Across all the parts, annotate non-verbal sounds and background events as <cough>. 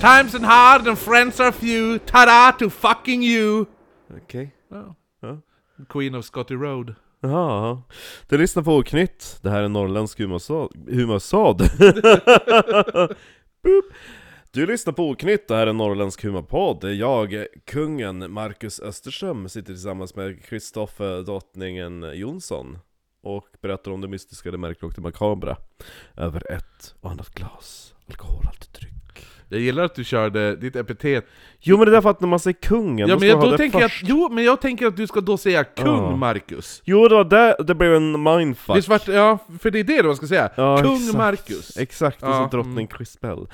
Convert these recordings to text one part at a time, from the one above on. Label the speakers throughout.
Speaker 1: Times and hard and friends are few, ta-da to fucking you!
Speaker 2: Okej.
Speaker 1: Ja.
Speaker 2: Ja.
Speaker 1: Queen of Scotty Road.
Speaker 2: Jaha, ja. du lyssnar på Oknytt, det här är norrländsk humorsa- humorsad. <laughs> Boop. du lyssnar på Oknytt, det här är norrländsk humorpodd. Jag, kungen Marcus Österström, sitter tillsammans med Kristoffer Drottningen Jonsson och berättar om det mystiska, det märkliga och det makabra. Över ett och annat glas alkoholhaltigt dryck.
Speaker 1: Jag gillar att du körde ditt epitet.
Speaker 2: Jo men det är därför att när man säger kungen,
Speaker 1: Ja,
Speaker 2: måste
Speaker 1: men
Speaker 2: man
Speaker 1: jag,
Speaker 2: ha
Speaker 1: då
Speaker 2: det
Speaker 1: tänker jag att,
Speaker 2: först.
Speaker 1: jo, men jag tänker att du ska då säga kung
Speaker 2: Ja.
Speaker 1: Marcus.
Speaker 2: Jo det var där det blev en mindfuck.
Speaker 1: Visst vart, ja, för det är det man ska säga.
Speaker 2: Ja,
Speaker 1: kung
Speaker 2: exakt.
Speaker 1: Marcus.
Speaker 2: Exakt, och
Speaker 1: Ja, mm.
Speaker 2: så drottning Crispell.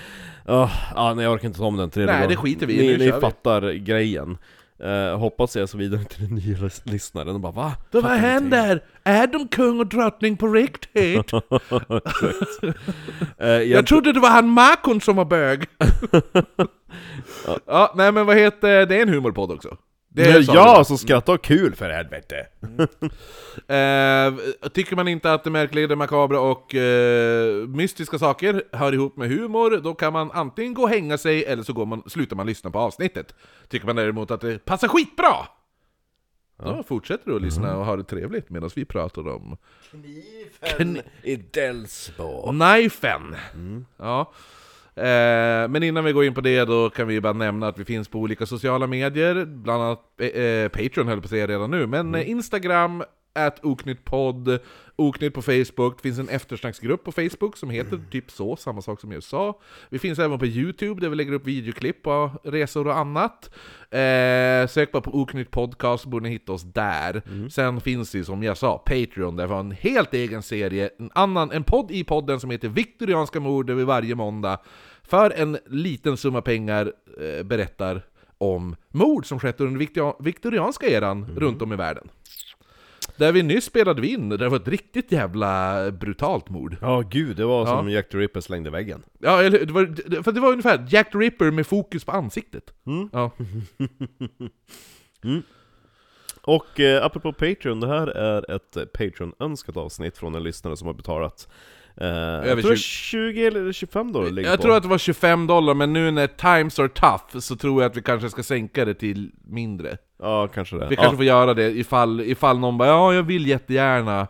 Speaker 2: Ja, ah, nej jag orkar inte ta om den tredje
Speaker 1: Nej,
Speaker 2: gången.
Speaker 1: det skiter vi i.
Speaker 2: Ni,
Speaker 1: Nu
Speaker 2: ni
Speaker 1: kör vi.
Speaker 2: fattar grejen. Eh, hoppas jag så vidare till den nya lys- lyssnaren och bara va?
Speaker 1: Då, vad
Speaker 2: Fattar ingenting.
Speaker 1: händer? Är de kung och drottning på
Speaker 2: <laughs>
Speaker 1: riktigt?
Speaker 2: Exakt. Eh, jag,
Speaker 1: Jag trodde det var han Makon som var
Speaker 2: <laughs>
Speaker 1: bög! ja. nej men vad heter, det är en humorpodd också. Det är sa
Speaker 2: ja, så skratta och kul för helvete!
Speaker 1: vi. eh, Tycker man inte att det märkliga, det makabra och eh, mystiska saker hör ihop med humor, då kan man antingen gå och hänga sig, eller så går man, slutar man lyssna på avsnittet. Tycker man däremot att det passar skitbra, då fortsätter du att lyssna och ha det trevligt medan vi pratar om
Speaker 2: Kniven i Delsbo.
Speaker 1: Knifen! Ja. Eh, men innan vi går in på det då kan vi bara nämna att vi finns på olika sociala medier, bland annat eh, eh, Patreon höll jag på att säga redan nu, men eh, Instagram, at oknyttpodd, oknytt på Facebook, det finns en eftersnacksgrupp på Facebook som heter typ så, samma sak som jag sa. Vi finns även på YouTube där vi lägger upp videoklipp och resor och annat. Eh, sök bara på oknytt podcast så borde ni hitta oss där. Sen finns det ju som jag sa, Patreon, där vi har en helt egen serie, en, annan, en podd i podden som heter Viktorianska mord, där vi varje måndag för en liten summa pengar eh, berättar om mord som skett under den viktoria- viktorianska eran runt om i världen. Där vi nyss spelade vi in, där det var ett riktigt jävla brutalt mord.
Speaker 2: Ja gud, det var
Speaker 1: Ja.
Speaker 2: som Jack the Ripper slängde väggen.
Speaker 1: Ja, eller hur? det var, det- för det var ungefär Jack the Ripper med fokus på ansiktet. Ja.
Speaker 2: Och eh, apropå Patreon, det här är ett eh, Patreon-önskat avsnitt från en lyssnare som har betalat eh, jag
Speaker 1: 20
Speaker 2: tror 20... 20 eller 25 dollar ligger
Speaker 1: Jag
Speaker 2: på.
Speaker 1: tror att det var 25 dollar, men nu när times are tough så tror jag att vi kanske ska sänka det till mindre.
Speaker 2: Ja, kanske det.
Speaker 1: Vi
Speaker 2: ja.
Speaker 1: kanske får göra det ifall, ifall någon bara ja, jag vill jättegärna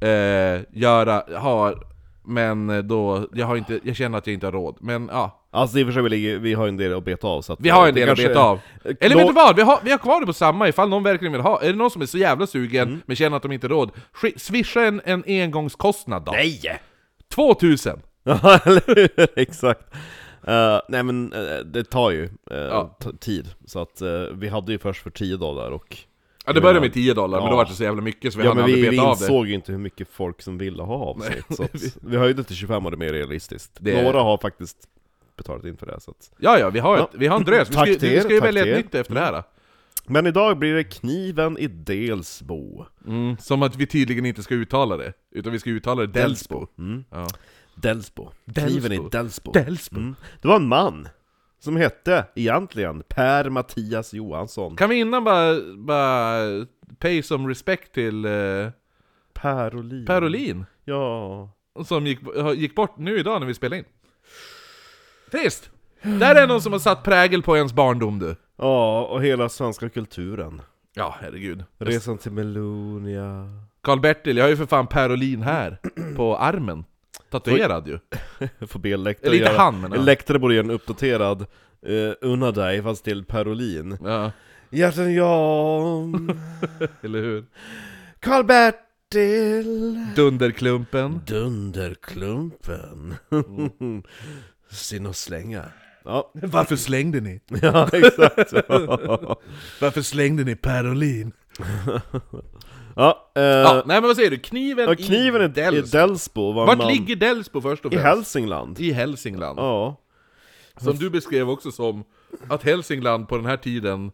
Speaker 1: eh, göra, ha, men då, jag, har inte, jag känner att jag inte har råd. Men ja,
Speaker 2: Alltså i och för sig, vi, ligger, vi har ju en del att beta av så att
Speaker 1: vi har
Speaker 2: det
Speaker 1: en del att
Speaker 2: kanske-
Speaker 1: beta av.
Speaker 2: Eh,
Speaker 1: Eller
Speaker 2: då-
Speaker 1: vet du vad? Vi har, vi har kvar det på samma ifall någon verkligen vill ha. Är det någon som är så jävla sugen
Speaker 2: Mm.
Speaker 1: men känner att de inte har råd, sk- swisha en, en engångskostnad då.
Speaker 2: Nej! <laughs>
Speaker 1: 2000!
Speaker 2: Ja, eller hur? Exakt. Eh, nej men eh, det tar ju eh,
Speaker 1: Ja.
Speaker 2: t- tid, så att eh, vi hade ju först för 10 dollar och
Speaker 1: Ja det började med 10 dollar, men
Speaker 2: Ja.
Speaker 1: då var det så jävla mycket så vi
Speaker 2: Ja
Speaker 1: hann
Speaker 2: men
Speaker 1: aldrig
Speaker 2: vi, vi
Speaker 1: beta av det.
Speaker 2: insåg ju inte hur mycket folk som ville ha avsnitt,
Speaker 1: <laughs>
Speaker 2: så att vi höjde till 25 och det är mer realistiskt.
Speaker 1: Det-
Speaker 2: Några har faktiskt betalat in för det så att...
Speaker 1: Ja, ja, vi har,
Speaker 2: Ja. Mm.
Speaker 1: Ett, vi har en drös. Vi ska,
Speaker 2: Tack
Speaker 1: ju-
Speaker 2: till
Speaker 1: vi ska ju
Speaker 2: er, tack
Speaker 1: välja
Speaker 2: till
Speaker 1: ett
Speaker 2: er.
Speaker 1: nytt efter det här.
Speaker 2: Men idag blir det kniven i Delsbo.
Speaker 1: Mm. Som att vi tydligen inte ska uttala det, utan vi ska uttala det Delsbo.
Speaker 2: Mm.
Speaker 1: Ja.
Speaker 2: Delsbo.
Speaker 1: Delsbo.
Speaker 2: Kniven i Delsbo.
Speaker 1: Delsbo.
Speaker 2: Mm. Det var en man som hette egentligen Per Mattias Johansson.
Speaker 1: Kan vi innan bara, bara pay some respect till eh,
Speaker 2: Per Olin.
Speaker 1: Per Olin,
Speaker 2: Ja.
Speaker 1: som gick, har- gick bort nu idag när vi spelade in? Trist! Där är någon som har satt prägel på ens barndom du.
Speaker 2: Ja, och hela svenska kulturen.
Speaker 1: Ja, herregud.
Speaker 2: Resan till Melonia.
Speaker 1: Karl-Bertil, jag har ju för fan Per Olin här, på armen. Tatuerad ju.
Speaker 2: Får be Elektra
Speaker 1: Eller inte
Speaker 2: göra-
Speaker 1: han, men ja.
Speaker 2: Elektra borde göra en uppdaterad eh, Unna dig, fast till Per Olin.
Speaker 1: Ja, <laughs>
Speaker 2: Hjärtan Jan.
Speaker 1: eller hur?
Speaker 2: Karl-Bertil.
Speaker 1: Dunderklumpen.
Speaker 2: Dunderklumpen. <laughs> Sin och slänga. Ja, <laughs>
Speaker 1: Varför slängde ni?
Speaker 2: ja
Speaker 1: <laughs>
Speaker 2: exakt.
Speaker 1: Varför slängde ni Perolin?
Speaker 2: ja, eh,
Speaker 1: Ja, nej men vad säger du? Kniven,
Speaker 2: och kniven i Delsbo, var en
Speaker 1: Vart
Speaker 2: man
Speaker 1: ligger Delsbo först och
Speaker 2: i
Speaker 1: främst?
Speaker 2: Hälsingland.
Speaker 1: I Hälsingland.
Speaker 2: Ja.
Speaker 1: Som du beskrev också som att Hälsingland på den här tiden,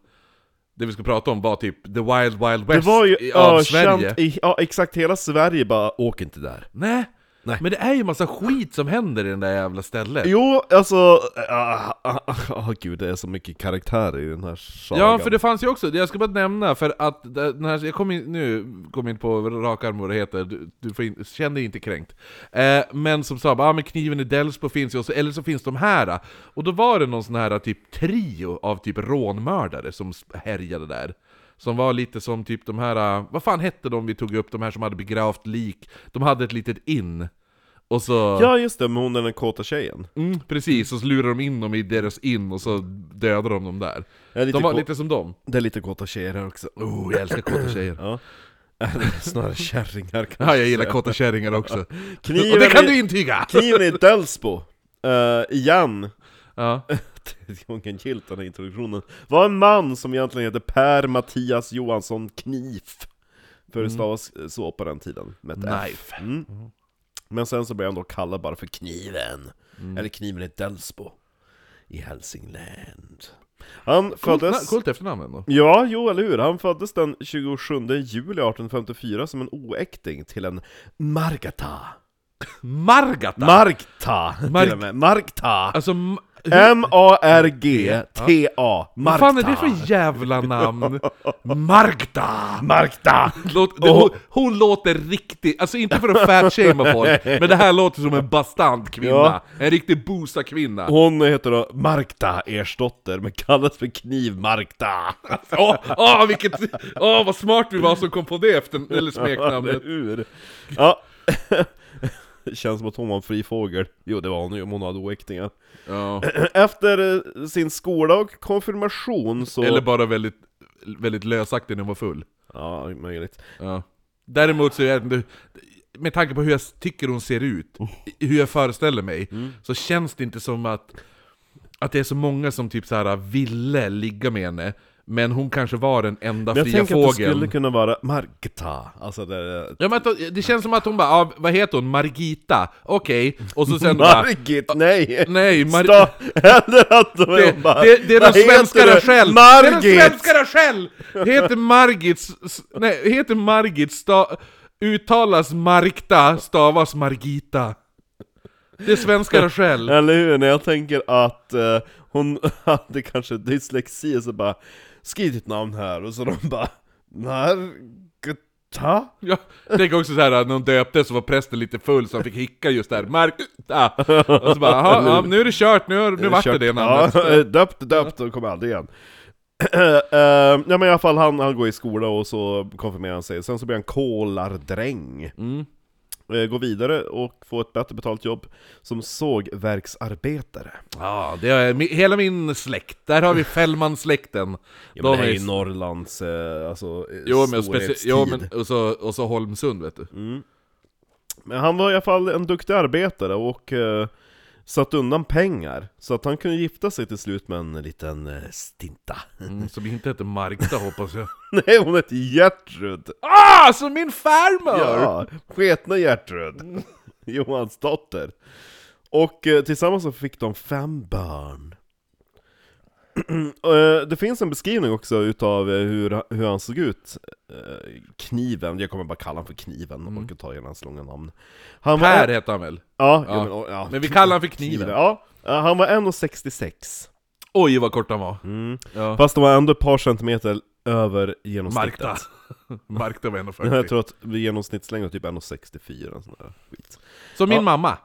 Speaker 1: det vi ska prata om var typ the wild wild
Speaker 2: Det
Speaker 1: west
Speaker 2: var ju
Speaker 1: i- av
Speaker 2: ökänt
Speaker 1: Sverige.
Speaker 2: i, ja exakt, hela Sverige bara åk inte där.
Speaker 1: Nej,
Speaker 2: Nej.
Speaker 1: Men det är ju massa skit som händer i det där jävla stället.
Speaker 2: Jo, alltså... ah, ah, ah, ah, <laughs> gud, det är så mycket karaktär i den här sagan.
Speaker 1: Ja, för det fanns ju också, jag ska bara nämna, för att den här, jag kommer in, nu kommer jag inte på rak arm vad det heter, du, du får in, känn dig inte kränkt. Eh, men som sa, bara, ah, men kniven i Delsbo finns ju, och så, eller så finns de här. Och då var det någon sån här typ trio av typ rånmördare som härjade där. Som var lite som typ de här, vad fan hette de vi tog upp, de här som hade begravt lik, de hade ett litet inn. Och så...
Speaker 2: Ja, just det, med hon den kåta tjejen.
Speaker 1: Mm, precis, och så lurar de in dem i deras inn och så dödar de dem där.
Speaker 2: Ja, lite
Speaker 1: de var
Speaker 2: kå-
Speaker 1: lite som dem.
Speaker 2: Det är lite kåta tjejer här också. <laughs>
Speaker 1: Oh, jag älskar kåta tjejer.
Speaker 2: Ja. Eller Snarare
Speaker 1: <laughs>
Speaker 2: kärringar kanske.
Speaker 1: Ja, jag gillar kåta kärringar också.
Speaker 2: Kniven
Speaker 1: Och det kan
Speaker 2: i-
Speaker 1: du intyga!
Speaker 2: Kniven i Delsbo, eh, igen,
Speaker 1: Ja.
Speaker 2: tredje <laughs> gången gillt den här introduktionen, var en man som egentligen heter Per Mattias Johansson Knif. För det stavas eh, så på den tiden, med ett F.
Speaker 1: Mm. Knife.
Speaker 2: Mm. Men sen så blev han då kallad bara för Kniven,
Speaker 1: Mm.
Speaker 2: eller Kniven i Delsbo, i Hälsingland. Han
Speaker 1: Coolt,
Speaker 2: föddes...
Speaker 1: na- coolt efternamn ändå.
Speaker 2: Ja, jo eller hur. Han föddes den 27 juli 1854 som en oäkting till en Margata.
Speaker 1: Margata!
Speaker 2: Markta!
Speaker 1: Mark-
Speaker 2: till och med. Markta!
Speaker 1: alltså, ma- hur
Speaker 2: M-A-R-G-T-A. Markta!
Speaker 1: vad fan är det för jävla namn? Margta!
Speaker 2: Markta!
Speaker 1: Låt, det, hon, hon låter riktigt, alltså inte för att fatshamea
Speaker 2: <laughs>
Speaker 1: folk, men det här låter som en bastant kvinna.
Speaker 2: Ja.
Speaker 1: En riktig bosa-kvinna.
Speaker 2: Hon heter då Markta Ersdotter, men kallas för Knivmarkta.
Speaker 1: Åh, åh, vilket, åh, vad smart vi var som kom på det efter, eller
Speaker 2: Eller
Speaker 1: smeknamnet.
Speaker 2: hur? Ja. <laughs> Känns som att hon var en fri fågel. Jo, det var hon ju, om hon hade oäktingar.
Speaker 1: Ja.
Speaker 2: Efter eh, sin skola och konfirmation så...
Speaker 1: Eller bara väldigt, väldigt lösaktig när hon var full.
Speaker 2: Ja, möjligt.
Speaker 1: Ja. Däremot så är jag inte- med tanke på hur jag tycker hon ser ut, hur jag föreställer mig, så känns det inte som att, att det är så många som typ så här ville ligga med henne, men hon kanske var den enda
Speaker 2: Men jag
Speaker 1: fria
Speaker 2: tänker att det skulle
Speaker 1: fågeln.
Speaker 2: kunna vara Markta, alltså det...
Speaker 1: Ja, men att, det känns som att hon bara, ah, vad heter hon? Margita? Okej, och så
Speaker 2: <laughs>
Speaker 1: sen bara...
Speaker 2: Margit, nej!
Speaker 1: Nej, Mar-
Speaker 2: Sta- Eller att de
Speaker 1: det,
Speaker 2: bara,
Speaker 1: det, det är
Speaker 2: "Vad
Speaker 1: den
Speaker 2: heter
Speaker 1: svenskare
Speaker 2: du?
Speaker 1: själv! Det är den
Speaker 2: Margit!
Speaker 1: svenskare själv! Heter Margit, s- s- nej, heter Margit, sta, uttalas Markta, stavas Margita. Det är svenskare själv.
Speaker 2: Eller hur? När jag tänker att eh, hon <laughs> hade kanske dyslexi, så bara Skriv ditt namn här, och så de bara Margita?
Speaker 1: Ja, tänk också så här att när hon döpte så var prästen lite full så han fick hicka just där, Markta! Och så bara, "Jaha, ja, nu är det kört, nu, har- nu vart det
Speaker 2: Kört-
Speaker 1: det namnet.
Speaker 2: Ja, eh, döpt, döpt och kommer aldrig igen. <clears throat> Eh, ja men i alla fall, han, han går i skola och så konfirmerar han sig, sen så blir han kolardräng.
Speaker 1: Mm.
Speaker 2: Eh, Går vidare och får ett bättre betalt jobb som sågverksarbetare.
Speaker 1: Ja, det är mi- hela min släkt, där har vi Fällmansläkten.
Speaker 2: Ja, men
Speaker 1: De
Speaker 2: det är
Speaker 1: är
Speaker 2: ju
Speaker 1: s-
Speaker 2: Norrlands eh, alltså, eh,
Speaker 1: Jo men, speci-
Speaker 2: storhetstid.
Speaker 1: jo, men och, så, och så Holmsund vet du.
Speaker 2: Men han var i alla fall en duktig arbetare och eh, satt undan pengar. Så att han kunde gifta sig till slut med en liten eh, stinta. <laughs>
Speaker 1: Mm, som inte heter Markta hoppas jag.
Speaker 2: Nej, hon hette Gertrud!
Speaker 1: <laughs> Ah, som min farmor!
Speaker 2: Ja,
Speaker 1: <laughs>
Speaker 2: sketna Gertrud. Johans dotter. Och eh, tillsammans så fick de fem barn. <clears throat> Och, eh, det finns en beskrivning också utav eh, hur, hur han såg ut. Eh, Kniven, jag kommer bara kalla honom för Kniven, mm. orkar ta igen hans långa namn. Han var-
Speaker 1: Per heter han väl?
Speaker 2: Ja, ja.
Speaker 1: Ja.
Speaker 2: men, ja.
Speaker 1: Men vi kallar han för Kniven.
Speaker 2: Ja, Eh, han var 1,66.
Speaker 1: Oj vad kort han var.
Speaker 2: Mm.
Speaker 1: Ja.
Speaker 2: Fast han var ändå ett par centimeter över genomsnittet.
Speaker 1: Markta. <laughs> Markta var
Speaker 2: <laughs> Jag
Speaker 1: 1,40.
Speaker 2: tror att genomsnittslängden var typ 1,64 en sån där skit.
Speaker 1: Så min
Speaker 2: Ja.
Speaker 1: mamma.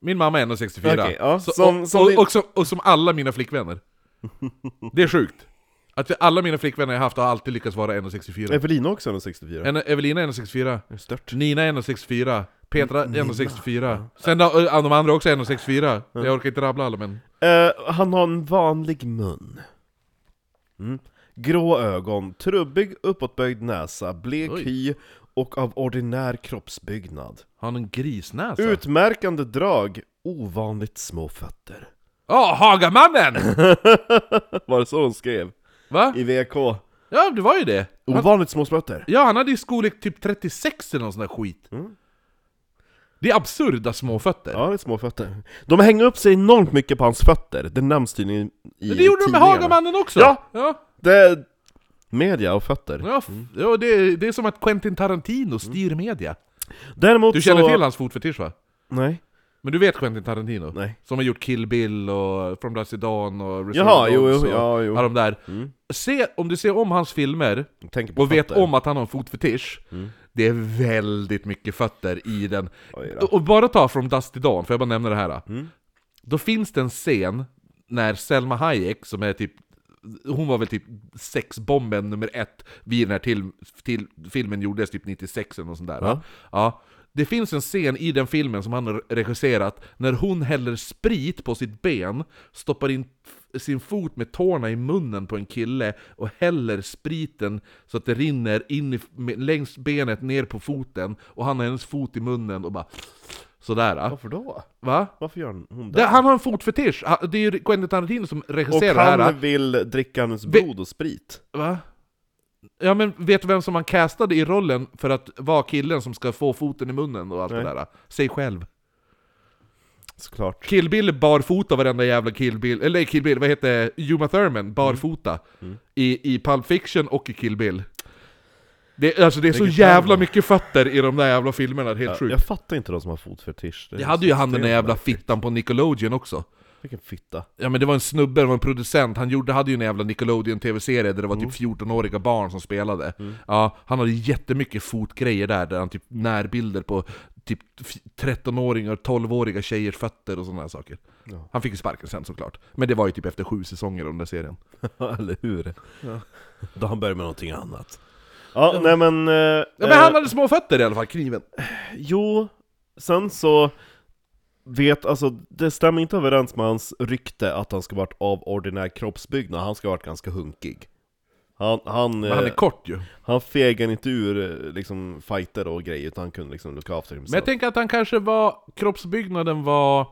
Speaker 1: Min mamma är 1,64.
Speaker 2: Okej, ja.
Speaker 1: Så-
Speaker 2: Som-
Speaker 1: och,
Speaker 2: som din-
Speaker 1: och, och, som, och som alla mina flickvänner.
Speaker 2: <laughs>
Speaker 1: Det är sjukt. Att alla mina flickvänner jag haft har alltid lyckats vara 1,64.
Speaker 2: Evelina också 1,64.
Speaker 1: En- Evelina är 1,64.
Speaker 2: Stört.
Speaker 1: Nina är 1,64. Petra är 1,64. Sen då, eh, de andra också är 1,64. Jag orkar inte rabbla alla men...
Speaker 2: Eh, han har en vanlig mun. Mm. Grå ögon, trubbig uppåtböjd näsa, blek
Speaker 1: Oj.
Speaker 2: hy och av ordinär kroppsbyggnad.
Speaker 1: Har han en grisnäsa?
Speaker 2: Utmärkande drag, ovanligt
Speaker 1: <laughs>
Speaker 2: små fötter.
Speaker 1: Ja, Hagamannen!
Speaker 2: <laughs> Var det så hon skrev?
Speaker 1: Va?
Speaker 2: I VK.
Speaker 1: Ja, det var ju det. Han,
Speaker 2: Ovanligt små fötter.
Speaker 1: ja, han hade ju storlek typ 36 eller någon sån där skit. Det är absurda småfötter.
Speaker 2: Mm. Ja, det är små fötter. De hänger upp sig enormt mycket på hans fötter. Det nämns tydligen i
Speaker 1: Men det gjorde de med
Speaker 2: tidningarna.
Speaker 1: Hagamannen också!
Speaker 2: Ja. Mm.
Speaker 1: Ja,
Speaker 2: Det är media och fötter.
Speaker 1: ja, f- ja det, det är som att Quentin Tarantino styr media.
Speaker 2: Däremot
Speaker 1: Du känner
Speaker 2: Mm. så...
Speaker 1: till hans fotfetisch va?
Speaker 2: Nej.
Speaker 1: Men du vet Quentin Tarantino?
Speaker 2: Nej.
Speaker 1: Som har gjort Kill Bill och From Dusk Till Dawn och Reserve
Speaker 2: Jaha, jo,
Speaker 1: Dogs
Speaker 2: jo,
Speaker 1: och
Speaker 2: ja, jo.
Speaker 1: alla de där.
Speaker 2: Mm.
Speaker 1: Se, om du ser om hans filmer
Speaker 2: Tänker på
Speaker 1: och vet
Speaker 2: fötter.
Speaker 1: om att han har en fotfetisch,
Speaker 2: Mm.
Speaker 1: det är väldigt mycket fötter i den.
Speaker 2: Oj då.
Speaker 1: Och bara ta From Dusk Till Dawn, för jag bara nämna det här.
Speaker 2: Mm.
Speaker 1: Då finns det en scen när Selma Hayek, som är typ hon var väl typ sexbomben nummer ett vid den här till, till, filmen gjordes typ 96 eller något sånt där.
Speaker 2: Ja.
Speaker 1: Ja. Det finns en scen i den filmen som han har regisserat när hon häller sprit på sitt ben, stoppar in f- sin fot med tårna i munnen på en kille och häller spriten så att det rinner in i, f- med- längs benet ner på foten och han har hennes fot i munnen och bara sådär.
Speaker 2: Varför då?
Speaker 1: Va?
Speaker 2: Varför gör hon
Speaker 1: Det,
Speaker 2: det?
Speaker 1: han har en fotfetisch! Ha- Det är ju Quentin Tarantino som
Speaker 2: Och
Speaker 1: regisserar det här.
Speaker 2: han vill dricka hennes blod och sprit.
Speaker 1: Va? Ja men vet du vem som han castade i rollen för att vara killen som ska få foten i munnen och allt
Speaker 2: Nej.
Speaker 1: det där? Säg själv.
Speaker 2: Såklart.
Speaker 1: Kill Bill barfota varenda jävla Kill Bill, eller Kill Bill, vad heter det? Uma Thurman barfota.
Speaker 2: Mm.
Speaker 1: I, I Pulp Fiction och i Kill Bill. Det, alltså det är så
Speaker 2: Vilket
Speaker 1: jävla
Speaker 2: jävla-
Speaker 1: mycket fötter i de där jävla filmerna, helt
Speaker 2: Jag,
Speaker 1: sjukt.
Speaker 2: jag fattar inte de som har fotfetisch. är
Speaker 1: Det hade ju
Speaker 2: så
Speaker 1: han den där
Speaker 2: stelt
Speaker 1: jävla
Speaker 2: märkligt.
Speaker 1: fittan på Nickelodeon också.
Speaker 2: Vilken fitta.
Speaker 1: Ja men det var en snubbe, det var en producent, han gjorde, hade ju en jävla Nickelodeon TV-serie där det var
Speaker 2: Mm.
Speaker 1: typ 14-åriga barn som spelade. Ja, han hade jättemycket fotgrejer där, där han typ närbilder på typ f- 13-åringar, 12-åriga tjejers fötter och sådana här saker.
Speaker 2: Ja.
Speaker 1: Han fick ju sparken sen såklart. Men det var ju typ efter sju säsonger av den där serien.
Speaker 2: <laughs> Eller hur? Då han börjar med någonting annat. Ja, nej men... Eh,
Speaker 1: Ja, men han hade små fötter i alla fall, kniven.
Speaker 2: Jo, sen så vet, alltså det stämmer inte överens med hans rykte att han ska varit av ordinär kroppsbyggnad, han ska ha varit ganska hunkig. Han, han,
Speaker 1: Men han är
Speaker 2: eh,
Speaker 1: kort ju. Men
Speaker 2: han fegade inte ur eh, liksom fighter och grejer, utan han kunde liksom looka after himself.
Speaker 1: jag tänker att han kanske var, kroppsbyggnaden var...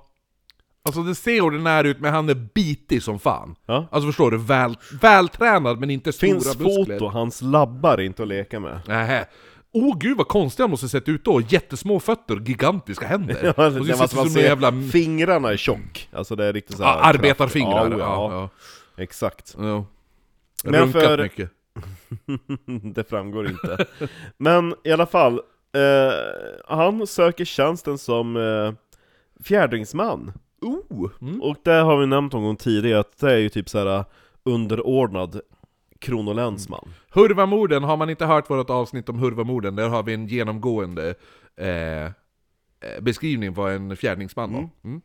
Speaker 1: Alltså det ser ordinär ut, men han är bitig som fan.
Speaker 2: Ja.
Speaker 1: Alltså förstår du? Väl, vältränad men inte stora
Speaker 2: Finns
Speaker 1: muskler.
Speaker 2: foto, hans labbar är inte att leka med. <laughs>
Speaker 1: Nähä. Åh oh, gud vad konstigt han måste ha sett ut då, jättesmå fötter, gigantiska händer.
Speaker 2: <laughs> Ja,
Speaker 1: och
Speaker 2: det
Speaker 1: så ser
Speaker 2: var som
Speaker 1: ut
Speaker 2: man
Speaker 1: som en
Speaker 2: ser,
Speaker 1: jävla
Speaker 2: fingrarna är tjock. Alltså det är riktigt så här
Speaker 1: ja, arbetarfingrar.
Speaker 2: kraftigt.
Speaker 1: Ja,
Speaker 2: Ja,
Speaker 1: ja,
Speaker 2: ja, exakt. <laughs>
Speaker 1: ja.
Speaker 2: Men
Speaker 1: Runkat
Speaker 2: för-
Speaker 1: mycket.
Speaker 2: det framgår inte. Men i alla fall, eh, han söker tjänsten som eh, fjärdingsman.
Speaker 1: Oh. Mm.
Speaker 2: Och det har vi nämnt någon gång tidigare, att det är ju typ så här underordnad kronolänsman.
Speaker 1: Hurvamorden, har man inte hört vårt avsnitt om Hurvamorden, där har vi en genomgående eh, eh, beskrivning vad en fjärdingsman var. Mm.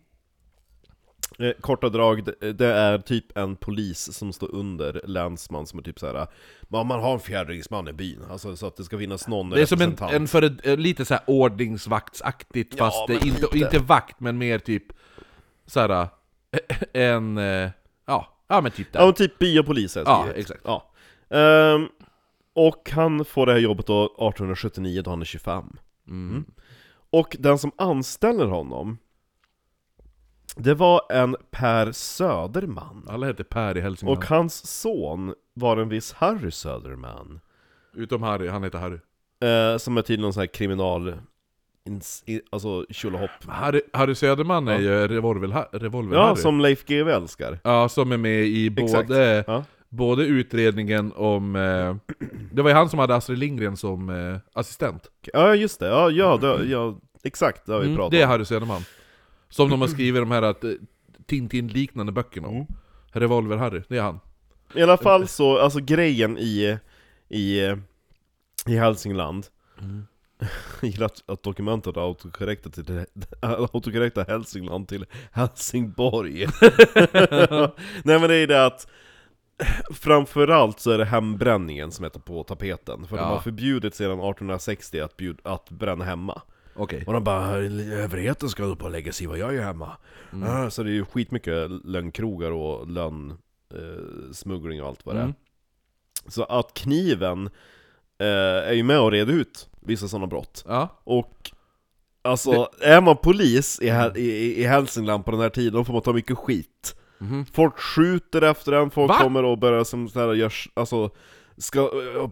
Speaker 2: Eh, korta drag, det- det är typ en polis som står under länsman som är typ så här. "Ja, man har en fjärdingsman i byn, alltså så att det ska finnas någon
Speaker 1: Det är som en,
Speaker 2: representant.
Speaker 1: en för lite så här ordningsvaktsaktigt,
Speaker 2: Ja,
Speaker 1: fast det
Speaker 2: men
Speaker 1: är inte,
Speaker 2: lite.
Speaker 1: inte vakt, men mer typ såhär, en, eh, ja, ja men typ där.
Speaker 2: Ja, men typ byapolis är
Speaker 1: Ja,
Speaker 2: skrivet.
Speaker 1: exakt.
Speaker 2: Ja. Ehm, och han får det här jobbet då 1879 då han är 25.
Speaker 1: Mm.
Speaker 2: Och den som anställer honom, det var en Per Söderman.
Speaker 1: Alla heter Per i Hälsingland.
Speaker 2: Och hans son var en viss Harry Söderman.
Speaker 1: Utom Harry, han heter Harry.
Speaker 2: Eh, som är tydligen någon sån här kriminal... Ins, i, alltså tjolahopp.
Speaker 1: Harry, Harry Söderman är ju revolver, revolver
Speaker 2: Ja,
Speaker 1: Harry.
Speaker 2: som Leif GW
Speaker 1: <laughs>
Speaker 2: älskar.
Speaker 1: ja, som är med i
Speaker 2: Exakt.
Speaker 1: både,
Speaker 2: Ja.
Speaker 1: både utredningen om... Eh, det var ju han som hade Astrid Lindgren som eh, assistent.
Speaker 2: Ja, just det. Ja, ja, det, ja exakt. Det har vi
Speaker 1: Mm,
Speaker 2: pratat
Speaker 1: det är
Speaker 2: om.
Speaker 1: Harry Söderman. Som de har skrivit de här att, eh, Tintin-liknande böckerna
Speaker 2: Mm.
Speaker 1: om. Revolver-Harry, det är han.
Speaker 2: I alla fall så, alltså grejen i, i, i Hälsingland <laughs> Jag gillar att, att dokumentet har autokorrektat, till, det- <laughs> autokorrektat Hälsingland till Helsingborg <laughs> Nej men det är det att Framförallt så är det hembränningen som heter på tapeten, för
Speaker 1: Ja.
Speaker 2: de har förbjudit sedan 1860 att, bjud, att bränna hemma
Speaker 1: Okej.
Speaker 2: och de bara överheten ska upp och lägga sig i vad jag gör hemma.
Speaker 1: Mm.
Speaker 2: Ah, Så det är ju skitmycket lönnkrogar och lönnsmuggling eh, smuggling och allt vad det
Speaker 1: Mm.
Speaker 2: är. Så att kniven eh, är ju med och reda ut vissa sådana brott.
Speaker 1: Ja.
Speaker 2: Och alltså, är man polis i,
Speaker 1: Mm.
Speaker 2: Hä- i, i Hälsingland på den här tiden, då får man ta mycket skit.
Speaker 1: Mhm.
Speaker 2: Folk skjuter efter en, folk
Speaker 1: Va?
Speaker 2: kommer och börjar som så här, görs, alltså Ska,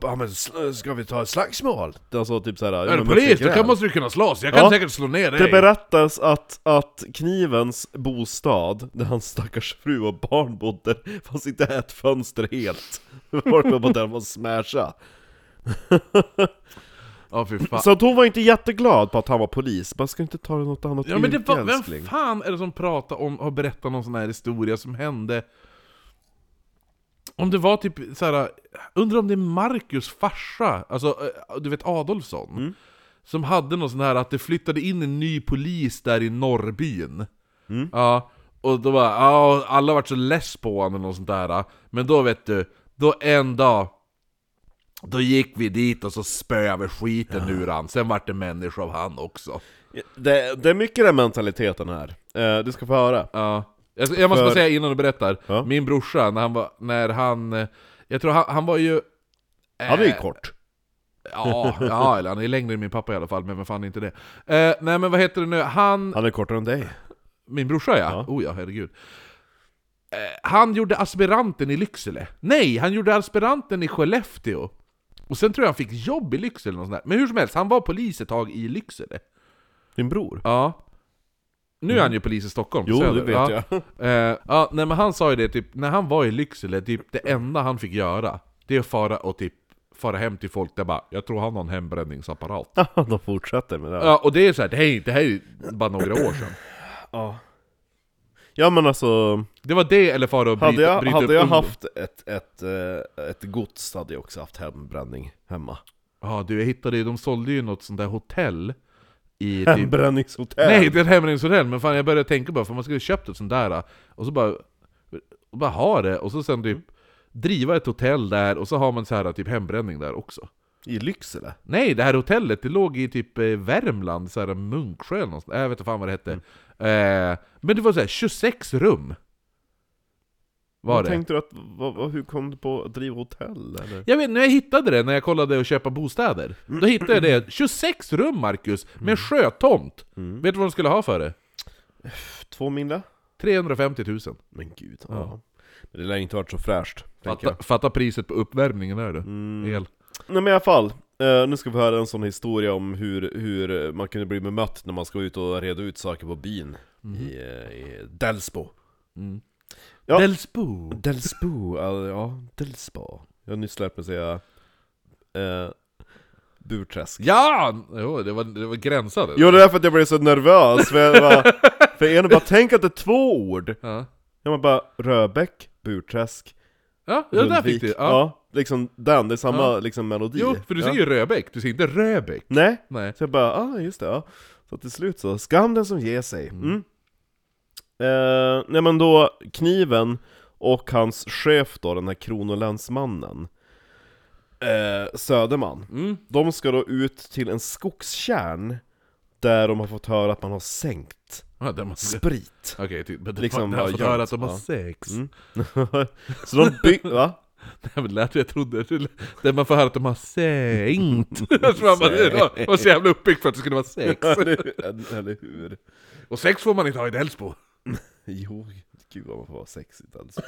Speaker 2: ja, men, sl- ska vi ta ett slagsmål? Alltså typ såhär...
Speaker 1: Är du polis? Då kan, måste du kunna slåss, jag kan
Speaker 2: Ja.
Speaker 1: säkert slå ner dig!
Speaker 2: Det berättas att, att knivens bostad, där hans stackars fru och barn bodde, fanns inte ett fönster helt. Vart man bara där man smasha.
Speaker 1: Ja,
Speaker 2: <laughs>
Speaker 1: fy fan.
Speaker 2: Så att hon var inte jätteglad på att han var polis, man ska inte ta det något annat
Speaker 1: Ja men det
Speaker 2: yrke,
Speaker 1: var, vem
Speaker 2: älskling.
Speaker 1: fan är det som pratar om, har berättat någon sån här historia som hände Om det var typ så här. undrar om det är Marcus farsa, alltså eh, du vet Adolfsson
Speaker 2: Mm.
Speaker 1: Som hade någon sån här att det flyttade in en ny polis där i norrbyn
Speaker 2: Mm.
Speaker 1: Ja, och då var ja, och alla vart så less på honom eller något sånt där Men då vet du, då en dag då gick vi dit och så spöade vi skiten ur han, sen vart det människa av han också
Speaker 2: Det, det är mycket den mentaliteten här, eh, du ska få höra.
Speaker 1: Ja. Jag, jag måste bara
Speaker 2: För-
Speaker 1: säga innan du berättar,
Speaker 2: Ja.
Speaker 1: min brorsa, när han var, när han, eh, jag tror han, han var ju...
Speaker 2: Han är ju
Speaker 1: eh,
Speaker 2: kort.
Speaker 1: Ja, ja, eller han är längre än min pappa i alla fall, men vem fan är inte det? Eh, nej men vad heter det nu, han,
Speaker 2: Han är kortare än dig.
Speaker 1: min brorsa ja,
Speaker 2: Ja.
Speaker 1: oh ja, herregud. Eh, han gjorde aspiranten i Lycksele. Nej, han gjorde aspiranten i Skellefteå. Och sen tror jag han fick jobb i Lycksele, eller något sånt där. men hur som helst, han var polis ett tag i Lycksele.
Speaker 2: Din bror?
Speaker 1: Ja. Nu är han ju polis i Stockholm,
Speaker 2: Mm. Jo, det
Speaker 1: söder.
Speaker 2: vet
Speaker 1: ja.
Speaker 2: jag.
Speaker 1: Eh, ja, nej men han sa ju det, typ, när han var i Lycksele, typ, det enda han fick göra, det är att fara och typ fara hem till folk där bara Jag tror han har en hembränningsapparat.
Speaker 2: <laughs> De fortsätter med det. här.
Speaker 1: Ja, och det är så här, det här, är- det här är bara några år sedan.
Speaker 2: Ja. Ja men alltså,
Speaker 1: Det var det eller fara och bryta,
Speaker 2: hade jag,
Speaker 1: bryta upp
Speaker 2: hade jag
Speaker 1: ungdom.
Speaker 2: haft ett, ett, eh, ett gods hade jag också haft hembränning hemma.
Speaker 1: Ja du, jag hittade ju, de sålde ju något sånt där hotell i typ...
Speaker 2: Hembränningshotell!
Speaker 1: Nej, det är ett hembränningshotell, men fan jag började tänka bara, för man skulle köpt ett sånt där, och så bara, och bara ha det, och så sen
Speaker 2: Mm.
Speaker 1: typ driva ett hotell där, och så har man så här typ hembränning där också.
Speaker 2: I Lycksele?
Speaker 1: Nej, det här hotellet, det låg i typ eh, Värmland, så här Munksjö eller någonstans. Jag vet inte fan vad det hette. Eh, men det var så här 26 rum. Var
Speaker 2: Vad
Speaker 1: det?
Speaker 2: Tänkte du att, vad, vad, hur kom du på att driva hotell eller?
Speaker 1: Jag vet när jag hittade det när jag kollade att köpa bostäder. Då hittade jag det. 26 rum Marcus,
Speaker 2: Mm.
Speaker 1: med sjötomt. Vet du vad de skulle ha för det?
Speaker 2: Två mille?
Speaker 1: 350 000.
Speaker 2: Men gud, ja. Men det lär inte varit så fräscht, tänker
Speaker 1: Fatta,
Speaker 2: jag. Mm.
Speaker 1: fatta priset på uppvärmningen där du. El.
Speaker 2: Nej men i alla fall, eh, nu ska vi höra en sån historia om hur, hur man kunde bli bemött när man ska ut och reda ut saker på byn
Speaker 1: Mhm.
Speaker 2: i, eh, i Delsbo. Ja.
Speaker 1: Mm. Delsbo.
Speaker 2: Delsbo, ja, ja Delsbo. Jag har nyss lärt mig säga eh, Burträsk.
Speaker 1: Ja! Jo, det var, det var gränsade.
Speaker 2: Jo det är därför att jag blev så nervös, för jag bara,
Speaker 1: <laughs>
Speaker 2: för ena bara tänk att det är två ord!
Speaker 1: Ja,
Speaker 2: Jag bara Röbäck, Burträsk,
Speaker 1: ja ja, där fick
Speaker 2: Rundvik.
Speaker 1: du. Ja.
Speaker 2: Ja. liksom den, det är samma liksom melodi.
Speaker 1: Jo, för du
Speaker 2: ja.
Speaker 1: säger ju Röbäck, du säger inte Röbäck.
Speaker 2: Nej,
Speaker 1: Nej.
Speaker 2: så jag bara, ah just det, ja. Så till slut så, skam den som ger sig. Mm. Eh, nej men då, kniven och hans chef då, den här kronolänsmannen, eh, Söderman,
Speaker 1: Mm.
Speaker 2: de ska då ut till en skogstjärn där de har fått höra att man har sänkt
Speaker 1: Ja, där man...
Speaker 2: sprit.
Speaker 1: Okej, typ. Men det
Speaker 2: Liksom
Speaker 1: liksom, jag har
Speaker 2: bara
Speaker 1: fått
Speaker 2: gömt,
Speaker 1: höra att de har
Speaker 2: ja. Mm.
Speaker 1: sex.
Speaker 2: så de bygger, va?
Speaker 1: Nej, men det lät jag trodde. Det lät- Där man får höra att de har
Speaker 2: <laughs>
Speaker 1: sänkt. Jag tror man bara, det var- det var så jävla uppbyggt för att det skulle vara sex.
Speaker 2: Eller hur?
Speaker 1: Och sex får man inte ha i Delsbo.
Speaker 2: Jo, gud vad man får vara sexigt alltså.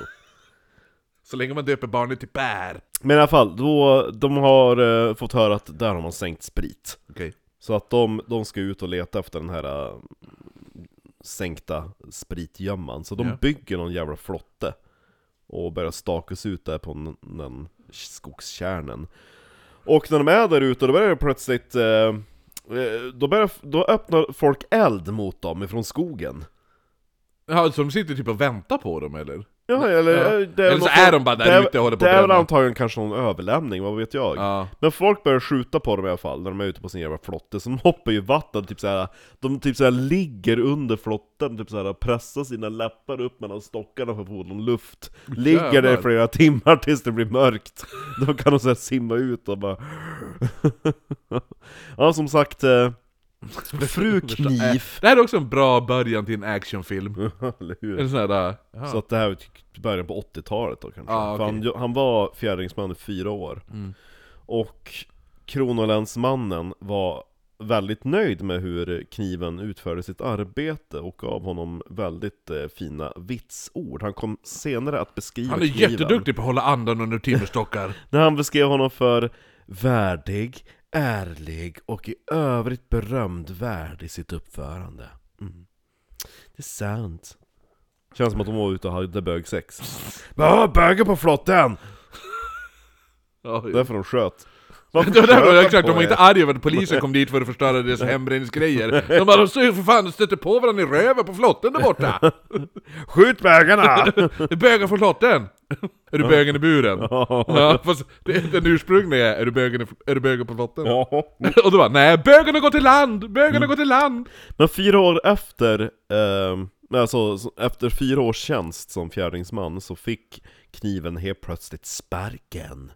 Speaker 1: Så länge man döper barnet till Bär.
Speaker 2: Men i alla fall, då, de har eh, fått höra att där har man sänkt sprit.
Speaker 1: Okej.
Speaker 2: Så att de, de ska ut och leta efter den här eh, sänkta spritgömman. Så de
Speaker 1: Ja.
Speaker 2: bygger någon jävla flotte. Och börjar stakas ut där på n- den skogskärnen. Och när de är där ute, då börjar det plötsligt... Eh, eh, då, börjar, då öppnar folk eld mot dem ifrån skogen.
Speaker 1: Ja, så de sitter typ och väntar på dem eller?
Speaker 2: Ja, eller,
Speaker 1: Mm. Ja.
Speaker 2: eh, Det
Speaker 1: Eller så
Speaker 2: något-
Speaker 1: är de bara där
Speaker 2: det är-
Speaker 1: ute och håller på
Speaker 2: Det
Speaker 1: att
Speaker 2: är väl
Speaker 1: bränna.
Speaker 2: antagligen kanske någon överlämning, vad vet jag?
Speaker 1: Ja.
Speaker 2: Men folk börjar skjuta på dem i alla fall när de är ute på sin jävla flotte, så de <laughs> hoppar ju i vatten typ såhär, de typ såhär ligger under flotten, typ såhär pressar sina läppar upp mellan stockarna för att få någon luft. Ligger där i
Speaker 1: Jävlar.
Speaker 2: flera <laughs> timmar tills det blir mörkt. Då kan de såhär simma ut och bara... <laughs> ja
Speaker 1: <laughs>
Speaker 2: som sagt, eh, fru Knif.
Speaker 1: Det här är också en bra början till en actionfilm.
Speaker 2: <laughs> Eller hur?
Speaker 1: En sån här... Ja.
Speaker 2: Så att det här var typ början på 80-talet då kanske.
Speaker 1: Ja,
Speaker 2: För han, han var fjärdingsman i fyra år.
Speaker 1: Mm.
Speaker 2: Och Kronolänsmannen var väldigt nöjd med hur kniven utförde sitt arbete och gav honom väldigt eh, fina vitsord. Han kom senare att beskriva
Speaker 1: Han är
Speaker 2: kniven.
Speaker 1: jätteduktig på att hålla andan under
Speaker 2: <laughs>
Speaker 1: timmerstockar.
Speaker 2: När han beskrev honom för värdig, ärlig och i övrigt berömdvärd i sitt uppförande. Mm. Det är sant. Känns som att de var ute och hade <laughs> bögsex. Bara "Åh, bögen på flotten!
Speaker 1: Oj.
Speaker 2: Därför de sköt. Varför
Speaker 1: Det var
Speaker 2: sköt
Speaker 1: därför det
Speaker 2: han
Speaker 1: var klart,
Speaker 2: på
Speaker 1: de var
Speaker 2: er?
Speaker 1: inte arga över att polisen kom dit för att förstöra deras hembränningsgrejer. De bara, de ser ju för fan, de stötte på varandra i röven på flotten där borta!
Speaker 2: Skjut bögarna!
Speaker 1: Det är bögen från flotten! Är du bögen i buren? Ja, fast det, den ursprungliga är, är du bögen, i- är du bögen på flotten?
Speaker 2: <laughs> ja. Mm.
Speaker 1: Och då bara, nej bögen har gått till land! Bögen har gått till land!
Speaker 2: Men fyra år efter, ehm, alltså så- efter fyra års tjänst som fjärdingsman så fick kniven helt plötsligt sparken.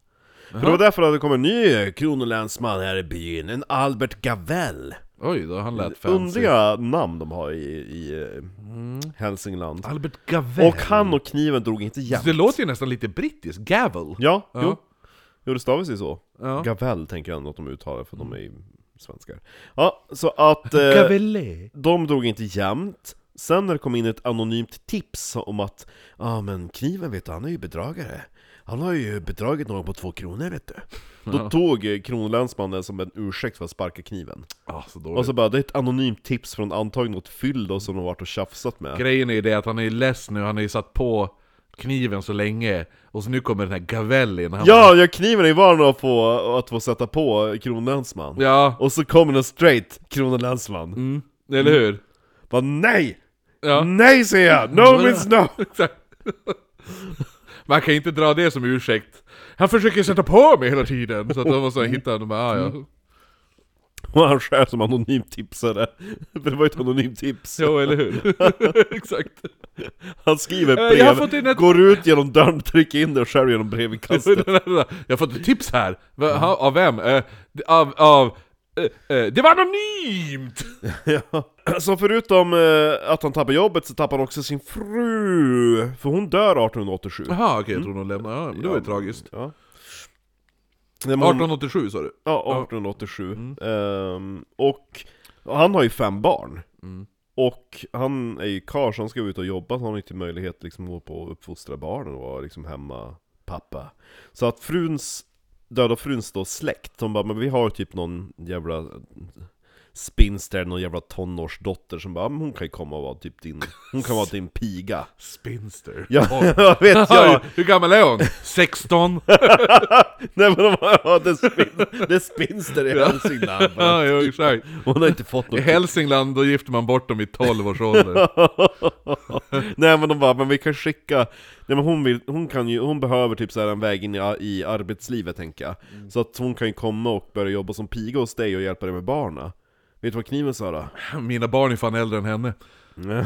Speaker 2: För det var därför att det kom en ny kronolänsman här i byn, en Albert Gavell.
Speaker 1: Oj då, han lät fancy.
Speaker 2: Underliga namn de har i, i eh, Hälsingland.
Speaker 1: Albert Gavell.
Speaker 2: Och han och kniven drog inte jämnt.
Speaker 1: Det låter ju nästan lite brittiskt, gavel.
Speaker 2: Ja,
Speaker 1: Ja.
Speaker 2: jo. Jo, det stavas ju så.
Speaker 1: Ja.
Speaker 2: Gavell tänker jag ändå att de uttalar för de är ju svenskar. Ja, så att... eh,
Speaker 1: Gavelé.
Speaker 2: De drog inte jämnt. Sen när det kom in ett anonymt tips om att Ja ah, men kniven vet du, han är ju bedragare. Han har ju bedragit någon på två kronor vet du. Då tog eh, kronolänsmannen som en ursäkt för att sparka kniven.
Speaker 1: Ja, så
Speaker 2: Och
Speaker 1: dåligt.
Speaker 2: så bara, det är ett anonymt tips från antagligen något fyll då som de varit och tjafsat med.
Speaker 1: Grejen är ju det att han är ju less nu, han har ju satt på kniven så länge, och så nu kommer den här Gavelli när han
Speaker 2: Ja, jag kniven är ju van att få, att få sätta på kronolänsman.
Speaker 1: bara, Ja,
Speaker 2: Och så kommer den straight, kronolänsman.
Speaker 1: mm, eller hur?
Speaker 2: Bara nej!
Speaker 1: Ja,
Speaker 2: Nej säger
Speaker 1: <laughs>
Speaker 2: jag! No means no!
Speaker 1: exakt. <laughs> Man kan inte dra det som ursäkt. Han försöker sätta på mig hela tiden, så att de måste hitta honom. Ja, ja.
Speaker 2: Och <laughs> han skär som anonym tipsare. <laughs> För det var ju ett anonymt tips.
Speaker 1: Jo, eller hur? <laughs> Exakt.
Speaker 2: Han skriver
Speaker 1: Eh, jag har fått
Speaker 2: brev,
Speaker 1: in ett-
Speaker 2: går ut genom dörren, trycker in det och skär
Speaker 1: <laughs>
Speaker 2: genom brevinkastet.
Speaker 1: Jag har fått ett tips här! Va, ha, av vem? Eh, det- av... av eh, eh, det var anonymt!
Speaker 2: ja. <clears throat> Så förutom eh, att han tappar jobbet så tappar han också sin fru, för hon dör 1887.
Speaker 1: Jaha, okej, jag tror de lämnade. Mm. Ja, men det var ju
Speaker 2: Ja.
Speaker 1: tragiskt.
Speaker 2: Ja. Nej, men hon-
Speaker 1: 1887 sa du?
Speaker 2: Ja, 1887.
Speaker 1: Mm.
Speaker 2: Ehm, och han har ju fem barn.
Speaker 1: Mm.
Speaker 2: Och han är ju karl så han ska ut och jobba, så han har inte möjlighet liksom, att gå på och uppfostra barnen och vara liksom hemma pappa. Så att fruns, döda fruns då släkt, de bara men vi har typ någon jävla spinster, någon jävla tonårsdotter som bara men hon kan ju komma och vara typ din, hon kan vara
Speaker 1: <laughs>
Speaker 2: din piga.
Speaker 1: Spinster.
Speaker 2: <laughs> Ja,
Speaker 1: Oj. <laughs>
Speaker 2: jag vet jag!
Speaker 1: Hur gammal är hon?
Speaker 2: <laughs>
Speaker 1: 16?
Speaker 2: Nej men de bara, ja, det, är spin, det är spinster i Hälsingland.
Speaker 1: <laughs> ja, jo, exakt.
Speaker 2: Hon har inte fått
Speaker 1: <laughs> I
Speaker 2: något
Speaker 1: Hälsingland då gifter man bort dem vid 12 års
Speaker 2: <laughs>
Speaker 1: ålder.
Speaker 2: Nej men de bara, men vi kan skicka, nej men hon, vill, hon, kan ju, hon behöver typ så här en väg in i, i arbetslivet tänker jag. Så att hon kan ju komma och börja jobba som piga hos dig och hjälpa dig med barna. Vet du vad kniven sa då?
Speaker 1: Mina barn är fan äldre än henne.
Speaker 2: nej,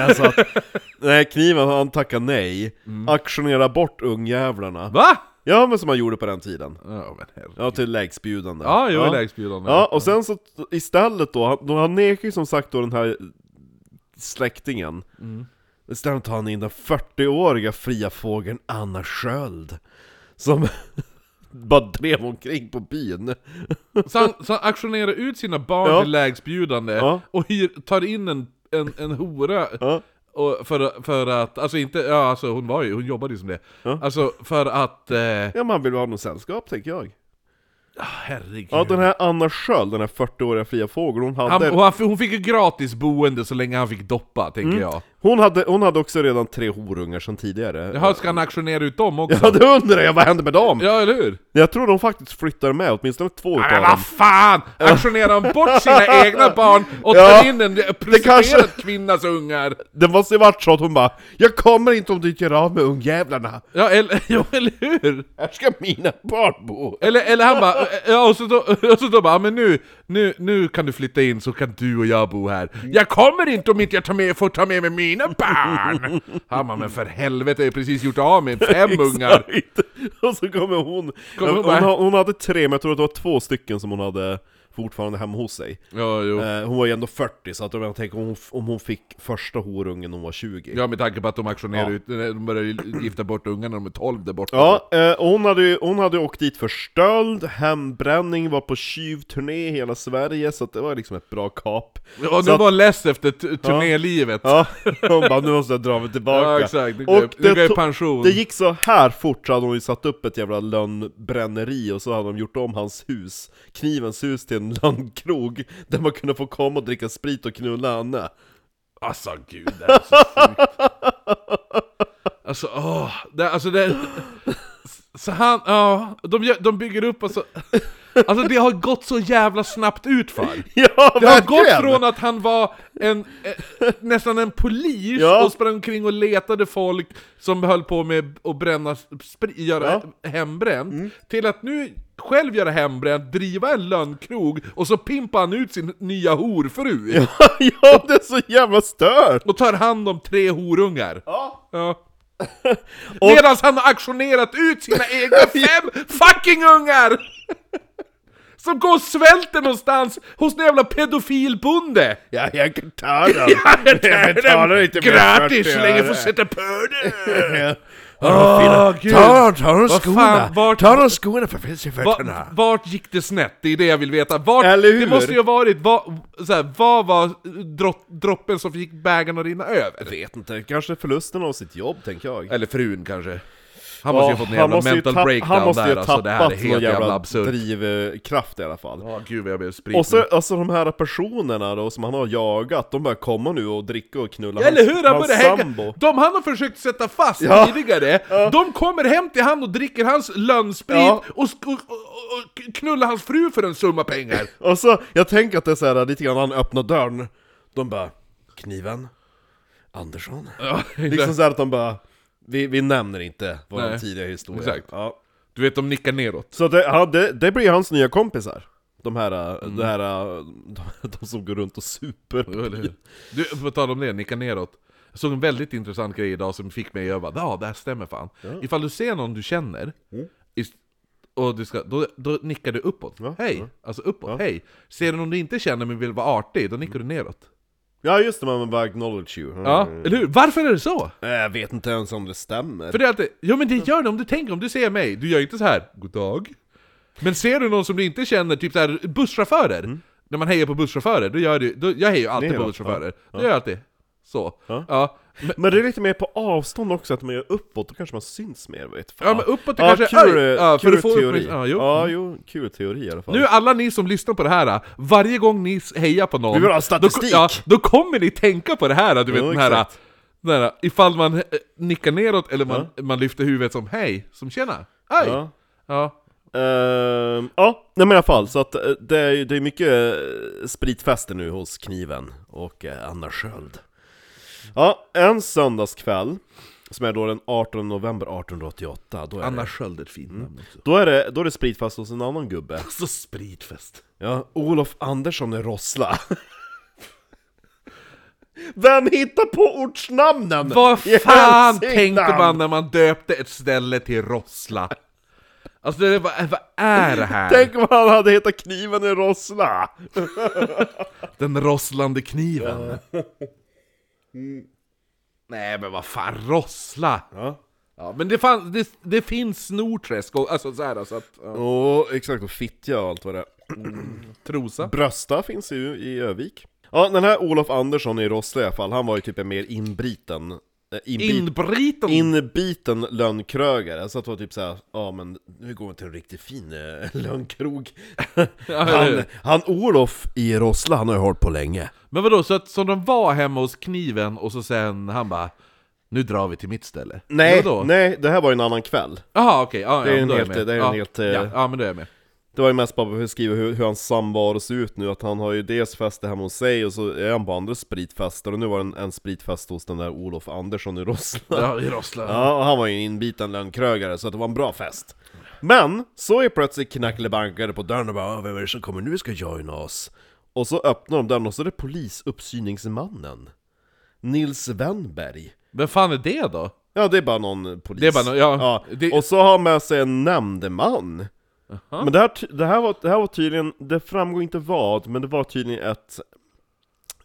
Speaker 2: alltså att, <laughs> nej kniven han tackade nej, auktionera bort ungjävlarna.
Speaker 1: Va?
Speaker 2: Ja men som han gjorde på den tiden.
Speaker 1: Ja, men herre.
Speaker 2: Ja till lägstbjudande.
Speaker 1: Ja, jag är lägstbjudande.
Speaker 2: Ja, och sen så t- istället då, han, då han nekar ju som sagt då den här släktingen
Speaker 1: Mm.
Speaker 2: Istället tar han in den 40-åriga fria fågeln Anna Sköld Som <laughs> bara drev omkring på byn
Speaker 1: Så han, så han auktionerar ut sina barn
Speaker 2: Ja.
Speaker 1: till lägstbjudande
Speaker 2: Ja.
Speaker 1: och hyr, tar in en, en, en hora
Speaker 2: Ja.
Speaker 1: och för, för att, alltså inte, ja alltså hon var ju, hon jobbade ju som det.
Speaker 2: Ja.
Speaker 1: Alltså för att, eh,
Speaker 2: Ja men han vill ha något sällskap tänker jag
Speaker 1: herregud.
Speaker 2: Ja den här Anna Sköld, den här 40-åriga fria fågeln hon hade,
Speaker 1: han, och han, hon fick ju gratis boende så länge han fick doppa, tänker
Speaker 2: Mm.
Speaker 1: jag.
Speaker 2: hon hade Hon hade också redan tre horungar sedan tidigare
Speaker 1: Jaha, ska han auktionera ut dem också?
Speaker 2: Ja det undrar jag, vad hände med dem?
Speaker 1: Ja, eller hur?
Speaker 2: Jag tror de faktiskt flyttar med, åtminstone två utav
Speaker 1: Men
Speaker 2: dem
Speaker 1: vad fan! Auktionerar han bort <laughs> sina egna barn och
Speaker 2: Ja,
Speaker 1: tar in en prostituerad
Speaker 2: kanske-
Speaker 1: kvinnas ungar?
Speaker 2: Det måste ju varit så att hon bara 'Jag kommer inte om du inte gör av med ungjävlarna,
Speaker 1: Ja, eller, <laughs> ja, eller hur?
Speaker 2: här ska mina barn bo'
Speaker 1: Eller, eller han <laughs> bara, ja, och så då, och så då bara, "Ja, men nu, nu, nu kan du flytta in så kan du och jag bo här. Jag kommer inte om inte jag tar med, får ta med mig mina <laughs> barn! Han bara, men för helvete, jag har ju precis gjort av med <laughs> fem
Speaker 2: <laughs>
Speaker 1: ungar.
Speaker 2: Exakt. Och så kommer hon,
Speaker 1: Kommer hon
Speaker 2: hon,
Speaker 1: bara-
Speaker 2: ha- hon hade tre, men jag tror att det var två stycken som hon hade fortfarande hemma hos sig
Speaker 1: Ja, jo.
Speaker 2: eh, Hon var ju ändå 40, så att jag tänker om hon, f- om hon fick första horungen när hon var 20
Speaker 1: Ja, med tanke på att de auktionerar
Speaker 2: Ja.
Speaker 1: ut, eh, de börjar ju gifta bort ungarna när de är 12 där borta.
Speaker 2: Ja, eh, och hon hade ju hon hade ju åkt dit för stöld, hembränning, var på tjuvturné i hela Sverige, så att det var liksom ett bra kap
Speaker 1: Och
Speaker 2: Så
Speaker 1: nu
Speaker 2: att-
Speaker 1: var less efter t- turnélivet.
Speaker 2: Ja, <laughs> hon bara nu måste jag dra mig tillbaka
Speaker 1: Ja, exakt. Nu går jag- nu går jag i
Speaker 2: to-
Speaker 1: pension.
Speaker 2: Det gick så här fort så hade hon ju satt upp ett jävla lönnbränneri och så hade de gjort om hans hus, knivens hus till en <laughs> lönnkrog där man kunde få komma och dricka sprit och knulla Anna.
Speaker 1: Alltså gud, det här är så sjukt. Alltså åh, det, alltså det... Så han, ja, de, gör- de bygger upp och så... Alltså det har gått så jävla snabbt utför.
Speaker 2: <laughs> Ja,
Speaker 1: Det har gått från att han var en, eh, nästan en polis
Speaker 2: Ja.
Speaker 1: och sprang omkring och letade folk som höll på med att bränna, spri, göra hembränt, till att nu själv göra hembränt, driva en lönnkrog, och så pimpar han ut sin nya horfru!
Speaker 2: <laughs> ja, det är så jävla stört!
Speaker 1: Och tar hand om tre horungar!
Speaker 2: Ja.
Speaker 1: Ja.
Speaker 2: <laughs>
Speaker 1: Medan han har auktionerat ut sina
Speaker 2: <laughs>
Speaker 1: egna fem fucking ungar! <laughs> Som går och svälter någonstans hos en jävla pedofilbonde!
Speaker 2: <laughs> Ja, jag kan ta dem! jag betalar inte mer
Speaker 1: Gratis,
Speaker 2: för att
Speaker 1: länge får
Speaker 2: göra det. Ah,
Speaker 1: sätta på det!
Speaker 2: Ja.
Speaker 1: Åh, gud!
Speaker 2: <laughs> ta de
Speaker 1: Vad fan, vart-
Speaker 2: de skorna för finns i
Speaker 1: Va, vart gick det snett? Det är det jag vill veta. Vart,
Speaker 2: Eller hur?
Speaker 1: Det måste ju ha varit, va, så här, vad var drott, droppen som fick bägaren att rinna över?
Speaker 2: Vet inte, kanske förlusten av sitt jobb tänker jag.
Speaker 1: Eller frun kanske. Han
Speaker 2: Ja,
Speaker 1: måste ju ha fått en
Speaker 2: han
Speaker 1: jävla
Speaker 2: måste ju
Speaker 1: mental
Speaker 2: tapp-
Speaker 1: breakdown
Speaker 2: Han måste
Speaker 1: där
Speaker 2: ju ha
Speaker 1: alltså, det här är
Speaker 2: tappat
Speaker 1: helt jävla,
Speaker 2: jävla
Speaker 1: absurt.
Speaker 2: drivkraft i alla fall.
Speaker 1: Ja, gud vad jag blev sprit
Speaker 2: Och
Speaker 1: nu.
Speaker 2: så alltså de här personerna då som han har jagat, de börjar komma nu och dricka och knulla
Speaker 1: Ja, Eller hur? Han
Speaker 2: hans
Speaker 1: började hänga.
Speaker 2: sambo.
Speaker 1: De han har försökt sätta fast
Speaker 2: Ja.
Speaker 1: tidigare, de kommer hem till han och dricker hans lönnsprit
Speaker 2: Ja.
Speaker 1: och, sk- och, och, och knullar hans fru för en summa pengar.
Speaker 2: Och så, jag tänker att det är så här, lite grann han öppnar dörren, de bara Kniven? Andersson?
Speaker 1: Ja,
Speaker 2: Liksom så här att de bara Vi, vi nämner inte vår
Speaker 1: Nej,
Speaker 2: tidiga historia
Speaker 1: exakt.
Speaker 2: Ja.
Speaker 1: Du vet, de nickar neråt.
Speaker 2: Så det, ja, det, det blir hans nya kompisar De här,
Speaker 1: Mm.
Speaker 2: äh, det här äh, de, <laughs> de som går runt och super på
Speaker 1: Eller hur? Du, på tal om det, nicka neråt. Jag såg en väldigt intressant grej idag som fick mig att bara, ja Mm. det här stämmer fan. Ifall du ser någon du känner, ist- och du ska, då, då nickar du uppåt.
Speaker 2: Ja,
Speaker 1: hej! Alltså uppåt, hej! Ser du någon du inte känner men vill vara artig, då nickar du neråt.
Speaker 2: Ja just det, man bara acknowledge you
Speaker 1: Ja, eller hur? Varför är det så?
Speaker 2: Äh, Jag vet inte ens om det stämmer
Speaker 1: För det är alltid, ja men det gör det om du tänker, om du ser mig, du gör inte så här. God dag. Men ser du någon som du inte känner, typ så här busschaufförer, när man hejar på busschaufförer, då gör du, då, jag hejar ju alltid på
Speaker 2: Neråt,
Speaker 1: busschaufförer, då gör jag alltid så.
Speaker 2: Ja.
Speaker 1: Ja. Men,
Speaker 2: Men det är lite mer på avstånd också, att man gör uppåt, då kanske man syns mer vet fan.
Speaker 1: ja men uppåt är kanske,
Speaker 2: kul,
Speaker 1: aj,
Speaker 2: ja,
Speaker 1: ja, för
Speaker 2: kul
Speaker 1: att få
Speaker 2: teori.
Speaker 1: uppmärksamhet. Ja, jo. Mm.
Speaker 2: jo, kul teori i alla fall.
Speaker 1: Nu alla ni som lyssnar på det här, varje gång ni hejar på någon
Speaker 2: Vi vill ha
Speaker 1: då-
Speaker 2: statistik.
Speaker 1: ja, då kommer ni tänka på det här, du vet
Speaker 2: Jo,
Speaker 1: den här,
Speaker 2: exakt.
Speaker 1: den här Ifall man eh, nickar neråt eller man, man lyfter huvudet som hej, som tjena, aj!
Speaker 2: Ja.
Speaker 1: ja.
Speaker 2: Ehm, ja, nej men i alla fall, så att eh, det är, ju- det är mycket eh, spritfester nu hos Kniven och eh, Anna Sköld. Ja, en söndagskväll, som är då den 18 november 1888, då är,
Speaker 1: Anna
Speaker 2: det,
Speaker 1: Sköld är ett fint namn också.
Speaker 2: då är, det, då är det spritfest hos en annan gubbe.
Speaker 1: Så spritfest.
Speaker 2: Ja, Olof Andersson i Rossla. <laughs> Vem hittar på ortsnamnen?
Speaker 1: Vad
Speaker 2: I
Speaker 1: fan
Speaker 2: helsike
Speaker 1: tänkte
Speaker 2: namn?
Speaker 1: man när man döpte ett ställe till Rossla? Alltså det, vad, vad är det här?
Speaker 2: Tänk om han hade hetat Kniven i Rossla! <laughs>
Speaker 1: Den rosslande kniven. Nej men vad fan, Rossla!
Speaker 2: Ja.
Speaker 1: Ja, men det, fan, det, det finns Norträsk, och, alltså så här, så att, ja.
Speaker 2: Och exakt, och Fittja och allt vad det är.
Speaker 1: Trosa.
Speaker 2: Brösta finns ju i Övik. Ja, den här Olof Andersson i Rossla i alla fall, han var ju typ en mer inbriten... eh, Inbit,
Speaker 1: Inbriten!
Speaker 2: inbiten lönnkrögare, så att det var typ såhär, ja men nu går vi till en riktigt fin eh,
Speaker 1: <laughs>
Speaker 2: lönnkrog. han,
Speaker 1: eller
Speaker 2: han Olof i Rossla, han har ju hållit på länge.
Speaker 1: Men vadå, så att som de var hemma hos kniven och så sen han bara Nu drar vi till mitt ställe?
Speaker 2: Nej,
Speaker 1: Eller vadå?
Speaker 2: nej, det här var ju en annan kväll.
Speaker 1: Jaha okej, ja,
Speaker 2: Det är
Speaker 1: ja, men
Speaker 2: en
Speaker 1: då jag
Speaker 2: helt-
Speaker 1: med.
Speaker 2: det är en
Speaker 1: ja.
Speaker 2: helt, eh,
Speaker 1: ja, ja men då är jag med.
Speaker 2: Det var ju mest bara för att skriva hur, hur hans samvaro ser ut nu, att han har ju dels fester hemma hos sig och så är han på andra spritfester och nu var det en, en spritfest hos den där Olof Andersson i Rossla.
Speaker 1: Ja, i Rossla.
Speaker 2: Ja, och han var ju en inbiten lönnkrögare så att det var en bra fest. Men så är plötsligt knackelebankare på dörren och bara "Åh, 'Vem är det som kommer nu ska joina oss?' Och så öppnar de dörren och så är det polisuppsyningsmannen Nils Wennberg
Speaker 1: Vem fan är det då?
Speaker 2: Ja det är bara någon polis
Speaker 1: Det är bara någon- ja, det-
Speaker 2: Och så har han med sig en nämndeman Men det här, ty- det, här var, det här var tydligen, det framgår inte vad, men det var tydligen ett,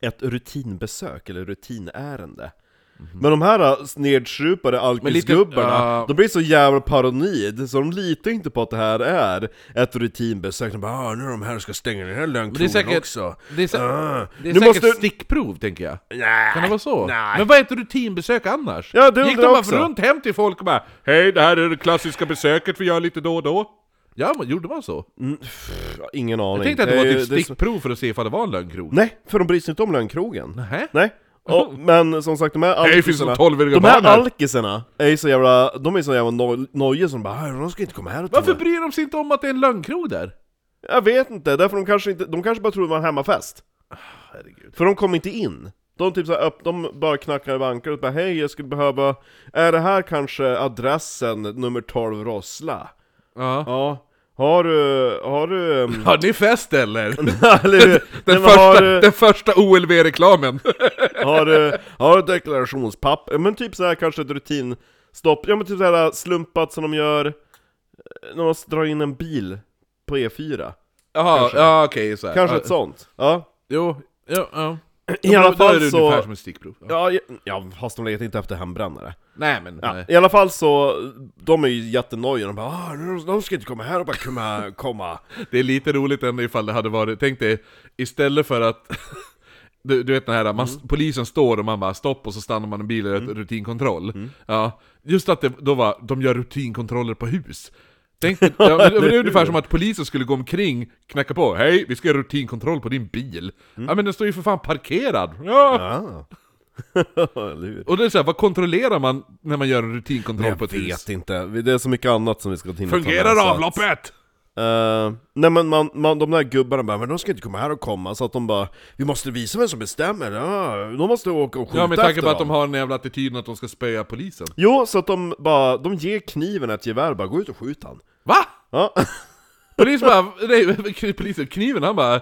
Speaker 2: ett rutinbesök, eller rutinärende Men de här äh, nedsupade alkisgubbarna,
Speaker 1: Mhm. ja.
Speaker 2: de blir så jävla paranoid så de litar inte på att det här är ett rutinbesök De bara ah, 'Nu är de här och ska stänga den här
Speaker 1: Det är
Speaker 2: lönkrogen
Speaker 1: säkert,
Speaker 2: också'
Speaker 1: det är, sä
Speaker 2: Ah,
Speaker 1: det är
Speaker 2: nu
Speaker 1: säkert
Speaker 2: måste-
Speaker 1: stickprov tänker jag.
Speaker 2: Nej,
Speaker 1: Kan det vara så?
Speaker 2: Nej.
Speaker 1: Men vad är ett rutinbesök annars?
Speaker 2: Ja, det
Speaker 1: Gick de
Speaker 2: undrar
Speaker 1: bara
Speaker 2: jag också.
Speaker 1: runt hem till folk och bara Hej, det här är det klassiska besöket vi gör lite då och då? Ja, men gjorde man så?
Speaker 2: Ja, Ingen aning
Speaker 1: Jag tänkte att det var
Speaker 2: är
Speaker 1: typ
Speaker 2: ju- det är så-
Speaker 1: stickprov för att se ifall det var en lönnkrog.
Speaker 2: Nej, för de bryr sig inte om lönnkrogen
Speaker 1: Nähä?
Speaker 2: Nej, Och, men som sagt, de här
Speaker 1: Hej finns
Speaker 2: alkisarna,
Speaker 1: det 12-åriga
Speaker 2: de
Speaker 1: barn
Speaker 2: här
Speaker 1: här!
Speaker 2: alkisarna är så jävla, de är så jävla no- nojiga som bara "Äh, de ska inte komma här och ta
Speaker 1: Varför
Speaker 2: mig."
Speaker 1: bryr de sig inte om att det är en lönnkrog där?
Speaker 2: Jag vet inte, därför de kanske inte, de kanske bara tror det var en hemmafest. Ah,
Speaker 1: Herregud.
Speaker 2: För de kom inte in. De typ så här upp, de bara knackar i bankar och bara hej jag skulle behöva, är det här kanske adressen nummer 12 Rossla?
Speaker 1: Ja.
Speaker 2: Ja, har du, har
Speaker 1: <laughs>
Speaker 2: du... ehm,
Speaker 1: Har ni fest eller?
Speaker 2: <laughs> eller hur?
Speaker 1: Den,
Speaker 2: Nej, men
Speaker 1: första,
Speaker 2: har, du-
Speaker 1: den första
Speaker 2: <laughs>
Speaker 1: OLV-reklamen!
Speaker 2: har, du- har du ett deklarationspapper? Men typ så här kanske ett rutinstopp, ja men typ så här slumpat som de gör eh, när man drar in en bil på E4.
Speaker 1: Jaha,
Speaker 2: Kanske.
Speaker 1: ja okej så här.
Speaker 2: Kanske
Speaker 1: ja,
Speaker 2: ett sånt. Ja.
Speaker 1: Jo, ja, ja.
Speaker 2: I alla
Speaker 1: Då är
Speaker 2: fall
Speaker 1: det
Speaker 2: så...
Speaker 1: ungefär som ett stickprov. Ja.
Speaker 2: Ja, ja, fast de letar inte efter hembrännare.
Speaker 1: Nej men,
Speaker 2: Ja,
Speaker 1: nej.
Speaker 2: I alla fall så, de är ju jättenojiga, de bara ah, nu- de ska inte komma här och bara komma, <laughs> komma.
Speaker 1: Det är lite roligt ändå ifall det hade varit, tänk dig, istället för att <laughs> Du, du vet den här, man,
Speaker 2: Mm.
Speaker 1: polisen står och man bara stopp och så stannar man en bil och gör ett rutinkontroll.
Speaker 2: Mm.
Speaker 1: Ja, just att det då var, de gör rutinkontroller på hus.
Speaker 2: <laughs>
Speaker 1: Tänk, ja, men, men det är ungefär som att polisen skulle gå omkring, knacka på, hej vi ska göra rutinkontroll på din bil.
Speaker 2: Mm.
Speaker 1: Ja men den står ju för fan parkerad! Ja.
Speaker 2: Ah. <laughs> Eller hur?
Speaker 1: Och det är så här, vad kontrollerar man när man gör en rutinkontroll
Speaker 2: Jag
Speaker 1: på ett hus?
Speaker 2: vet inte, det är så mycket annat som vi ska hinna ta med, så
Speaker 1: Fungerar
Speaker 2: att-
Speaker 1: avloppet?
Speaker 2: Eh, nej men man, man, de där gubbarna bara, men de ska inte komma här och komma, så att de bara Vi måste visa vem som bestämmer, ah, de måste åka och skjuta
Speaker 1: Ja med tanke på
Speaker 2: efter
Speaker 1: att de
Speaker 2: dem."
Speaker 1: har den jävla attityden att de ska spöa polisen.
Speaker 2: Jo, så att de bara, de ger kniven ett gevär bara, gå ut och skjut han
Speaker 1: Va?
Speaker 2: Ja,
Speaker 1: Polisen bara, nej, polisen, kniven han bara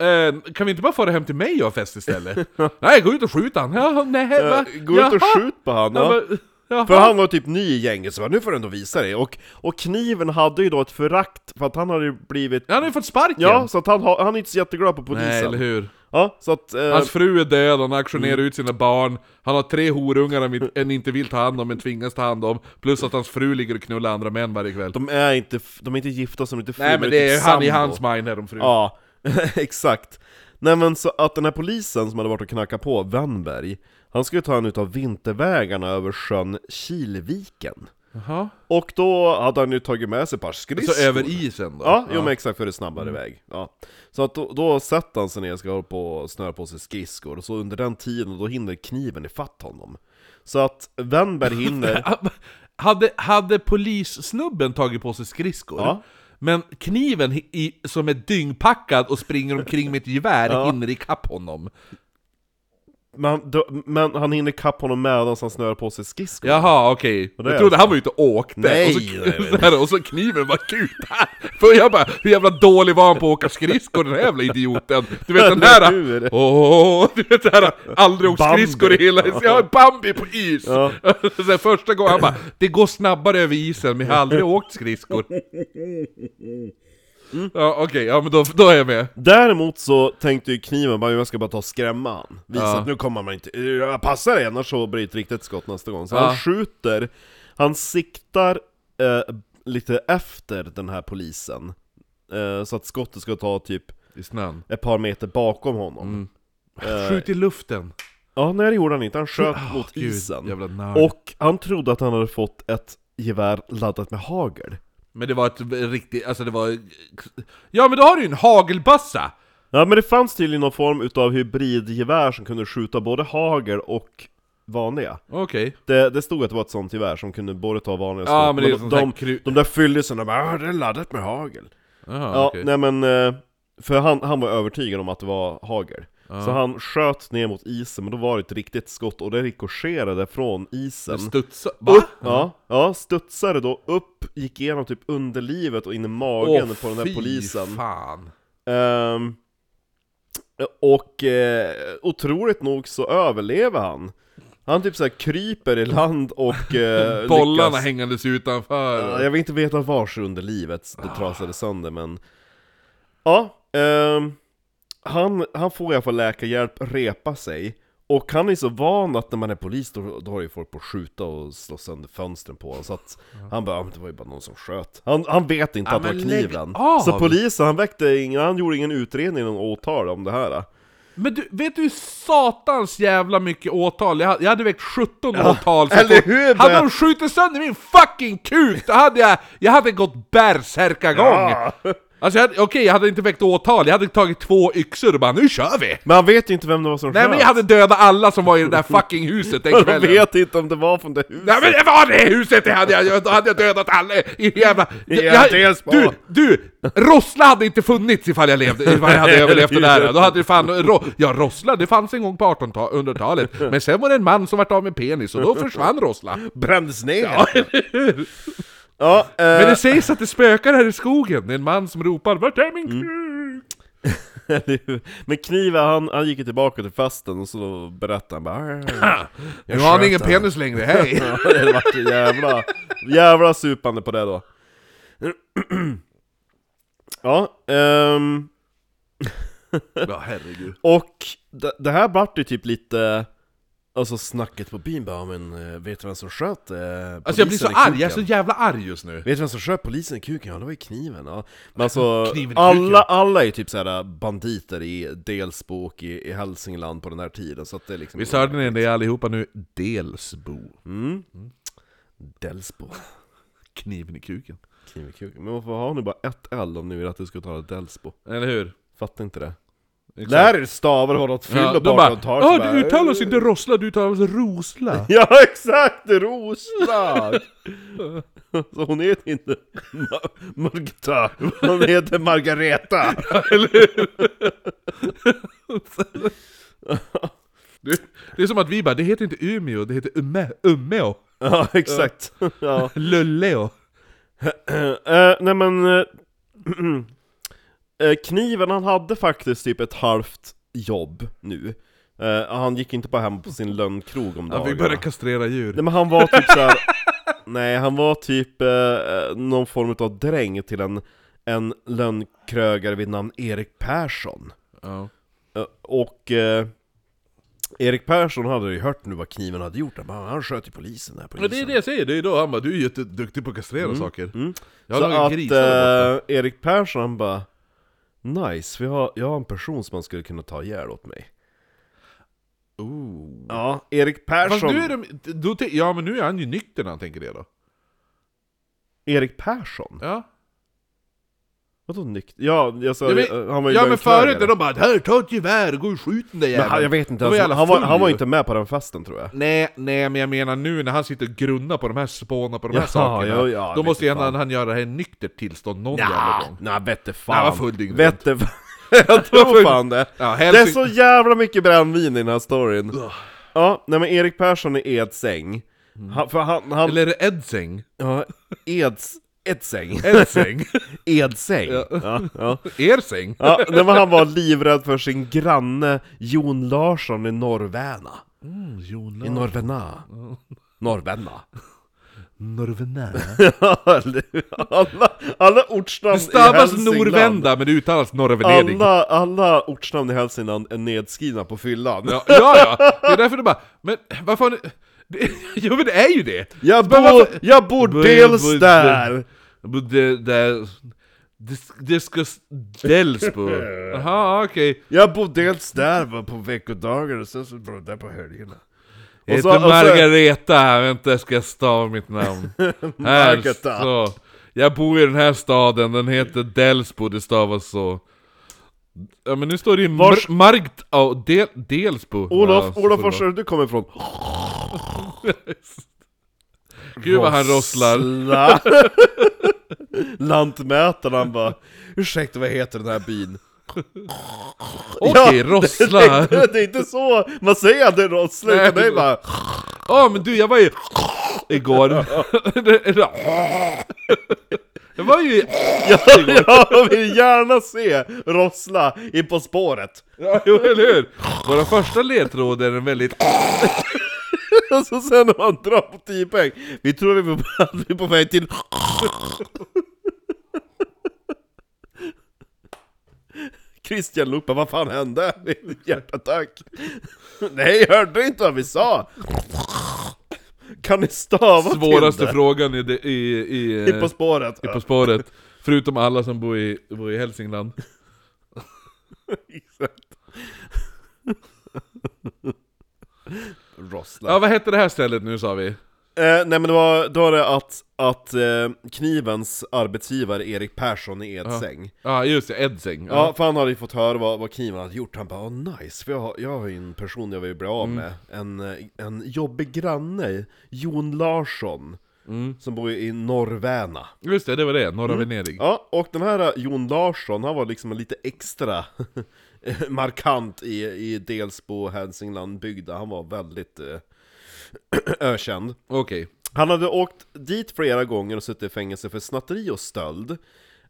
Speaker 1: Eh, kan vi inte bara få det hem till mig och ha fest
Speaker 2: <laughs>
Speaker 1: istället? nej, gå ut och skjut han! Ja, nej, va?
Speaker 2: Eh, gå ut och
Speaker 1: Jaha.
Speaker 2: skjut på han ja.
Speaker 1: Ja, men, jaha.
Speaker 2: För han var typ ny i gänget, så bara, nu får du ändå visa dig. Och, och kniven hade ju då ett förakt, för att han hade ju blivit...
Speaker 1: han har ju fått sparken!
Speaker 2: Ja, så att han, har- han är inte så jätteglad på polisen. Mm.
Speaker 1: nej, eller hur? Alltså-
Speaker 2: Ja, så att... Eh,
Speaker 1: Hans fru är död, han auktionerar ut sina barn, han har tre horungar han, vill, han inte vill ta hand om men tvingas ta hand om, plus att hans fru ligger och knullar andra män varje kväll.
Speaker 2: de, är inte, f- de är inte gifta, som inte fru,
Speaker 1: nej men det är
Speaker 2: typ
Speaker 1: han i
Speaker 2: sambo.
Speaker 1: hans mind är de fru.
Speaker 2: Ja, <laughs> exakt. Nej men så att den här polisen som hade varit och knackat på, Wennberg, han skulle ta en utav vintervägarna över sjön Kilviken.
Speaker 1: Jaha.
Speaker 2: Och då hade han ju tagit med sig ett par skridskor.
Speaker 1: Så Alltså, över isen då?
Speaker 2: Ja, jo men exakt, för det är snabbare väg. Ja. Så att då, då sätter han sig ner och ska hålla på och snöra på sig skridskor, och så under den tiden då hinner kniven ifatt honom. Så att Wennberg
Speaker 1: <laughs>
Speaker 2: hinner...
Speaker 1: Hade, hade polissnubben tagit på sig skridskor,
Speaker 2: Ja.
Speaker 1: men kniven i- i, som är dyngpackad och springer omkring med ett gevär
Speaker 2: Ja.
Speaker 1: hinner ikapp honom.
Speaker 2: men, då, men han hinner kapp honom medan han snörar på sig skridskor.
Speaker 1: Jaha, okej.
Speaker 2: det
Speaker 1: Jag
Speaker 2: är
Speaker 1: trodde han var ute och åkte,
Speaker 2: Nej,
Speaker 1: och, <laughs>
Speaker 2: nej,
Speaker 1: så, och så kniven bara kutade. För jag bara, hur jävla dålig var han på att åka skridskor den här jävla idioten? Du vet den
Speaker 2: Eller
Speaker 1: här...
Speaker 2: hur?
Speaker 1: Åh, du vet det här, aldrig åkt
Speaker 2: Bambi.
Speaker 1: skridskor i hela... Jag har Bambi på is!
Speaker 2: Ja.
Speaker 1: <laughs> Så här, första gången, han bara, det går snabbare över isen, men jag har aldrig åkt
Speaker 2: <laughs>
Speaker 1: skridskor. Ja, okej, ja men då, då är jag med.
Speaker 2: Däremot så tänkte ju kniven bara jag ska bara ta och skrämma han. Visa
Speaker 1: Ja.
Speaker 2: att nu kommer man inte, eh, jag passar dig annars så blir det ett riktigt skott nästa gång. Så
Speaker 1: Ja.
Speaker 2: han skjuter, han siktar eh, lite efter den här polisen. Eh, så att skottet ska ta typ
Speaker 1: I snön.
Speaker 2: ett par meter bakom honom.
Speaker 1: Mm. Skjut i luften.
Speaker 2: Ja, nej det gjorde han inte, han sköt mot
Speaker 1: Ah, Gud,
Speaker 2: isen.
Speaker 1: jävla nörd.
Speaker 2: Och han trodde att han hade fått ett gevär laddat med hagel.
Speaker 1: Men det var ett riktigt, alltså det var... Ja men då har du ju en hagelbössa!
Speaker 2: Ja men det fanns tydligen någon form utav hybridgevär som kunde skjuta både hagel och vanliga.
Speaker 1: Okej.
Speaker 2: Det, det stod att det var ett sånt gevär som kunde både ta vanliga
Speaker 1: Ja,
Speaker 2: skott,
Speaker 1: men det är
Speaker 2: de,
Speaker 1: sånt här
Speaker 2: de,
Speaker 1: krut-
Speaker 2: de där fyllisen, de bara "Ah, det är laddat med hagel
Speaker 1: Jaha,
Speaker 2: Ja,
Speaker 1: okej.
Speaker 2: nej men, eh, för han, han var övertygad om att det var hagel Så han sköt ner mot isen, men då var det ett riktigt skott och det rikoscherade från isen
Speaker 1: Studsa... Va?
Speaker 2: upp, ja, ja, studsade då upp, gick igenom typ underlivet och in i magen på den där
Speaker 1: fy
Speaker 2: polisen
Speaker 1: fan!
Speaker 2: Ehm, och eh, otroligt nog så överlever han. Han typ så här kryper i land och eh,
Speaker 1: <laughs> Bollarna
Speaker 2: lyckas-
Speaker 1: hängandes utanför.
Speaker 2: Ja, Jag vill inte veta vars under livet det trasade sönder men... Ja, ehm, han, han får i alla fall läkarhjälp, repa sig. Och han är så van att när man är polis då, då har ju folk på att skjuta och slå sönder fönstren på honom, Så att han bara, "Ja, men det var ju bara någon som sköt. Han, han vet inte
Speaker 1: Ja,
Speaker 2: att det var
Speaker 1: men lägg
Speaker 2: kniven.
Speaker 1: av!
Speaker 2: Så polisen, han väckte ingen, han gjorde ingen utredning, någon åtal om det här.
Speaker 1: Men du, vet du hur satans jävla mycket åtal? Jag, jag hade väckt 17 åtal, så
Speaker 2: eller
Speaker 1: fort-
Speaker 2: hur?
Speaker 1: Hade de skjutit sönder min fucking kuk, då hade jag, jag hade gått bärsärkagång!
Speaker 2: Ja.
Speaker 1: Alltså jag hade- okej, jag hade inte väckt åtal, jag hade tagit två yxor och bara 'Nu kör vi!'
Speaker 2: Men han vet ju inte vem det var som
Speaker 1: Nej men jag hade dödat alla som var i det där fucking huset
Speaker 2: <laughs>
Speaker 1: den
Speaker 2: Han
Speaker 1: kvällen!
Speaker 2: vet inte om det var från det huset.
Speaker 1: Nej men det var det huset det hade jag, då hade jag dödat alla i jävla...
Speaker 2: I
Speaker 1: Jag,
Speaker 2: jävla Delsbo.
Speaker 1: du, du! Rossla hade inte funnits ifall jag levde, ifall jag hade överlevt det där. Då hade det fan... Ro, ja Rossla, det fanns en gång på 1800-talet. Men sen var det en man som vart av med penis och då försvann Rossla.
Speaker 2: Brändes ner! Ja, ja eh,
Speaker 1: Men det sägs att det spökar här i skogen. Det är en man som ropar 'Vart är min kniv?'
Speaker 2: Eller hur? Men Kniva han, han gick ju tillbaka till festen och så berättade han bara
Speaker 1: Ah! Nu har han ingen
Speaker 2: penis
Speaker 1: penis längre, hej!
Speaker 2: <laughs> Ja, det vart ju jävla, jävla supande på det då <clears throat> Ja, ehm,
Speaker 1: <laughs> Ja herregud.
Speaker 2: och det, det här vart ju typ lite Alltså snacket på byn bara, men eh, vet du vem som sköt eh,
Speaker 1: Alltså jag blir
Speaker 2: polisen
Speaker 1: så
Speaker 2: i
Speaker 1: arg, jag
Speaker 2: kuken?"
Speaker 1: är så jävla arg just nu.
Speaker 2: Vet du vem som sköt polisen i kuken? Ja, det var ju kniven. Ja. Men alltså,
Speaker 1: Kniven i
Speaker 2: alla,
Speaker 1: kuken.
Speaker 2: alla är ju typ såhär banditer i Delsbo och i, i Hälsingland på den här tiden, så att det är liksom...
Speaker 1: Vi hörde ni det allihopa nu? Delsbo.
Speaker 2: Mm. Delsbo.
Speaker 1: Kniven i kuken.
Speaker 2: Kniv i kuken. Men varför har ni bara ett L om ni vill att du ska tala Delsbo?
Speaker 1: Eller hur?
Speaker 2: Fattar inte det.
Speaker 1: Exakt.
Speaker 2: Lär er stava och hålla ett
Speaker 1: Ja,
Speaker 2: fyllo
Speaker 1: de
Speaker 2: bakom
Speaker 1: bara
Speaker 2: och ta
Speaker 1: Ja, du uttalas inte rossla, du uttalas <laughs> rosla.
Speaker 2: <laughs> Ja exakt!
Speaker 1: <laughs>
Speaker 2: Roslag! Så hon heter inte Ma- Margita, hon heter Margareta!
Speaker 1: <laughs> Det, det är som att vi bara, det heter inte Umeå, det heter Ume, Umeå.
Speaker 2: Ja exakt! Ja.
Speaker 1: Lulleo.
Speaker 2: Eh, nej men... eh, <clears throat> eh, kniven, han hade faktiskt typ ett halvt jobb nu. Eh, han gick inte bara hem på sin lönnkrog om
Speaker 1: Ja,
Speaker 2: dagarna.
Speaker 1: vi börjar kastrera djur.
Speaker 2: Nej men han var typ såhär...
Speaker 1: <laughs>
Speaker 2: nej, han var typ eh, någon form av dräng till en, en lönnkrögare vid namn Erik Persson.
Speaker 1: Ja.
Speaker 2: Eh, och... Eh, Erik Persson hade ju hört nu vad kniven hade gjort, han, bara, han sköt ju polisen där polisen.
Speaker 1: Men det är det jag säger, det är då han bara, du är jätteduktig på att kastrera saker.
Speaker 2: mm.
Speaker 1: Jag har
Speaker 2: så
Speaker 1: lagat
Speaker 2: att
Speaker 1: grisar där borta.
Speaker 2: eh, Erik Persson han bara Nice, vi har, jag har en person som man skulle kunna ta ihjäl åt mig
Speaker 1: eh, Ooh.
Speaker 2: Ja, Erik
Speaker 1: Fast
Speaker 2: Persson
Speaker 1: nu är de, då, te- ja men nu är han ju nykter när han tänker det då.
Speaker 2: Erik Persson?
Speaker 1: Ja.
Speaker 2: Vadå nykter? Ja, jag sa,
Speaker 1: Ja, men-
Speaker 2: eh, han var ju
Speaker 1: Ja
Speaker 2: lugn
Speaker 1: men förut
Speaker 2: krögare.
Speaker 1: när de bara 'Här, ta ett gevär, gå och skjut den där
Speaker 2: men han, Jag
Speaker 1: jäveln'
Speaker 2: vet inte,
Speaker 1: De var
Speaker 2: alltså,
Speaker 1: jävla
Speaker 2: han, var,
Speaker 1: full
Speaker 2: han var
Speaker 1: ju.
Speaker 2: inte med på den festen tror jag
Speaker 1: Nej, nej men jag menar nu när han sitter och grunnar på de här, spånar på de här
Speaker 2: Jaha,
Speaker 1: sakerna
Speaker 2: ja, ja,
Speaker 1: Då
Speaker 2: vet
Speaker 1: måste
Speaker 2: du
Speaker 1: ju
Speaker 2: fan.
Speaker 1: han, han göra det här i nyktert tillstånd någon jävla
Speaker 2: Nja,
Speaker 1: gång
Speaker 2: nej vette fan
Speaker 1: Nej, han var full dygnet runt.
Speaker 2: <laughs> Vette fan. Jag tror
Speaker 1: full-
Speaker 2: fan det
Speaker 1: Ja,
Speaker 2: Det är
Speaker 1: Hälsing...
Speaker 2: så jävla mycket brännvin i den här storyn Ja, nej men Erik Persson är Edsäng han, för han, han,
Speaker 1: Mm. Eller är det Edsäng?
Speaker 2: ja, Eds,
Speaker 1: <laughs>
Speaker 2: Edsäng <laughs>
Speaker 1: Edsäng?
Speaker 2: Edsäng. Ja, ja.
Speaker 1: Ersäng?
Speaker 2: Ja, nej, men han var livrädd för sin granne Jon Larsson i Norrväna.
Speaker 1: Mm, Jonas
Speaker 2: I Norrväna. Norrväna. <laughs>
Speaker 1: Norvenä
Speaker 2: alla, alla ortsnamn
Speaker 1: Det stavas
Speaker 2: i Hälsingland-
Speaker 1: Norvända men det uttalas Norvenedig
Speaker 2: Alla, alla ortsnamn i Hälsingland är nedskrivna på fyllan.
Speaker 1: ja, ja, ja, det är därför du bara Men varför har ni... Det- <laughs> Jo men det är ju det!
Speaker 2: Jag
Speaker 1: Men
Speaker 2: bor,
Speaker 1: varför-
Speaker 2: jag bor
Speaker 1: Bor-
Speaker 2: dels
Speaker 1: bor-
Speaker 2: där!
Speaker 1: Det, det, det, det ska ställs på Jaha okej
Speaker 2: Jag bor dels där va, på veckodagar och sen så bor jag där på helgerna.
Speaker 1: Jag
Speaker 2: Och så-
Speaker 1: heter
Speaker 2: och så-
Speaker 1: Margareta, vänta jag ska stava mitt
Speaker 2: <laughs>
Speaker 1: namn. här,
Speaker 2: Margareta.
Speaker 1: så. Jag bor i den här staden, den heter Delsbo, det stavas så. Ja men nu står det ju
Speaker 2: Vars-
Speaker 1: Mar- Margt... Oh, del, Delsbo.
Speaker 2: Olof,
Speaker 1: så
Speaker 2: Olof,
Speaker 1: får
Speaker 2: var
Speaker 1: det
Speaker 2: ska du kommer ifrån?
Speaker 1: vara. Gud vad han rosslar.
Speaker 2: Rossla. <laughs> Lantmätaren han bara Ursäkta vad heter den här
Speaker 1: <laughs>
Speaker 2: byn?
Speaker 1: Okej,
Speaker 2: <laughs> Ja,
Speaker 1: rossla.
Speaker 2: Det, det, det är inte så man säger att det är rossla
Speaker 1: Nej,
Speaker 2: utan det är
Speaker 1: det-
Speaker 2: bara
Speaker 1: <laughs> Ja men du, jag var ju... Igår. <laughs> jag var ju...
Speaker 2: <laughs> ja, Jag vill gärna se rossla i På spåret
Speaker 1: Ja, jo, eller hur? Våra första ledtråd är en väldigt...
Speaker 2: <laughs> Och så sen när man drar på 10 poäng Vi tror vi är på- <laughs> att vi är på väg till Christian Lupa, vad fan hände? <laughs> Hjärtattack! <laughs> Nej, hörde du inte vad vi sa? <laughs> Kan ni stava
Speaker 1: Svåraste
Speaker 2: Tinder?
Speaker 1: frågan i... det- i, i eh,
Speaker 2: På spåret?
Speaker 1: På spåret. Förutom alla som bor i, bor i Hälsingland.
Speaker 2: Rossla. <laughs>
Speaker 1: Ja, vad hette det här stället nu sa vi?
Speaker 2: Eh, nej men det var, då var det att, att eh, knivens arbetsgivare Erik Persson i Edsäng
Speaker 1: Ja, just det, Edsing.
Speaker 2: Ja, för han hade ju fått höra vad, vad kniven hade gjort, han bara oh, 'nice' för jag har, jag har ju en person jag vill bli av med, en, eh, en jobbig granne, Jon Larsson, som bor i Norrväna.
Speaker 1: Just det, det var det, norra Venedig.
Speaker 2: Mm. Ja, och den här eh, Jon Larsson, han var liksom lite extra <laughs> markant i, i Delsbo, Hälsingland, bygda, han var väldigt eh, <clears throat> ökänd.
Speaker 1: Okej.
Speaker 2: Han hade åkt dit flera gånger och suttit i fängelse för snatteri och stöld.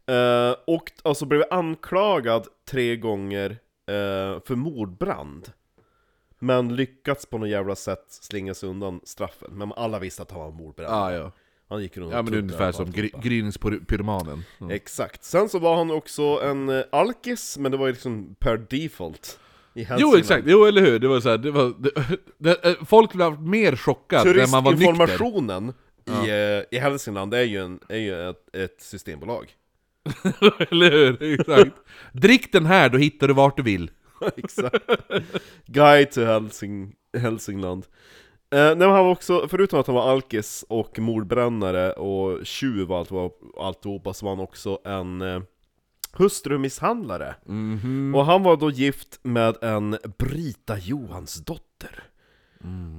Speaker 2: Eh, och alltså blev anklagad tre gånger eh, för mordbrand. Men lyckats på något jävla sätt slinga sig undan straffen. Men alla visste att han var mordbrand.
Speaker 1: Ah, ja.
Speaker 2: Han gick runt
Speaker 1: ja,
Speaker 2: och
Speaker 1: men
Speaker 2: tuggade
Speaker 1: ungefär
Speaker 2: och
Speaker 1: som
Speaker 2: alltihopa.
Speaker 1: gry- gryningspyromanen. Mm.
Speaker 2: Exakt. Sen så var han också en eh, alkis, men det var ju liksom per default. I
Speaker 1: Jo, exakt, jo eller hur? Det var så här, det var, det, <laughs> det, eh, folk blev mer chockade när man var nykter.
Speaker 2: Turistinformationen i, eh, i Hälsingland är ju, en, är ju ett, ett systembolag.
Speaker 1: <laughs> eller hur? Exakt. Drick den här, då hittar du vart du vill.
Speaker 2: Exakt. Guide to Hälsing, Hälsingland. Eh, nej, men han var också, förutom att han var alkis och mordbrännare och tjuv och allt, vad- alltihopa, så var han också en eh, hustrumisshandlare. Och han var då gift med en Brita Johansdotter.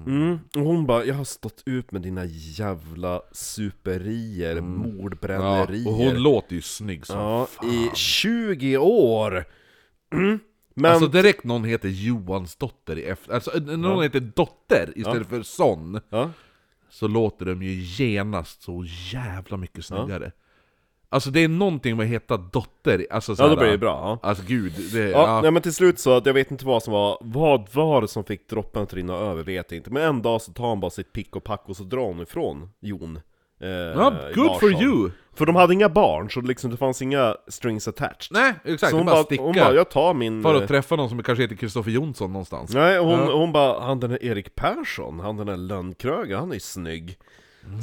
Speaker 2: Mm. Och hon bara 'Jag har stått ut med dina jävla superier,
Speaker 1: Ja,
Speaker 2: mordbrännerier'
Speaker 1: och hon låter ju snygg som
Speaker 2: ja, i 20 år! Mm. Men
Speaker 1: Alltså direkt någon heter Johansdotter i efter... Alltså eh, någon heter Dotter istället för Son
Speaker 2: Ja.
Speaker 1: Så låter de ju genast så jävla mycket snyggare Alltså det är någonting med att heta Dotter, alltså så
Speaker 2: Ja, då
Speaker 1: här,
Speaker 2: blir det bra. Ja.
Speaker 1: Alltså gud, det...
Speaker 2: Ja,
Speaker 1: Ja,
Speaker 2: Nej, men till slut så, att jag vet inte vad som var, vad var det som fick droppen att rinna över, vet jag inte. Men en dag så tar han bara sitt pick och pack och så drar han ifrån Jon. Eh,
Speaker 1: ja good for
Speaker 2: Larsson.
Speaker 1: you!
Speaker 2: För de hade inga barn, så liksom, det fanns inga strings attached.
Speaker 1: Nej, exakt,
Speaker 2: så
Speaker 1: hon
Speaker 2: hon
Speaker 1: bara,
Speaker 2: bara,
Speaker 1: sticka
Speaker 2: hon bara, jag tar min...
Speaker 1: För
Speaker 2: eh,
Speaker 1: att träffa någon som kanske heter Kristoffer Jonsson någonstans
Speaker 2: Nej, hon, hon bara, han den där Erik Persson, han den där lönnkrögaren, han är ju snygg.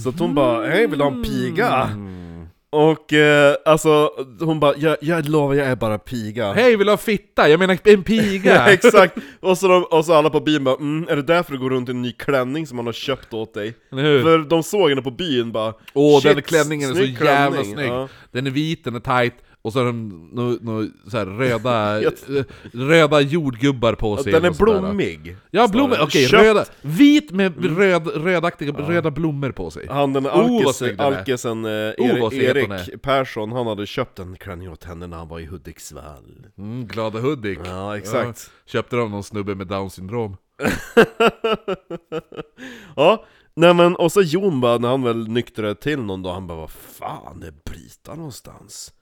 Speaker 2: Så att hon bara, hej vill du ha en piga?
Speaker 1: Mm.
Speaker 2: Och eh, alltså, hon bara, jag, jag lovar jag är bara piga.
Speaker 1: Hej, vill du ha fitta? Jag menar en
Speaker 2: Ja,
Speaker 1: piga!
Speaker 2: exakt! Och så, de, och så alla på byn bara mm, är det därför du går runt i en ny klänning som han har köpt åt dig?
Speaker 1: Eller hur?
Speaker 2: För de såg henne på byn bara
Speaker 1: Åh,
Speaker 2: "Shit,
Speaker 1: den klänningen är så
Speaker 2: snygg
Speaker 1: jävla
Speaker 2: klänning."
Speaker 1: snygg!
Speaker 2: Ja.
Speaker 1: Den är vit, den är tight, och så har den no, no, så här röda,
Speaker 2: <laughs> Jag-
Speaker 1: eh, röda jordgubbar på sig
Speaker 2: Den är
Speaker 1: och sådär.
Speaker 2: blommig!
Speaker 1: Ja,
Speaker 2: Snarare. Mm.
Speaker 1: blommor! Okej,
Speaker 2: Köpt
Speaker 1: röda, vit med röd, rödaktiga, röda blommor på sig
Speaker 2: Han den
Speaker 1: Oh, vad
Speaker 2: alkis,
Speaker 1: snygg den är.
Speaker 2: alkisen eh,
Speaker 1: Oh, vad
Speaker 2: Erik,
Speaker 1: fet hon
Speaker 2: Erik Persson, han hade köpt en klänning åt henne när han var i Hudiksvall
Speaker 1: mm, Glada Hudik!
Speaker 2: Ja, exakt.
Speaker 1: Ja, köpte de någon snubbe med down syndrom?
Speaker 2: Ja, nej men och så Jon bara, när han väl nyktrade till någon dag, han bara Vad fan är Brita någonstans?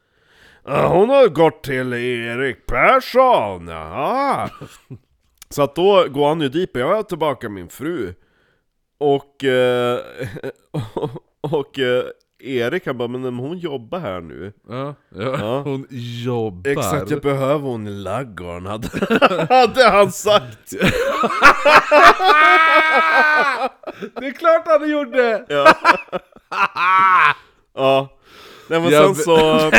Speaker 2: "Ja, Hon har gått till Erik Persson! Ja. Så att då går han ju dit och jag är tillbaka min fru Och... Eh, <laughs> och eh, Erik han bara, men men hon jobbar här nu
Speaker 1: Ja, ja.
Speaker 2: Ja.
Speaker 1: <laughs> Hon jobbar!
Speaker 2: Exakt, jag behöver hon i ladugården <laughs> hade, hade han sagt!
Speaker 1: Det är klart han gjorde!
Speaker 2: Ja Nej men
Speaker 1: Jag
Speaker 2: sen så...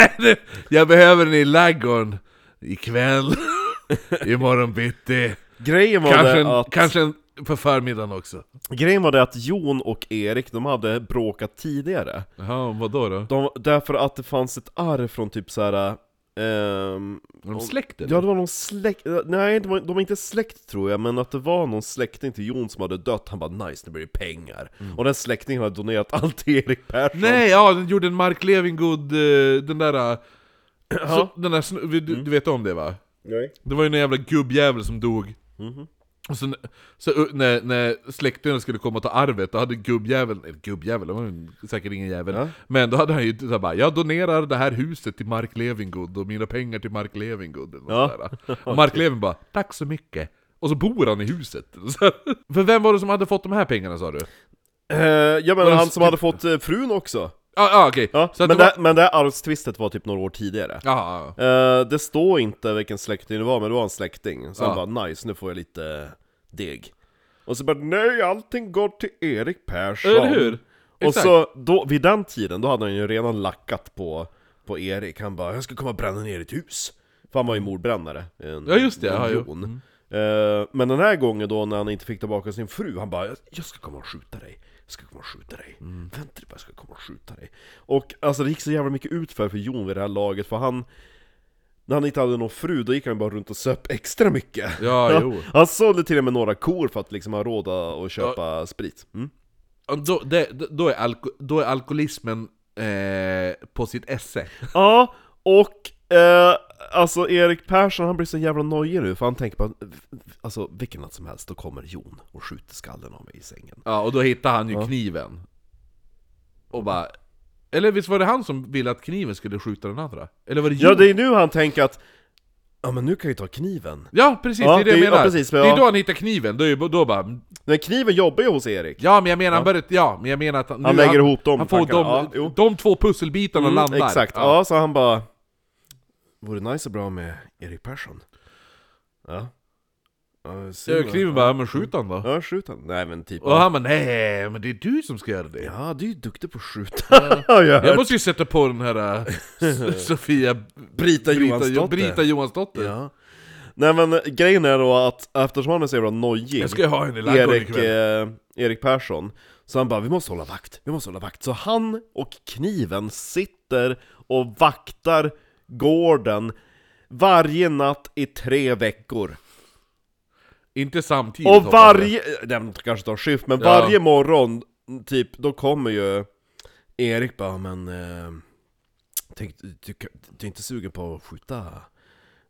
Speaker 1: <laughs> Jag behöver den i ladugården ikväll, <laughs> imorgon bitti,
Speaker 2: Grejen var
Speaker 1: kanske
Speaker 2: det
Speaker 1: en,
Speaker 2: att...
Speaker 1: kanske en på förmiddagen också.
Speaker 2: Grejen var det att Jon och Erik, de hade bråkat tidigare.
Speaker 1: Jaha, vadå då?
Speaker 2: De, därför att det fanns ett arv från typ så här. ehm,
Speaker 1: Är de släkt eller?
Speaker 2: ja det var någon släkt, eh, nej de var, de var inte släkt tror jag, men att det var någon släkting till Jon som hade dött, han bara 'nice, nu blir det pengar' Och den släktingen hade donerat allt till Erik Persson
Speaker 1: Mm. Nej, ja den gjorde en Mark Levengood, eh, den där... eh,
Speaker 2: <laughs> Ja.
Speaker 1: Så, den där snu- du, du vet om det va?
Speaker 2: Nej.
Speaker 1: Det var ju en jävla gubbjävel som dog.
Speaker 2: Mhm.
Speaker 1: Och sen, så uh, när, när släktingarna skulle komma och ta arvet, då hade gubbjäveln, eller gubbjävel, det var ju säkert ingen jävel,
Speaker 2: Ja.
Speaker 1: men då hade han ju såhär bara 'Jag donerar det här huset till Mark Levengood och mina pengar till Mark Levengood' eller
Speaker 2: Ja.
Speaker 1: något
Speaker 2: <laughs>
Speaker 1: sådär. Och Mark Levin bara 'Tack så mycket' och så bor han i huset. <laughs> Så, för vem var det som hade fått de här pengarna sa du?
Speaker 2: Eh, jag menar
Speaker 1: Men-
Speaker 2: han som hade fått eh, frun också!
Speaker 1: Ja, ja okej.
Speaker 2: Ja,
Speaker 1: Så
Speaker 2: men,
Speaker 1: att det
Speaker 2: det,
Speaker 1: var...
Speaker 2: men det här arvstvistet var typ några år tidigare
Speaker 1: Ja, ja, ja.
Speaker 2: Eh, det står inte vilken släkting det var, men det var en släkting. Så
Speaker 1: Ja.
Speaker 2: han bara 'nice, nu får jag lite deg' Och så bara 'nej, allting går till Erik Persson'
Speaker 1: Eller hur?
Speaker 2: Och
Speaker 1: Exakt.
Speaker 2: så, då, vid den tiden, då hade han ju redan lackat på, på Erik Han bara 'jag ska komma och bränna ner ditt hus' För han var ju mordbrännare en,
Speaker 1: Mm. Ja, just det,
Speaker 2: en
Speaker 1: ja, Mm. jo.
Speaker 2: miljon. Eh, Men den här gången då, när han inte fick tillbaka sin fru, han bara 'jag ska komma och skjuta dig' Jag ska komma och skjuta dig.
Speaker 1: Mm.
Speaker 2: Vänta du bara, jag ska komma och skjuta dig. Och alltså det gick så jävla mycket ut för, för Jon vid det här laget, för han... När han inte hade någon fru, då gick han ju bara runt och söp extra mycket. <laughs>
Speaker 1: Ja, jo.
Speaker 2: Han sålde till och med några kor för att liksom ha råd att köpa sprit. Mm.
Speaker 1: Och Då, det, då, är alko, då är alkoholismen eh, på sitt esse.
Speaker 2: Ja, och eh, alltså Erik Persson han blir så jävla nojig nu för han tänker på alltså vilken natt som helst då kommer Jon och skjuter skallen av mig i sängen.
Speaker 1: Ja, och då hittar han ju kniven. Och bara... Eller visst var det han som ville att kniven skulle skjuta den andra? Eller var det
Speaker 2: Ja,
Speaker 1: Jon?
Speaker 2: det är nu han tänker att ja men nu kan jag ju ta kniven.
Speaker 1: Ja, precis,
Speaker 2: Ja,
Speaker 1: det är det jag
Speaker 2: det- ja,
Speaker 1: menar.
Speaker 2: precis, men
Speaker 1: Det är
Speaker 2: ja.
Speaker 1: då han hittar kniven, då, är, ju- då bara...
Speaker 2: Men kniven jobbar ju hos Erik.
Speaker 1: Ja, men jag menar, han börjar, ja, men jag menar att... nu-
Speaker 2: Han lägger ihop de
Speaker 1: Han får de,
Speaker 2: tankarna, ja, jo.
Speaker 1: de två pusselbitarna
Speaker 2: Mm,
Speaker 1: landar.
Speaker 2: Exakt,
Speaker 1: Ja.
Speaker 2: ja. så han bara Vore nice och bra med Erik Persson. Ja. Ja, synd,
Speaker 1: Ja, Kniven bara, ja, men skjut han då.
Speaker 2: Ja, skjut han. Nej men typ.
Speaker 1: Och han bara, nej, men det är du som ska göra det.
Speaker 2: Ja, du är ju duktig på att skjuta. <laughs> Ja. jag
Speaker 1: Jag måste ju sätta på den
Speaker 2: <laughs>
Speaker 1: här äh, S- Sofia
Speaker 2: Brita Johansdotter.
Speaker 1: Brita Johansdotter.
Speaker 2: Ja. Nej men eh, grejen är då att eftersom han är så jävla nojig,
Speaker 1: Jag ska ju ha henne i ladugården
Speaker 2: Erik,
Speaker 1: ikväll.
Speaker 2: eh, Erik Persson, så han bara 'Vi måste hålla vakt, vi måste hålla vakt' Så han och kniven sitter och vaktar gården varje natt i tre veckor.
Speaker 1: Inte samtidigt
Speaker 2: Och
Speaker 1: hoppas jag.
Speaker 2: varje, eh, nej men kanske tar skift, men
Speaker 1: Ja.
Speaker 2: varje morgon, typ, då kommer ju Erik bara 'Men, eh, tänk, du, du, du är inte sugen på att skjuta,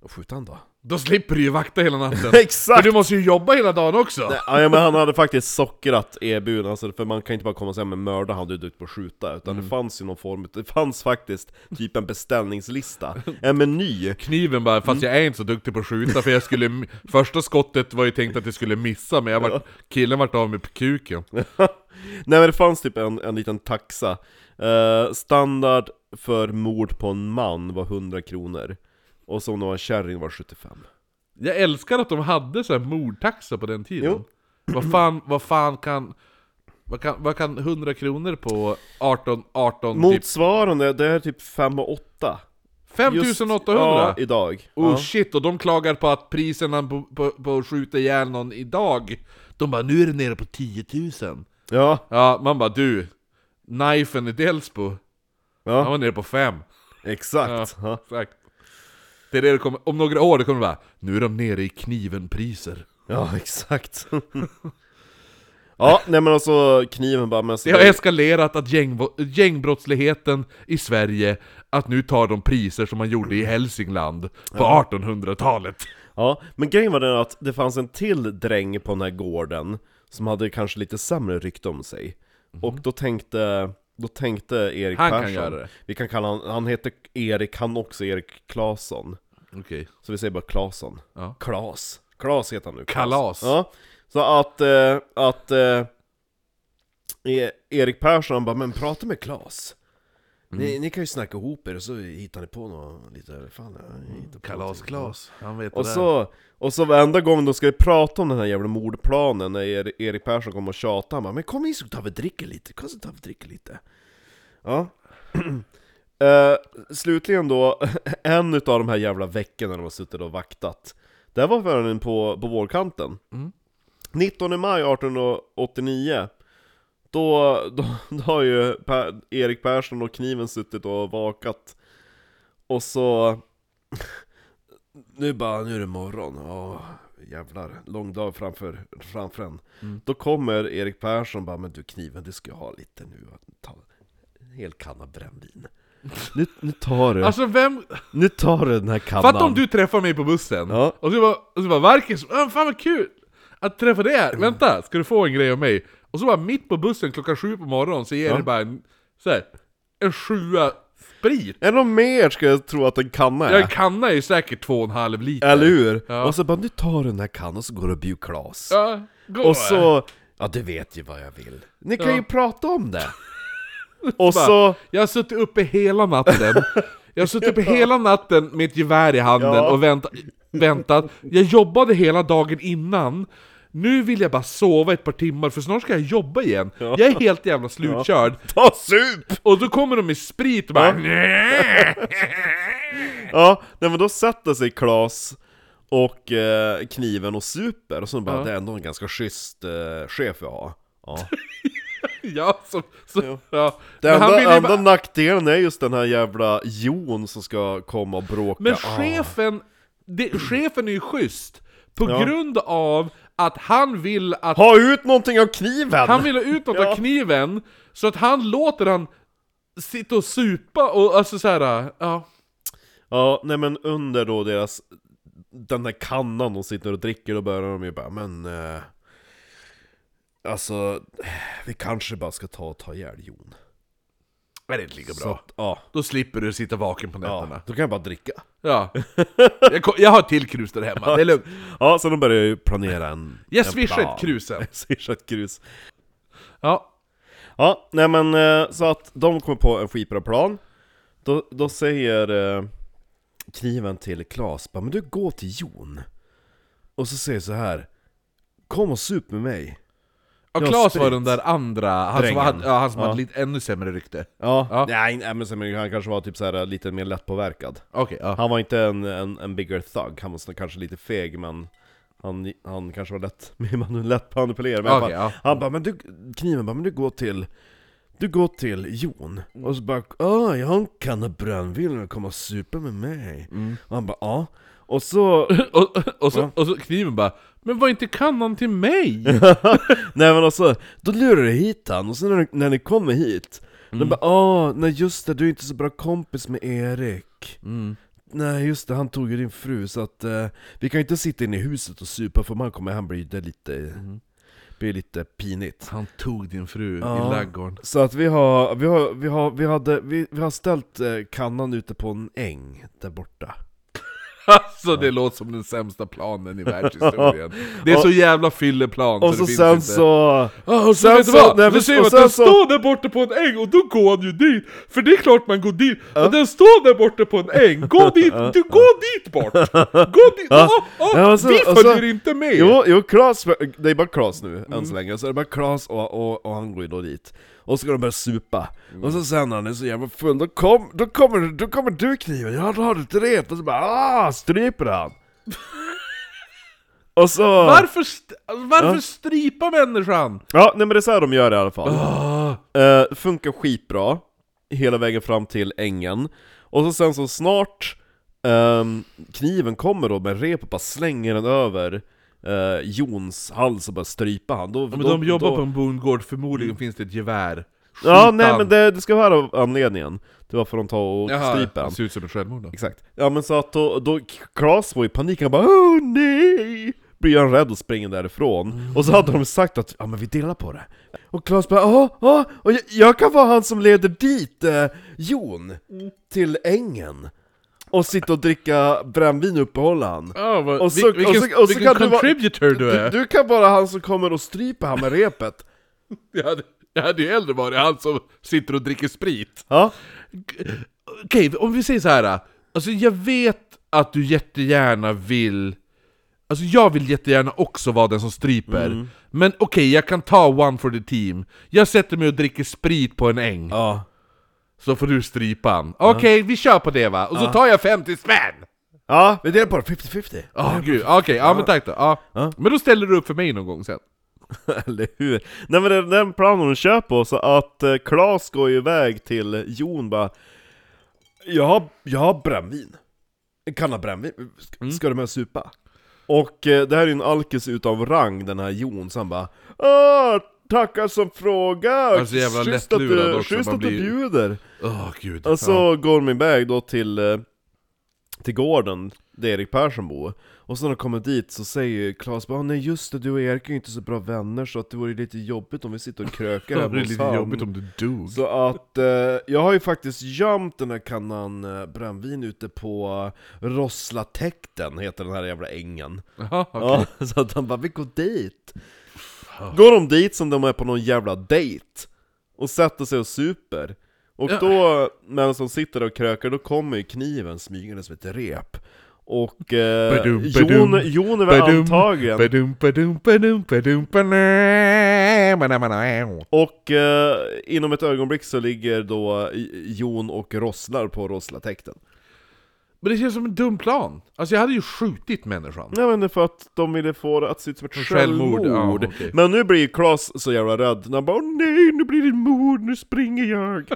Speaker 2: att skjuta
Speaker 1: <laughs>
Speaker 2: han då?'
Speaker 1: Då slipper du ju vakta hela
Speaker 2: <laughs>
Speaker 1: natten.
Speaker 2: Exakt!
Speaker 1: För du måste ju jobba hela dagen också!
Speaker 2: Ja ja, men han hade faktiskt sockrat erbjuden, alltså, för man kan inte bara komma och säga men mörda han, du är duktig på att skjuta Utan det fanns ju någon form, det fanns faktiskt typ en beställningslista, en meny <laughs>
Speaker 1: Kniven bara, fast
Speaker 2: Mm.
Speaker 1: jag är inte så duktig på att skjuta för jag skulle... första skottet var ju tänkt att jag skulle missa men jag var, killen vart av med kuken.
Speaker 2: Nej men det fanns typ en, en liten taxa Eh, Standard för mord på en man var 100 kronor Och så om det var en kärring var 75
Speaker 1: Jag älskar att de hade så här mordtaxa på den tiden.
Speaker 2: Jo.
Speaker 1: Vad fan, vad fan kan... Vad kan, vad kan 100 kronor på 18, 18 typ
Speaker 2: Motsvarande, det är typ 5 och 8 Just-
Speaker 1: 5800?
Speaker 2: Ja, idag
Speaker 1: Oh
Speaker 2: ja.
Speaker 1: shit, och de klagar på att priserna på, på, på att skjuta ihjäl någon idag De bara 'Nu är det nere på 10 000'
Speaker 2: ja,
Speaker 1: Ja, man bara du, knifen i Delsbo,
Speaker 2: Ja.
Speaker 1: han var nere på 5
Speaker 2: exakt ja.
Speaker 1: Exakt Det är det det kommer, om några år det kommer det bara 'Nu är de nere i kniven-priser'
Speaker 2: Ja, <laughs> exakt. ja, nej men alltså kniven bara, men alltså,
Speaker 1: Det har
Speaker 2: det-
Speaker 1: eskalerat att gängvo- gängbrottsligheten i Sverige, att nu tar de priser som man gjorde i Hälsingland på 1800-talet
Speaker 2: ja, men grejen var den att det fanns en till dräng på den här gården som hade kanske lite sämre rykte om sig. Och då tänkte, då tänkte Erik
Speaker 1: Mhm. Han kan
Speaker 2: Persson,
Speaker 1: göra det.
Speaker 2: vi kan kalla han, han heter Erik, han också Erik Claesson.
Speaker 1: Okej,
Speaker 2: Så vi säger bara Claesson.
Speaker 1: Ja.
Speaker 2: Klas. Klas heter han nu. Klas.
Speaker 1: Kalas.
Speaker 2: Ja. Så att, eh, att eh, E- Erik Persson han bara 'Men prata med Klas'
Speaker 1: Mm.
Speaker 2: Ni, ni kan ju snacka ihop er och så hittar ni på något lite, fan jag hittar på någonting."
Speaker 1: kalas-Klas, han vet det
Speaker 2: Och
Speaker 1: där.
Speaker 2: så, och så varenda gång de ska prata om den här jävla mordplanen när er, Erik Persson kommer och tjatar, han bara 'Men kom hit så tar vi och dricker lite, kom så tar vi och dricker lite' Ja <clears throat> Eh, Slutligen då, <laughs> en utav de här jävla veckorna de har suttit och vaktat Det här var förrän på, på vårkanten 19 maj 1889 då, då, <laughs> då har ju per, Erik Persson och kniven suttit och vakat Och så <laughs> nu bara, nu är det morgon, åh jävlar, lång dag framför, framför en.
Speaker 1: Mm.
Speaker 2: Då kommer Erik Persson bara, men du kniven, du ska jag ha lite nu, ta en hel
Speaker 1: <laughs>
Speaker 2: kanna brännvin. Nu, nu tar du,
Speaker 1: Alltså vem,
Speaker 2: nu tar du den här kannan.
Speaker 1: Fatta om du träffar mig på bussen,
Speaker 2: Ja.
Speaker 1: och så bara, och så bara Marcus, äh, fan vad kul att träffa dig här, vänta, ska du få en grej av mig? Och så bara mitt på bussen klockan sju på morgonen så ger det bara en, så här, en sjua sprit.
Speaker 2: Är någon mer ska jag tro att en kanna är?
Speaker 1: Jag kanna är ju säkert två och en halv liter.
Speaker 2: Eller hur?
Speaker 1: Ja.
Speaker 2: Och så bara, nu tar du den här kannan och så går du och bjuder Klas.
Speaker 1: Ja, gå.
Speaker 2: Och så, ja du vet ju vad jag vill. Ni kan
Speaker 1: Ja.
Speaker 2: ju prata
Speaker 1: <laughs>
Speaker 2: om det. och
Speaker 1: Bara,
Speaker 2: så...
Speaker 1: Jag har suttit uppe hela natten, jag har suttit uppe hela natten med ett gevär i handen
Speaker 2: Ja.
Speaker 1: och vänta, väntat. Jag jobbade hela dagen innan, nu vill jag bara sova ett par timmar för snart ska jag jobba igen. Jag är helt jävla slutkörd.
Speaker 2: Ta sup!
Speaker 1: Och då kommer de med sprit och bara
Speaker 2: Ja, nej men då sätter sig Klas och eh, kniven och super och så bara
Speaker 1: Ja.
Speaker 2: Det är ändå en ganska schysst eh, chef jag har ja.
Speaker 1: ja, så, så,
Speaker 2: Jo.
Speaker 1: ja.
Speaker 2: Det
Speaker 1: <laughs> Men han
Speaker 2: enda,
Speaker 1: vill ju
Speaker 2: enda
Speaker 1: bara-
Speaker 2: nackdelen är just den här jävla Jon som ska komma och bråka.
Speaker 1: Men
Speaker 2: Ah.
Speaker 1: chefen, det, chefen är ju schysst. På
Speaker 2: Ja.
Speaker 1: grund av att han vill att
Speaker 2: Ha ut någonting av kniven!
Speaker 1: Han ville ut <laughs> något av
Speaker 2: Ja.
Speaker 1: kniven, så att han låter han sitta och supa och alltså såhär, ja.
Speaker 2: Ja, nej men under då deras Den där kannan de sitter och dricker då börjar de ju bara men eh, Alltså Vi kanske bara ska ta och ta ihjäl Jon
Speaker 1: Men det är inte lika
Speaker 2: Så
Speaker 1: bra.
Speaker 2: att, ja,
Speaker 1: Då slipper du sitta vaken på <laughs>
Speaker 2: ja,
Speaker 1: nätterna.
Speaker 2: då kan jag bara dricka
Speaker 1: Ja. Jag, ko- jag har ett till krus där hemma, det är lugnt.
Speaker 2: Ja, så de börjar ju planera en
Speaker 1: Jag
Speaker 2: en
Speaker 1: swishar
Speaker 2: plan.
Speaker 1: ett
Speaker 2: <laughs>
Speaker 1: krus sen.
Speaker 2: Jag swishar ett krus
Speaker 1: <laughs> Ja.
Speaker 2: Ja, nej men eh, så att de kommer på en skitbra plan Då, då säger eh, kniven till Klas bara, men du gå till Jon Och så säger så här Kom och sup med mig
Speaker 1: Och
Speaker 2: Ja,
Speaker 1: Claes
Speaker 2: sprit.
Speaker 1: var den där andra, han som,
Speaker 2: Drängen.
Speaker 1: hade, ja, han som
Speaker 2: Ja.
Speaker 1: hade lite ännu sämre rykte.
Speaker 2: Ja,
Speaker 1: Ja.
Speaker 2: Nej, nej men sen, han kanske var typ så här lite mer lättpåverkad
Speaker 1: Okej, ja.
Speaker 2: Han var inte en, en, en bigger thug, han var snarare kanske lite feg men han, han kanske var lätt, <laughs> man- lätt manipulerad men i alla
Speaker 1: Okej,
Speaker 2: fall.
Speaker 1: ja.
Speaker 2: Han bara men du, kniven bara men du går till du går till Jon,
Speaker 1: Mm.
Speaker 2: och så bara Åh, jag har en kanna brännvin, vill du komma och supa med mig?
Speaker 1: Mm.
Speaker 2: Och han bara ja, och så,
Speaker 1: <laughs> Och, och, så, och så kniven bara, men var inte kannan till <laughs> mig?
Speaker 2: nej men och så, då lurar du hit han, och sen när, när ni kommer hit, de bara Åh, nej just det, du är inte så bra kompis med Erik Nej just det, han tog ju din fru så att eh, vi kan ju inte sitta inne i huset och supa för man kommer han blir det lite, blir lite pinigt
Speaker 1: Han tog din fru
Speaker 2: Ja.
Speaker 1: i laggården.
Speaker 2: Så att vi har, vi har, vi har, vi hade, vi, vi har ställt eh, kannan ute på en äng där borta
Speaker 1: <laughs> Alltså det låter som den sämsta
Speaker 2: <laughs>
Speaker 1: planen i världshistorien. Det är så jävla fylleplan
Speaker 2: Och
Speaker 1: det
Speaker 2: så
Speaker 1: finns
Speaker 2: sen
Speaker 1: inte.
Speaker 2: så,
Speaker 1: Ja, och så
Speaker 2: Sen
Speaker 1: vet du
Speaker 2: så-
Speaker 1: vad?
Speaker 2: nej,
Speaker 1: Då
Speaker 2: men-
Speaker 1: ser
Speaker 2: och
Speaker 1: man att
Speaker 2: sen
Speaker 1: den
Speaker 2: så-
Speaker 1: står där borta på en äng och då går han ju dit! För det är klart man går dit, och den står där borta på en äng,
Speaker 2: <laughs>
Speaker 1: gå dit! Du, gå dit bort! Gå dit! Ja, ja,
Speaker 2: Ja, och så-
Speaker 1: vi
Speaker 2: och så-
Speaker 1: följer inte med!
Speaker 2: jo, jo Klas, det är bara Klas nu än så länge, så det är bara Klas och, och, och han går ju då dit och så ska de börja supa,
Speaker 1: Mm.
Speaker 2: och så sen när han är så jävla full, då, kom, då, kommer, då kommer du kniven, ja då har du ett rep, och så bara ah, stryper
Speaker 1: <laughs>
Speaker 2: han! och så...
Speaker 1: Varför, st- varför stripa människan?
Speaker 2: Ja, nej men det är så här de gör i alla fall. Eh, funkar skitbra, hela vägen fram till ängen. Och så sen så snart ehm, kniven kommer då med rep och bara slänger den över eh, Jons hals och bara strypa han. Då,
Speaker 1: Men de jobbar på en bondgård, förmodligen finns det ett gevär.
Speaker 2: Ja, nej men det, det ska vara anledningen till varför de tar och stryper
Speaker 1: han
Speaker 2: han.
Speaker 1: ser ut som ett självmord då.
Speaker 2: Exakt. Ja men så att då, då Klas var i panik, han bara åh nej! Blir han rädd och springer därifrån. Och så hade de sagt att ja men vi delar på det. Och Klas bara ja, ja, och jag, jag kan vara han som leder dit eh, Jon till ängen. Och sitta och dricka brännvin och uppehålla han.
Speaker 1: Ja, vad,
Speaker 2: Och så-
Speaker 1: vil- vilken,
Speaker 2: och så- och så
Speaker 1: vilken
Speaker 2: kan du vara-
Speaker 1: contributor du
Speaker 2: Du,
Speaker 1: är!
Speaker 2: du kan vara han som kommer och stryper han med repet.
Speaker 1: Jag, hade, jag hade ju hellre varit han som sitter och dricker sprit.
Speaker 2: Ja,
Speaker 1: Okej, om vi säger så här. Alltså jag vet att du jättegärna vill... Alltså jag vill jättegärna också vara den som stryper. Men okej, jag kan ta one for the team. Jag sätter mig och dricker sprit på en äng,
Speaker 2: ja.
Speaker 1: så får du strypan. Okej, vi kör på det va? Och så tar jag 50 spänn!
Speaker 2: Ja, vi delar på det, 50-50.
Speaker 1: Åh gud, okej, ja men tack då. Ja.
Speaker 2: Ja.
Speaker 1: Men då ställer du upp för mig någon gång sen.
Speaker 2: <laughs> Eller hur? Nej men det är den planen hon kör på, så att eh, Klas går ju iväg till Jon bara Jag har, jag har brännvin, en kanna brännvin, ska,
Speaker 1: Mm.
Speaker 2: ska du med och supa? Och eh, det här är ju en alkis utav rang den här Jon, så han bara Åh, tackar som fråga!
Speaker 1: så jävla
Speaker 2: Schysst att
Speaker 1: lättlurad
Speaker 2: du,
Speaker 1: också,
Speaker 2: schysst
Speaker 1: man
Speaker 2: att du
Speaker 1: blir ju-
Speaker 2: bjuder!
Speaker 1: Åh gud.
Speaker 2: Och så
Speaker 1: ja.
Speaker 2: går de iväg då till, eh, till gården där Erik Persson bor Och så när de kommer dit så säger Claes bara "Ah, nej just det, du och Erik är ju inte så bra vänner så att det vore lite jobbigt om vi sitter
Speaker 1: <laughs>
Speaker 2: och krökar
Speaker 1: det
Speaker 2: hemma
Speaker 1: blir
Speaker 2: hos
Speaker 1: lite
Speaker 2: han."
Speaker 1: jobbigt om du dog. <laughs>
Speaker 2: Så att eh, jag har ju faktiskt gömt den här kannan eh, brännvin ute på eh, Rosslatäkten, heter den här jävla ängen
Speaker 1: Jaha, okej.
Speaker 2: ja, <laughs> Så att han bara 'Vi går dit' Går de dit som de är på någon jävla dejt Och sätter sig och super Och
Speaker 1: Ja.
Speaker 2: då, medan de sitter och krökar, då kommer ju kniven smygande som ett rep Och eh,
Speaker 1: Badum,
Speaker 2: Jon,
Speaker 1: badum,
Speaker 2: Jon är väl
Speaker 1: Badum,
Speaker 2: antagen
Speaker 1: badum, badum, badum, badum, badum, badum, badum.
Speaker 2: Och eh, inom eh, ett ögonblick så ligger då Jon och rosslar på rosslatäkten
Speaker 1: Men det känns som en dum plan. Alltså jag hade ju skjutit människan.
Speaker 2: Nej men det är för att de ville få det att se ut som ett
Speaker 1: Självmord,
Speaker 2: självmord.
Speaker 1: ja, okej.
Speaker 2: Men nu blir Klas så jävla rädd, han bara "Åh nej, nu blir det mord, nu springer jag.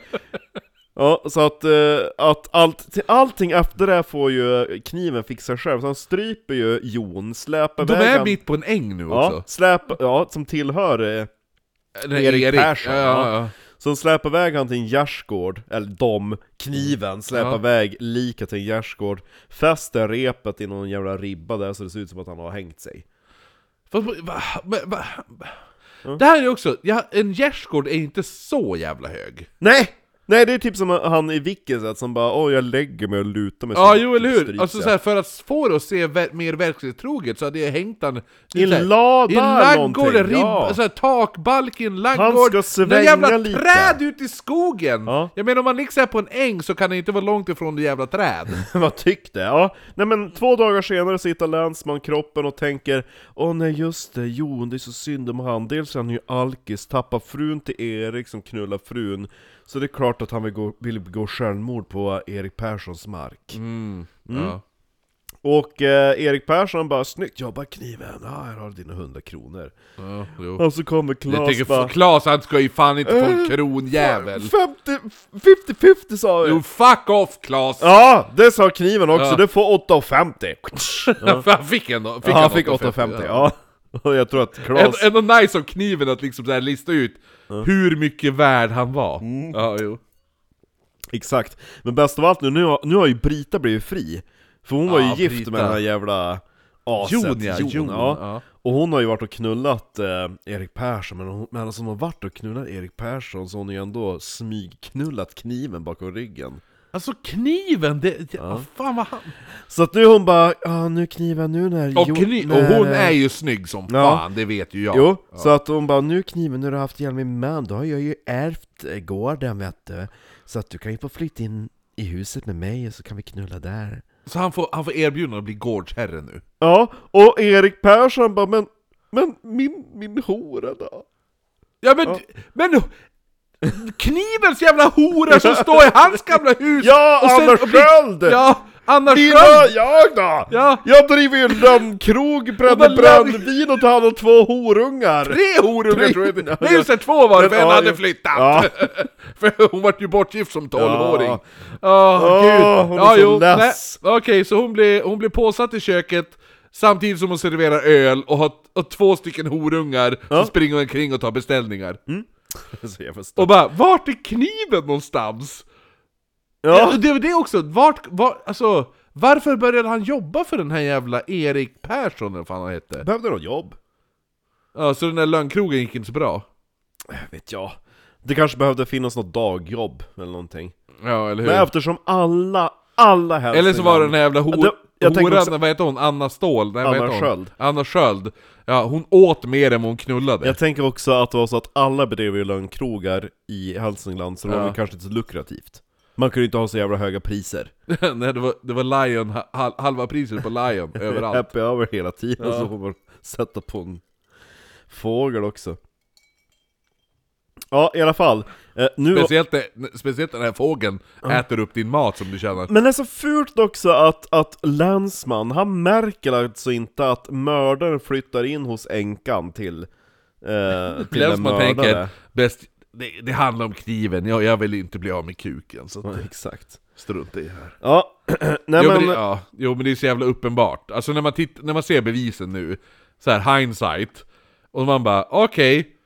Speaker 2: <laughs> ja, så att, eh, att allt, till allting efter det här får ju kniven fixa själv, så han stryper ju Jon, släpar
Speaker 1: De
Speaker 2: iväg
Speaker 1: är
Speaker 2: han-
Speaker 1: mitt på en äng nu
Speaker 2: Ja,
Speaker 1: också.
Speaker 2: släp, ja, som tillhör eh,
Speaker 1: Den här
Speaker 2: Erik Persson,
Speaker 1: Ja, ja, ja.
Speaker 2: Så de släpar iväg han till en gärdsgård, eller de, kniven, släpar
Speaker 1: Mm. Ja.
Speaker 2: iväg lika till en gärdsgård, fäster repet i någon jävla ribba där så det ser ut som att han har hängt sig.
Speaker 1: Fast, va, va, va, Det här är också, ja, en gärdsgård är inte så jävla hög.
Speaker 2: Nej! Nej det är typ som han i Wicked som bara åh jag lägger mig och lutar mig
Speaker 1: Ja,
Speaker 2: så
Speaker 1: jo, eller hur?
Speaker 2: stryks
Speaker 1: Alltså,
Speaker 2: jag."
Speaker 1: så här, för att få det att se ver- mer verklighetstroget så hade jag hängt den
Speaker 2: I en lada
Speaker 1: I
Speaker 2: eller
Speaker 1: laggård,
Speaker 2: någonting!
Speaker 1: ribba,
Speaker 2: Ja.
Speaker 1: så här, takbalk i en laggård,
Speaker 2: Han ska
Speaker 1: några
Speaker 2: svänga
Speaker 1: jävla
Speaker 2: lite.
Speaker 1: träd ute i skogen!
Speaker 2: Ja.
Speaker 1: Jag menar om man liksom är på en äng så kan det inte vara långt ifrån det jävla träd.
Speaker 2: <laughs> Vad tyckte? Ja. Nej men två dagar senare sitter länsman kroppen och tänker Åh nej just det, Jon det är så synd om han. Dels är han ju alkis, tappar frun till Erik som knullar frun. Så det är klart att han vill, gå, vill begå självmord på Erik Perssons mark.
Speaker 1: Mm.
Speaker 2: Mm.
Speaker 1: Ja.
Speaker 2: Och eh, Erik Persson bara 'Snyggt jobbat kniven, ja, här har du dina 100 kronor'
Speaker 1: Ja,
Speaker 2: <laughs>
Speaker 1: jo.
Speaker 2: Och så kommer
Speaker 1: Jag
Speaker 2: Klas
Speaker 1: tänker,
Speaker 2: bara
Speaker 1: Klas han ska ju fan inte få
Speaker 2: <laughs>
Speaker 1: en kron jävel!
Speaker 2: 50, 50-50 sa vi!
Speaker 1: Jo, fuck off Klas!
Speaker 2: Ja, det sa kniven också,
Speaker 1: Ja.
Speaker 2: du får 8,50!
Speaker 1: För han <laughs> fick ändå... Fick
Speaker 2: Ja, han fick 8,50,
Speaker 1: 8,50,
Speaker 2: ja. <laughs> Och jag tror att Klas...
Speaker 1: Ändå, ändå nice av kniven att liksom så här lista ut hur mycket värd han var.
Speaker 2: Mm.
Speaker 1: Ja, jo.
Speaker 2: Exakt. Men bäst av allt nu, nu har, nu har ju Brita blivit fri. För hon var
Speaker 1: Ja,
Speaker 2: ju gift
Speaker 1: Brita.
Speaker 2: med den här jävla aset.
Speaker 1: Jon, ja, Jon,
Speaker 2: ja.
Speaker 1: ja.
Speaker 2: Och hon har ju varit och knullat eh, Erik Persson, men, hon, men alltså hon har varit och knullat Erik Persson så hon har ju ändå smygknullat kniven bakom ryggen.
Speaker 1: Alltså kniven, det... Ja. fan vad han...
Speaker 2: Så att nu hon bara, ja nu kniven, nu när
Speaker 1: Och,
Speaker 2: Jon-
Speaker 1: kni-
Speaker 2: när,
Speaker 1: och hon
Speaker 2: eh,
Speaker 1: är ju snygg som
Speaker 2: Ja.
Speaker 1: fan, det vet ju jag.
Speaker 2: Jo, så att hon bara 'Nu kniven, när du har haft ihjäl min man, då har jag ju ärvt eh, gården vet du Så att du kan ju få flytta in i huset med mig och så kan vi knulla där'
Speaker 1: Så han får, han får erbjudande att bli gårdsherre nu.
Speaker 2: Ja, och Erik Persson bara 'Men, men min, min hora då?'
Speaker 1: Ja men... men knivens jävla hora som står i hans gamla hus!
Speaker 2: Ja,
Speaker 1: och sen-
Speaker 2: Anders
Speaker 1: och blir-
Speaker 2: Sköld!
Speaker 1: Ja, Anna
Speaker 2: Dina,
Speaker 1: Sköld!
Speaker 2: jag då?
Speaker 1: Ja.
Speaker 2: Jag driver ju en lönnkrog, bränner
Speaker 1: men lönn-
Speaker 2: brännvin och tar hand om två horungar!
Speaker 1: Tre horungar
Speaker 2: Tre-
Speaker 1: tror jag det
Speaker 2: Ja,
Speaker 1: Nej just det, två var det, för
Speaker 2: Men,
Speaker 1: en
Speaker 2: ja,
Speaker 1: hade
Speaker 2: ja.
Speaker 1: flyttat!
Speaker 2: Ja. <laughs>
Speaker 1: <laughs> för hon vart ju bortgift som 12-åring.
Speaker 2: Ja.
Speaker 1: Åh,
Speaker 2: Åh,
Speaker 1: gud.
Speaker 2: hon är så
Speaker 1: nej.
Speaker 2: less.
Speaker 1: Okej, så hon blir, hon blir påsatt i köket samtidigt som hon serverar öl och har och två stycken horungar som springer omkring och tar beställningar.
Speaker 2: Mm. Så jag förstår.
Speaker 1: Och bara, vart är kniven någonstans? Ja.
Speaker 2: Ja.
Speaker 1: Det var det också, vart, var, alltså, varför började han jobba för den här jävla Erik Persson, eller vad fan han hette?
Speaker 2: Behövde något jobb?
Speaker 1: Ja, så den där lönnkrogen gick inte så bra.
Speaker 2: Vet jag. Det kanske behövde finnas något dagjobb eller någonting.
Speaker 1: Ja, eller hur?
Speaker 2: Men eftersom alla, alla hälsningar...
Speaker 1: Eller så var det den här jävla hor,
Speaker 2: Alltså, Det- jag tänker
Speaker 1: horan,
Speaker 2: också-
Speaker 1: vad heter hon? Anna Ståhl? Nej, vad
Speaker 2: Anna
Speaker 1: heter hon?
Speaker 2: Sköld.
Speaker 1: Anna Sköld. Ja, hon åt mer än vad hon knullade.
Speaker 2: Jag tänker också att det var så att alla bedrev ju lönnkrogar i Hälsingland, så det var
Speaker 1: Ja.
Speaker 2: väl kanske inte så lukrativt. Man kunde ju inte ha så jävla höga priser.
Speaker 1: <laughs> Nej, det var, det var Lion, hal, halva priset på
Speaker 2: <laughs>
Speaker 1: Lion överallt.
Speaker 2: Happy hour hela tiden, så får man sätta på en fågel också. Ja, i alla fall. Eh, nu...
Speaker 1: Speciellt, det- speciellt den här fågeln äter upp din mat som du tjänar.
Speaker 2: Men det är så fult också att, att länsman, han märker alltså inte att mördaren flyttar in hos änkan till, eh, till en
Speaker 1: Länsman
Speaker 2: mördare.
Speaker 1: tänker, bäst, det, det handlar om kniven, jag, jag vill inte bli av med kuken, så
Speaker 2: Ja,
Speaker 1: att-
Speaker 2: <laughs> Exakt.
Speaker 1: strunt i det här.
Speaker 2: Ja, <clears throat> nej
Speaker 1: Jo men,
Speaker 2: men,
Speaker 1: det, ja, jo men det är så jävla uppenbart. Alltså när man, titt, när man ser bevisen nu, så här hindsight, och man bara okej,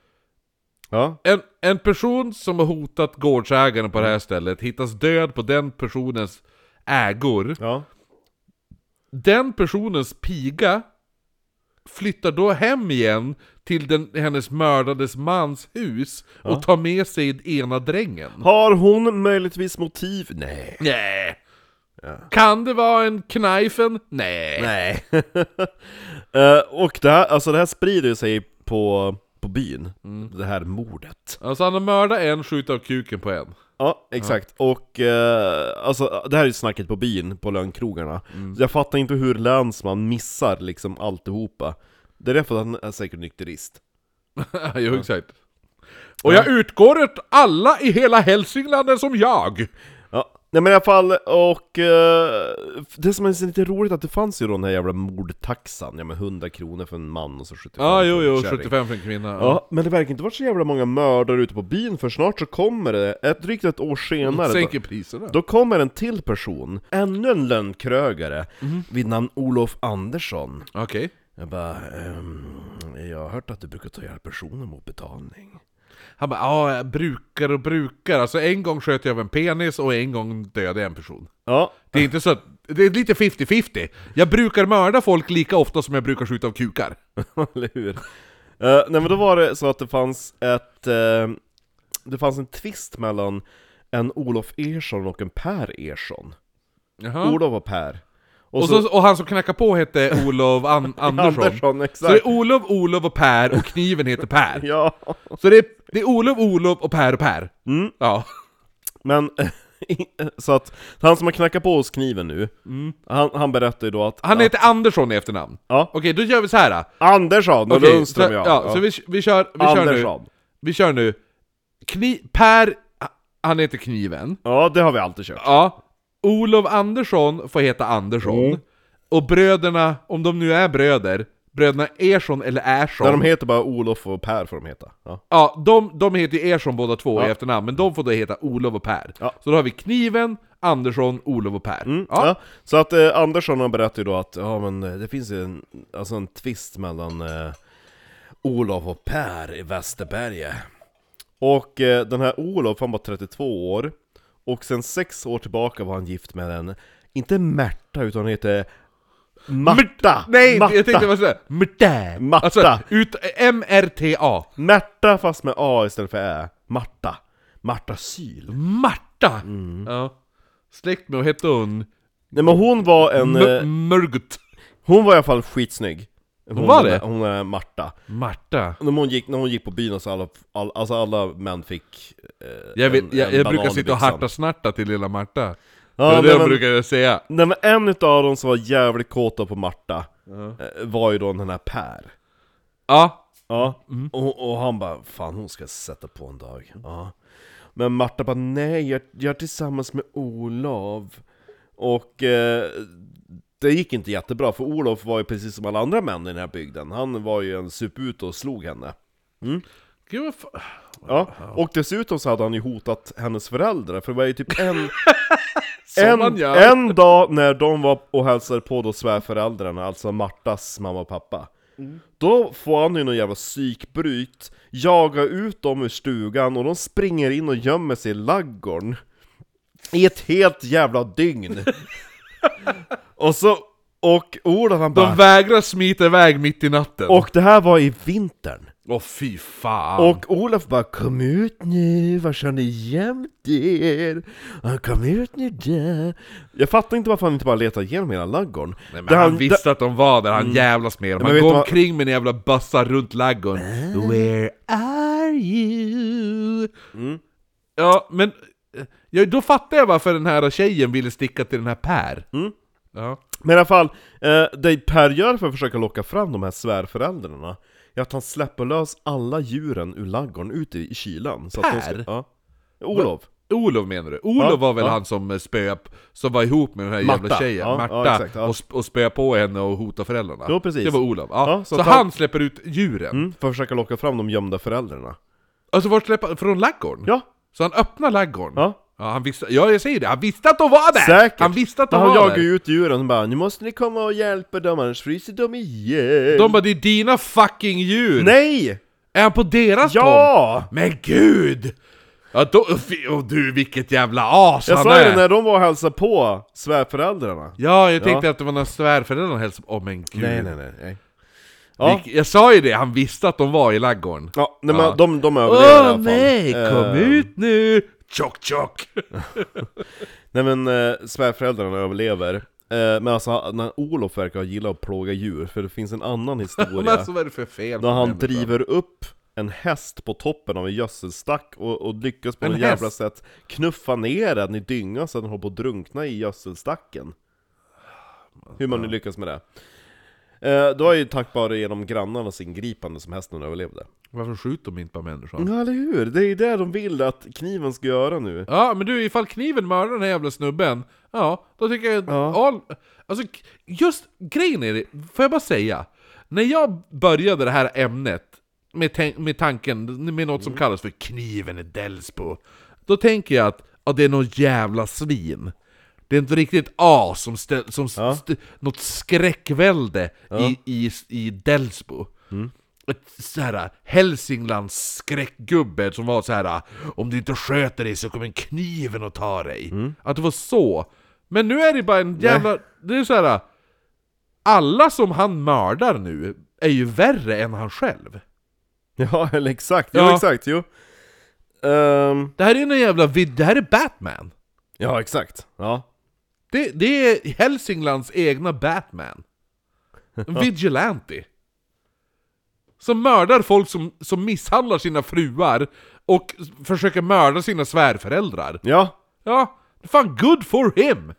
Speaker 2: ja.
Speaker 1: En, en person som har hotat gårdsägaren på det här stället hittas död på den personens ägor.
Speaker 2: ja.
Speaker 1: Den personens piga flyttar då hem igen till den, hennes mördades mans hus och tar med sig ena drängen.
Speaker 2: Har hon möjligtvis motiv? Nej.
Speaker 1: Nej. Kan det vara en knifen? Nej.
Speaker 2: Nej. <laughs> Eh, och det här, alltså det här sprider ju sig på, på byn, det här mordet.
Speaker 1: Alltså han har mördat en, skjutit av kuken på en. <laughs>
Speaker 2: Ja, exakt. Och eh, alltså, det här är ju snacket på byn, på lönnkrogarna. Jag fattar inte hur länsman missar liksom alltihopa. Det är därför att han är säkert nykterist.
Speaker 1: jo exakt. Och jag utgår att alla i hela Hälsingland är som jag.
Speaker 2: Ja. Nej men i alla fall, och eh, det som är så lite roligt är att det fanns ju då den här jävla mordtaxan, ja men 100 kronor för en man och så 75
Speaker 1: Ja, ah, jo, jo,
Speaker 2: för en kärring.
Speaker 1: 75 för en kvinna. Ja.
Speaker 2: Ja, men det verkar inte vara så jävla många mördare ute på byn för snart så kommer det, ett, drygt ett år senare, då,
Speaker 1: Sänker priserna.
Speaker 2: då kommer en till person, ännu en lönnkrögare,
Speaker 1: Mhm.
Speaker 2: vid namn Olof Andersson.
Speaker 1: Okej.
Speaker 2: Jag bara, ehm, jag har hört att du brukar ta ihjäl personer mot betalning.
Speaker 1: Han bara, ja, jag brukar och brukar. Alltså en gång sköt jag över en penis och en gång dödade jag en person.
Speaker 2: Ja,
Speaker 1: Det är inte så att, det är lite 50-50. Jag brukar mörda folk lika ofta som jag brukar skjuta av kukar.
Speaker 2: <laughs> eller hur? Eh, nej men då var det så att det fanns ett, eh, det fanns en tvist mellan en Olof Ersson och en Per Ersson.
Speaker 1: Jaha.
Speaker 2: Olof och Per. Och,
Speaker 1: Och, så, och han som knackade på hette Olof An Andersson.
Speaker 2: <laughs>
Speaker 1: Så
Speaker 2: Andersson,
Speaker 1: det
Speaker 2: exakt.
Speaker 1: är Olof, Olof och Per och kniven heter Per.
Speaker 2: <laughs> Ja.
Speaker 1: Så det är, det är Olof, Olof och Per och Per.
Speaker 2: Mm.
Speaker 1: Ja.
Speaker 2: Men, eh, så att han som har knackat på oss kniven nu, han, han berättar ju då att...
Speaker 1: Mm. Han
Speaker 2: att,
Speaker 1: heter Andersson i efternamn.
Speaker 2: Ja.
Speaker 1: Okej, då gör vi så här.
Speaker 2: Andersson och
Speaker 1: Okej,
Speaker 2: Lundström
Speaker 1: så,
Speaker 2: ja.
Speaker 1: ja, så vi, vi kör, vi kör nu.
Speaker 2: Andersson.
Speaker 1: Vi kör nu. Kni per, han heter Kniven.
Speaker 2: Ja, det har vi alltid kört.
Speaker 1: Ja. Olof Andersson får heta Andersson.
Speaker 2: Mm.
Speaker 1: Och bröderna, om de nu är bröder, bröderna Ersson eller Ersson.
Speaker 2: När de heter bara Olof och Per får de heta. Ja.
Speaker 1: Ja, de, de heter ju Ersson båda två i
Speaker 2: Ja.
Speaker 1: efternamn, men de får då heta Olof och Per.
Speaker 2: Ja. Mm.
Speaker 1: Så då har vi Kniven, Andersson, Olof och Per.
Speaker 2: Ja.
Speaker 1: Ja.
Speaker 2: Så att eh, Andersson han berättar ju då att ja, men, eh, det finns ju en, alltså en twist mellan eh, Olof och Per i Västerberge. Och eh, den här Olof han var 32 år, och sen sex år tillbaka var han gift med en, inte Märta utan hon heter Marta!
Speaker 1: Nej,
Speaker 2: Marta.
Speaker 1: jag tänkte bara sådär, Märta!
Speaker 2: Marta.
Speaker 1: Alltså, ut, M-R-T-A.
Speaker 2: Märta fast med A istället för Ä. Marta. Marta Syl.
Speaker 1: Marta!
Speaker 2: Mm.
Speaker 1: Ja. Släkt med, vad hette hon?
Speaker 2: Nej men hon var en, eh,
Speaker 1: M- Mörgut.
Speaker 2: hon var i alla fall skitsnygg. Hon,
Speaker 1: var
Speaker 2: den
Speaker 1: det?
Speaker 2: där- Hon är Marta.
Speaker 1: Marta.
Speaker 2: När hon gick, när hon gick på byn och så alla, all, alltså alla män fick eh,
Speaker 1: Jag, vet,
Speaker 2: en-
Speaker 1: jag,
Speaker 2: en
Speaker 1: jag
Speaker 2: banan
Speaker 1: brukar
Speaker 2: i
Speaker 1: sitta och
Speaker 2: byxan.
Speaker 1: harta-snarta till lilla Marta. det
Speaker 2: ja,
Speaker 1: var det
Speaker 2: nej,
Speaker 1: jag
Speaker 2: men,
Speaker 1: brukade säga.
Speaker 2: nej men en utav dem som var jävligt kåta på Marta eh, Var ju då den här Per
Speaker 1: Ja.
Speaker 2: Ja, och, och han bara 'Fan hon ska sätta på en dag' ja. Men Marta bara 'Nej, jag, jag är tillsammans med Olof' Och eh, det gick inte jättebra, för Olof var ju precis som alla andra män i den här bygden Han var ju en sup ut och slog henne
Speaker 1: Gud vad fa-
Speaker 2: Ja, och dessutom så hade han ju hotat hennes föräldrar, för det var ju typ en...
Speaker 1: Som man
Speaker 2: en,
Speaker 1: gör.
Speaker 2: en dag när de var och hälsade på då svärföräldrarna, alltså Martas mamma och pappa
Speaker 1: Mm.
Speaker 2: Då får han ju någon jävla psykbryt, jagar ut dem ur stugan och de springer in och gömmer sig i laggorn I ett helt jävla
Speaker 1: <laughs>
Speaker 2: dygn! och så, och Olof han bara...
Speaker 1: De vägrar smita iväg mitt i natten. Åh
Speaker 2: Och det här var i vintern!
Speaker 1: fy fan.
Speaker 2: Och Olof bara 'Kom ut nu, var kör ni jämt er? Ja, Kom ut nu där' Jag fattar inte varför han inte bara letar igenom hela ladugården
Speaker 1: Nej, men
Speaker 2: Där
Speaker 1: han,
Speaker 2: där-
Speaker 1: visste att de var där, han jävlas med dem.
Speaker 2: Mm.
Speaker 1: Han
Speaker 2: men vet du
Speaker 1: går
Speaker 2: vad- Mm.
Speaker 1: omkring med en jävla bössa runt laggården. Where are you?
Speaker 2: Mm.
Speaker 1: Ja, men... eh, Ja, då fattar jag varför den här tjejen ville sticka till den här Per.
Speaker 2: Mm.
Speaker 1: Ja.
Speaker 2: Men i alla fall, eh, det Per gör för att försöka locka fram de här svärföräldrarna Är att han släpper lös alla djuren ur ladugården ute i kylan så Att de
Speaker 1: Per?
Speaker 2: ska, ja. Olof
Speaker 1: Olof menar du? Olof
Speaker 2: Ja,
Speaker 1: var väl
Speaker 2: ja.
Speaker 1: han som spöade, som var ihop med den här jävla
Speaker 2: Marta.
Speaker 1: tjejen,
Speaker 2: Ja, ja,
Speaker 1: Marta,
Speaker 2: exakt, ja.
Speaker 1: och, sp- och spöade på henne och hotade föräldrarna?
Speaker 2: Jo, precis.
Speaker 1: Det var Olof, ja.
Speaker 2: Ja, så
Speaker 1: så
Speaker 2: att han-
Speaker 1: han släpper ut djuren?
Speaker 2: mm, För att försöka locka fram de gömda föräldrarna
Speaker 1: Alltså vart släpper Från laggården?
Speaker 2: Ja,
Speaker 1: Så han öppnar laggården?
Speaker 2: ja
Speaker 1: Ja, han visste, ja, jag säger det, han visste att de var där!
Speaker 2: Säkert!
Speaker 1: Äh, Han visste att de
Speaker 2: Men han
Speaker 1: var
Speaker 2: jagar
Speaker 1: där!
Speaker 2: ju ut djuren och bara 'Nu måste ni komma och hjälpa dem annars fryser de ihjäl'
Speaker 1: De bara, det är dina fucking djur!
Speaker 2: Nej!
Speaker 1: Är han på deras tomt?
Speaker 2: Ja!
Speaker 1: Men gud! Ja, då, fy- och du, vilket jävla as
Speaker 2: Jag
Speaker 1: han
Speaker 2: sa ju
Speaker 1: är!
Speaker 2: det när de var och hälsade på svärföräldrarna.
Speaker 1: Ja, jag tänkte att det var några svärföräldrar hälsade Åh men gud!
Speaker 2: nej. nej.
Speaker 1: Ja. Vilk- Jag sa ju det, han visste att de var i laggården.
Speaker 2: Ja, nej,
Speaker 1: Ja.
Speaker 2: men de, de
Speaker 1: Åh
Speaker 2: överlevde i alla fall.
Speaker 1: nej, kom
Speaker 2: Eh,
Speaker 1: ut nu! Tjock tjock!
Speaker 2: Nej men eh, svärföräldrarna överlever. Eh, men alltså, när Olof verkar gilla att plåga djur, för det finns
Speaker 1: <laughs>
Speaker 2: en annan
Speaker 1: Men
Speaker 2: historia.
Speaker 1: alltså vad är det för fel på
Speaker 2: När han
Speaker 1: människan?
Speaker 2: driver upp en häst på toppen av en gödselstack och, och lyckas på
Speaker 1: En
Speaker 2: något jävla
Speaker 1: häst?
Speaker 2: sätt knuffa ner den i dynga så att den håller på att drunkna i gödselstacken. Hur man nu lyckas med det. Eh, det var ju tack vare genom grannarnas ingripande som hästen överlevde.
Speaker 1: Varför skjuter de inte bara människor?
Speaker 2: Ja, eller hur? Det är ju det de vill att kniven ska göra nu.
Speaker 1: Ja, men du, ifall kniven mördar den här jävla snubben, ja, då tycker jag att
Speaker 2: Ja.
Speaker 1: all... Alltså, k- just grejen är det, får jag bara säga? När jag började det här ämnet med, tän- med tanken, med något
Speaker 2: Mm.
Speaker 1: som kallas för kniven i Delsbo, då tänker jag att ja, det är någon jävla svin. Det är inte riktigt as som, ställ, som
Speaker 2: Ja.
Speaker 1: st- något skräckvälde i, i, i Delsbo ett så här Hälsinglands skräckgubbe som var så här äh, Om du inte sköter dig så kommer kniven att ta dig. Att det var så. Men nu är det bara en jävla... Det är så här. äh, Alla som han mördar nu är ju värre än han själv.
Speaker 2: Ja, <laughs> eller exakt. Jo,
Speaker 1: Ja.
Speaker 2: exakt. Jo. Ehm,
Speaker 1: Det här är en jävla... vid- Det här är Batman.
Speaker 2: ja, exakt. Ja.
Speaker 1: Det, det är Hälsinglands egna Batman.
Speaker 2: <laughs>
Speaker 1: En vigilante. Som mördar folk som, som misshandlar sina fruar och s- försöker mörda sina svärföräldrar.
Speaker 2: Ja.
Speaker 1: Ja, fan good for him!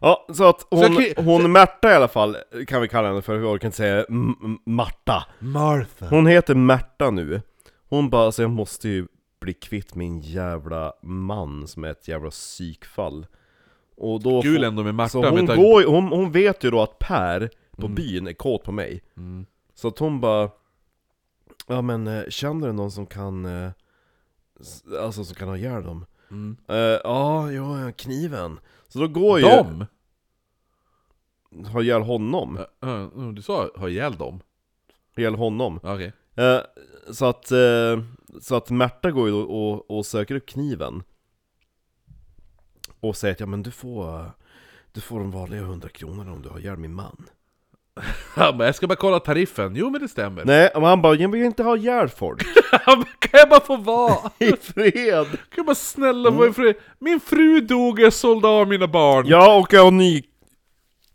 Speaker 2: Ja, så att hon,
Speaker 1: jag kan-
Speaker 2: hon Märta i alla fall, kan vi kalla henne för, jag orkar inte säga M- M- Marta.
Speaker 1: Martha.
Speaker 2: Hon heter Märta nu. Hon bara, alltså jag måste ju bli kvitt min jävla man som är ett jävla psykfall. Och då
Speaker 1: Kul ändå med Martha,
Speaker 2: så hon,
Speaker 1: med tanke-
Speaker 2: går, ju- hon, hon vet ju då att Per på byn är kåt på mig.
Speaker 1: Mm.
Speaker 2: Så att hon bara, ja men eh, känner du någon som kan, eh, s- alltså som kan ha ihjäl dem?
Speaker 1: Mm.
Speaker 2: Eh, Ja, jo, kniven. Så då går ju,
Speaker 1: Dem?
Speaker 2: har ihjäl honom.
Speaker 1: Ja, ja, Eh, mm, Du sa ha ihjäl dem?
Speaker 2: ihjäl honom.
Speaker 1: Ja, Okej. <laughs>
Speaker 2: Eh, så, att, eh, så att Märta går ju då och, och söker upp kniven. Och säger att ja men du får, du får de vanliga 100 kronorna om du har ihjäl min man.
Speaker 1: Han bara, jag ska bara kolla tariffen. Jo men det stämmer. <laughs>
Speaker 2: Nej, men han bara jag vill inte ha ihjäl folk.
Speaker 1: Han bara, kan jag bara få vara?
Speaker 2: I fred!
Speaker 1: Kan jag bara snälla
Speaker 2: Mm.
Speaker 1: vara ifred? Min fru dog och jag sålde av mina barn.
Speaker 2: Ja och jag har en ny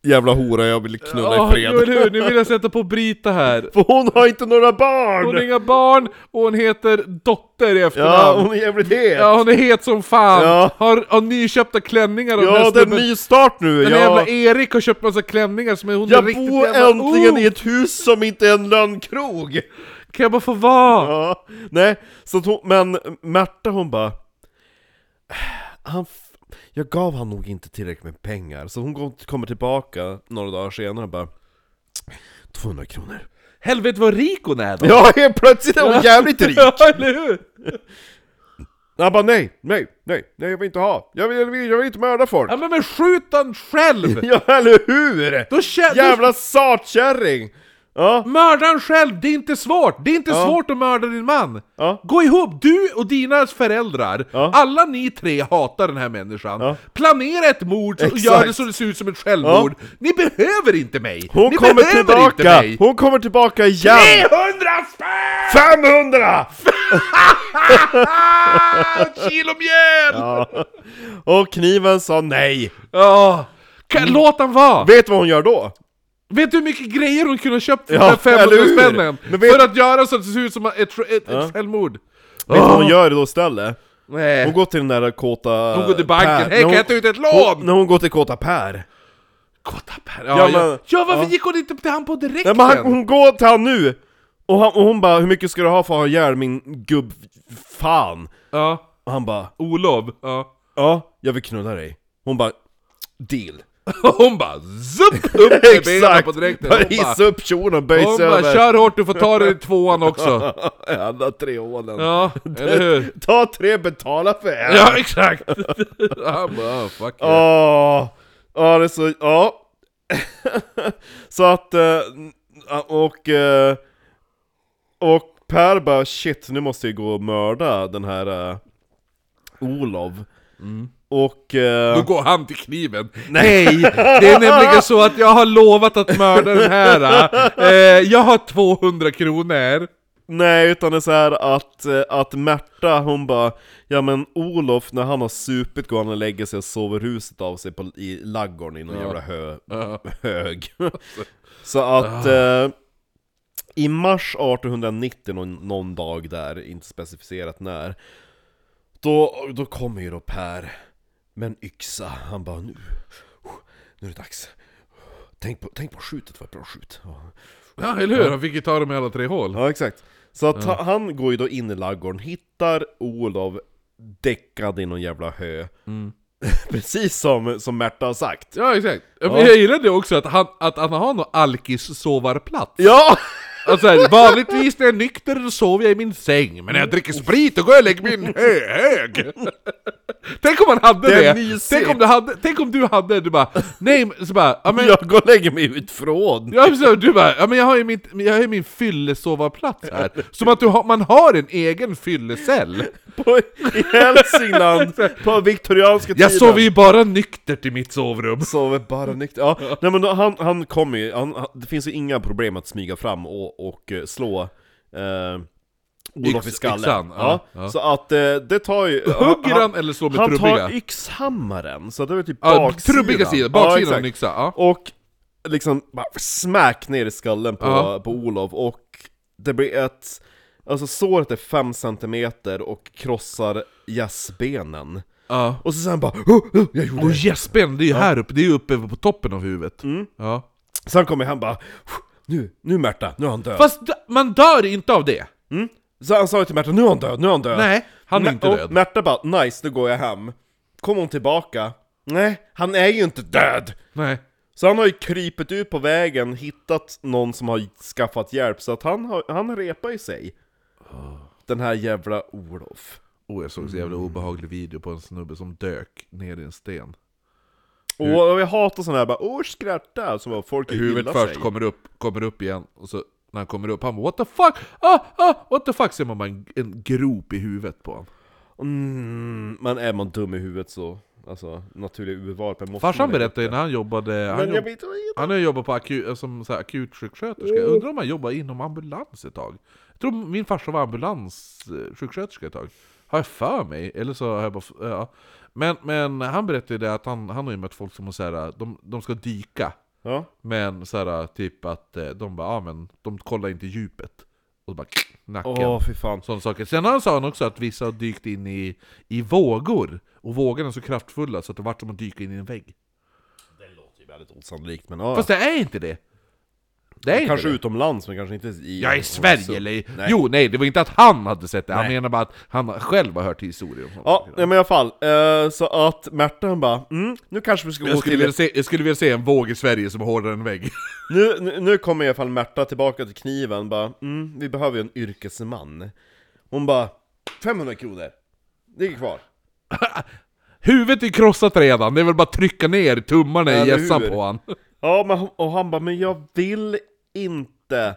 Speaker 2: jävla hora jag vill knulla
Speaker 1: Ja,
Speaker 2: i
Speaker 1: jo, eller
Speaker 2: fred.
Speaker 1: hur? Nu vill jag sätta på Brita här.
Speaker 2: <laughs> För hon har inte några
Speaker 1: Hon har
Speaker 2: barn!
Speaker 1: inga barn och hon heter Dotter i
Speaker 2: Ja,
Speaker 1: efternamn.
Speaker 2: hon är jävligt het!
Speaker 1: Ja, hon är het som fan.
Speaker 2: Ja.
Speaker 1: Har, har nyköpta klänningar av den
Speaker 2: Ja,
Speaker 1: här
Speaker 2: det är en
Speaker 1: snubben.
Speaker 2: ny start nu!
Speaker 1: Den
Speaker 2: ja.
Speaker 1: jävla Erik har köpt massa klänningar som är hon är
Speaker 2: Jag
Speaker 1: riktigt
Speaker 2: bor
Speaker 1: jävla...
Speaker 2: äntligen
Speaker 1: oh,
Speaker 2: i ett hus som inte är en lönnkrog!
Speaker 1: Kan jag bara få vara?
Speaker 2: Ja, nej, så att hon, men Märta hon bara han, f- Jag gav han nog inte tillräckligt med pengar, så hon går- kommer tillbaka några dagar senare och bara 200 kronor
Speaker 1: Helvete vad rik hon är då!
Speaker 2: Ja, helt plötsligt är hon jävligt
Speaker 1: <laughs>
Speaker 2: rik!
Speaker 1: Ja, eller hur?
Speaker 2: <laughs> Han bara nej, nej, nej, nej jag vill inte ha, jag vill, jag vill, jag vill inte mörda folk!
Speaker 1: Ja men, men skjut han själv!
Speaker 2: <laughs> Ja, eller hur!
Speaker 1: Då kä-
Speaker 2: Jävla satkärring! Ja,
Speaker 1: då- Mörda han själv, det är inte svårt! Det är inte svårt att mörda din man!
Speaker 2: Ja.
Speaker 1: Gå ihop, du och dina föräldrar,
Speaker 2: Ja.
Speaker 1: alla ni tre hatar den här människan.
Speaker 2: Ja.
Speaker 1: Planera ett mord och
Speaker 2: Exakt.
Speaker 1: gör det så det ser ut som ett självmord. Ni behöver inte mig!
Speaker 2: hon
Speaker 1: ni
Speaker 2: kommer
Speaker 1: behöver inte
Speaker 2: tillbaka!
Speaker 1: mig!
Speaker 2: Hon kommer tillbaka igen!
Speaker 1: 300
Speaker 2: <laughs>
Speaker 1: spänn!
Speaker 2: 500!
Speaker 1: Ah, ett kilo mjöl!
Speaker 2: Och kniven sa nej!
Speaker 1: Ja. Ah. Kan,
Speaker 2: Mm.
Speaker 1: Låt han vara!
Speaker 2: Vet du vad hon gör då?
Speaker 1: Vet du hur mycket grejer hon kunde ha köpt för
Speaker 2: Ja,
Speaker 1: de här 500
Speaker 2: eller hur?
Speaker 1: spännen?
Speaker 2: Men vet-
Speaker 1: För att göra så att det ser ut som ett, ett, ett självmord.
Speaker 2: Vet du vad hon
Speaker 1: Åh,
Speaker 2: gör då istället?
Speaker 1: nej.
Speaker 2: Hon går till den där kåta...
Speaker 1: Ah! Eh. Hon går till banken. Hej,
Speaker 2: Per. När
Speaker 1: kan
Speaker 2: hon-
Speaker 1: jag ta ut ett
Speaker 2: hon-
Speaker 1: lån?
Speaker 2: När hon går till kåta Per.
Speaker 1: Kottapär. Ja,
Speaker 2: Ja,
Speaker 1: ja,
Speaker 2: men-
Speaker 1: ja, varför
Speaker 2: ja.
Speaker 1: gick hon inte till han på direkt?
Speaker 2: Nej men han, hon går till han nu! Och, han, och hon bara 'Hur mycket ska du ha för att ha ihjäl min gubb... fan?'
Speaker 1: Ja,
Speaker 2: Och han bara
Speaker 1: Olof. Ja.
Speaker 2: 'Ja, jag vill knulla dig' Hon bara 'Deal'
Speaker 1: Och <laughs> hon bara zupp upp med benen på direkten.
Speaker 2: Bara
Speaker 1: Hon
Speaker 2: hissa
Speaker 1: bara,
Speaker 2: upp kjolen och böj
Speaker 1: hon
Speaker 2: sig
Speaker 1: bara
Speaker 2: över <laughs>
Speaker 1: kör hårt, du får ta dig i tvåan också.
Speaker 2: Alla tre hålen
Speaker 1: Ja, eller hur?
Speaker 2: Ta tre, betala för en!
Speaker 1: Ja, exakt! <laughs> Han bara, oh, fuck you.
Speaker 2: Ja, ja det är så, ja. <laughs> så att, eh, och, eh, och Per bara shit, nu måste jag gå och mörda den här eh, Olof. Och, eh,
Speaker 1: Mm. Då går han till kniven. Nej! Det är nämligen så att jag har lovat att mörda den här. Eh, jag har 200 kronor.
Speaker 2: nej utan det är så här att, eh, att Märta hon bara, ja men Olof när han har supit går han och lägger sig och sover huset av sig på, i laggården i någon jävla hö,
Speaker 1: Ja.
Speaker 2: hög. <laughs> Så att eh, i mars 1890, någon, någon dag där, inte specificerat när, då, då kommer ju då Per med en yxa. Han bara nu, nu är det dags. Tänk på, tänk på skjutet, vad bra skjut. Ja,
Speaker 1: Ja, eller hur? Han fick ju ta dem i alla tre hål.
Speaker 2: ja exakt. Så att ha- han går ju då in i ladugården, hittar Olof däckad i någon jävla hö. <laughs> Precis som, som Märta har sagt.
Speaker 1: Ja, exakt. Ja. Men
Speaker 2: Ja.
Speaker 1: jag gillade också att han, att han har någon alkis-sovarplats.
Speaker 2: Ja!
Speaker 1: Alltså, här, vanligtvis när jag är nykter så sover jag i min säng, men när jag dricker sprit då går jag och lägger mig i en hög! Tänk om man hade
Speaker 2: Det
Speaker 1: det!
Speaker 2: är mysigt.
Speaker 1: Tänk om, du hade, tänk om du hade, du bara, nej, men- så bara, ja men, ja.
Speaker 2: Jag går och lägger mig utifrån.
Speaker 1: så, du bara, ja men jag har ju mitt, jag har ju min fyllesovarplats här. Som att du har, man har en egen fyllecell!
Speaker 2: <laughs> På, I Hälsingland, på viktorianska tiden.
Speaker 1: Jag sover ju bara nyktert i mitt sovrum!
Speaker 2: Sover bara nykter. Ja, nej men då, han, han kommer ju, han, han, det finns ju inga problem att smyga fram och, och eh, slå eh, Olof
Speaker 1: Yx-
Speaker 2: i skallen.
Speaker 1: yxan, ja,
Speaker 2: ja,
Speaker 1: ja.
Speaker 2: Så att eh, det tar ju...
Speaker 1: Hugger han eller slår med
Speaker 2: han
Speaker 1: trubbiga?
Speaker 2: tar yxhammaren, så det är typ
Speaker 1: Ja,
Speaker 2: baksidan.
Speaker 1: trubbiga sidan, baksidan av
Speaker 2: exakt.
Speaker 1: en yxa, ja.
Speaker 2: Och liksom bara smack ner i skallen på,
Speaker 1: Ja.
Speaker 2: på Olof och det blir ett... Alltså såret är 5 cm och krossar gässbenen.
Speaker 1: ja.
Speaker 2: Och så säger han bara oh, oh, jag gjorde
Speaker 1: Och
Speaker 2: det!
Speaker 1: gäspen, det är ju här uppe, det är ju uppe på toppen av huvudet.
Speaker 2: Mm.
Speaker 1: Ja.
Speaker 2: Sen kommer han bara nu, nu Märta, nu är han död!
Speaker 1: Fast d- man dör inte av det!
Speaker 2: Så han sa ju till Märta, nu är han död, nu är han död!
Speaker 1: Nej, han är
Speaker 2: Mä-
Speaker 1: inte
Speaker 2: och
Speaker 1: död.
Speaker 2: Märta bara, nice, nu går jag hem. Kom hon tillbaka? Nej, han är ju inte död!
Speaker 1: Nej.
Speaker 2: Så han har ju krypit ut på vägen, hittat någon som har skaffat hjälp, så att han har, han repar i sig.
Speaker 1: Ah.
Speaker 2: Den här jävla Olof.
Speaker 1: Oh, jag såg så jävla obehaglig video på en snubbe som dök ner i en sten.
Speaker 2: Och jag hatar sådana här bara åh skratta, som att folk
Speaker 1: Huvudet
Speaker 2: gillar
Speaker 1: först
Speaker 2: sig.
Speaker 1: kommer upp, kommer upp igen, och så när han kommer upp, han bara, what the fuck? Ah, ah, what the fuck? Ser man bara en, en grop i huvudet på honom.
Speaker 2: Mm, men är man dum i huvudet så, alltså naturliga urvalet, men måste
Speaker 1: Farsan
Speaker 2: man det?
Speaker 1: berättade ju när han jobbade... Han,
Speaker 2: Men jag
Speaker 1: jobb,
Speaker 2: vet inte.
Speaker 1: han har ju jobbat på aku, som så här, akutsjuksköterska,
Speaker 2: Mm.
Speaker 1: jag undrar om han jobbar inom ambulans ett tag? Jag tror min farsa var ambulanssjuksköterska ett tag. Har jag för mig? Eller så har jag bara... f- Ja. Men, men han berättade ju det att han, han har ju mött folk som har så här, de, de ska dyka.
Speaker 2: Ja.
Speaker 1: Men såhär, typ att eh, de bara, ah, men de kollar inte djupet. Och bara nacken.
Speaker 2: Åh fy fan.
Speaker 1: Sådana saker. Sen har han- sa han också att vissa har dykt in i, i vågor. Och vågorna är så kraftfulla så att det vart som att dyka in i en vägg.
Speaker 2: Det låter ju väldigt osannolikt men ja.
Speaker 1: Fast det är inte det. Det är
Speaker 2: kanske
Speaker 1: inte det.
Speaker 2: utomlands men kanske inte i...
Speaker 1: Ja, i Sverige eller i-
Speaker 2: Alltså, Nej.
Speaker 1: Jo, nej, det var inte att han hade sett det. Han
Speaker 2: Nej.
Speaker 1: menar bara att han själv har hört historier om sådana
Speaker 2: Ja,
Speaker 1: saker.
Speaker 2: nej, men i alla fall. Eh, så att Märta hon bara, mm, nu kanske vi ska
Speaker 1: Jag
Speaker 2: gå
Speaker 1: skulle,
Speaker 2: till
Speaker 1: vilja se, jag skulle vilja se en våg i Sverige som är hårdare än en vägg. <laughs>
Speaker 2: Nu, nu, nu kommer i alla fall Märta tillbaka till kniven bara mm, vi behöver ju en yrkesman Hon bara 500 kronor, det är kvar
Speaker 1: Huvudet är krossat redan, det är väl bara att trycka ner tummarna i
Speaker 2: Eller
Speaker 1: hjässan
Speaker 2: hur?
Speaker 1: på han. <laughs>
Speaker 2: Ja men hon- och han bara men jag vill inte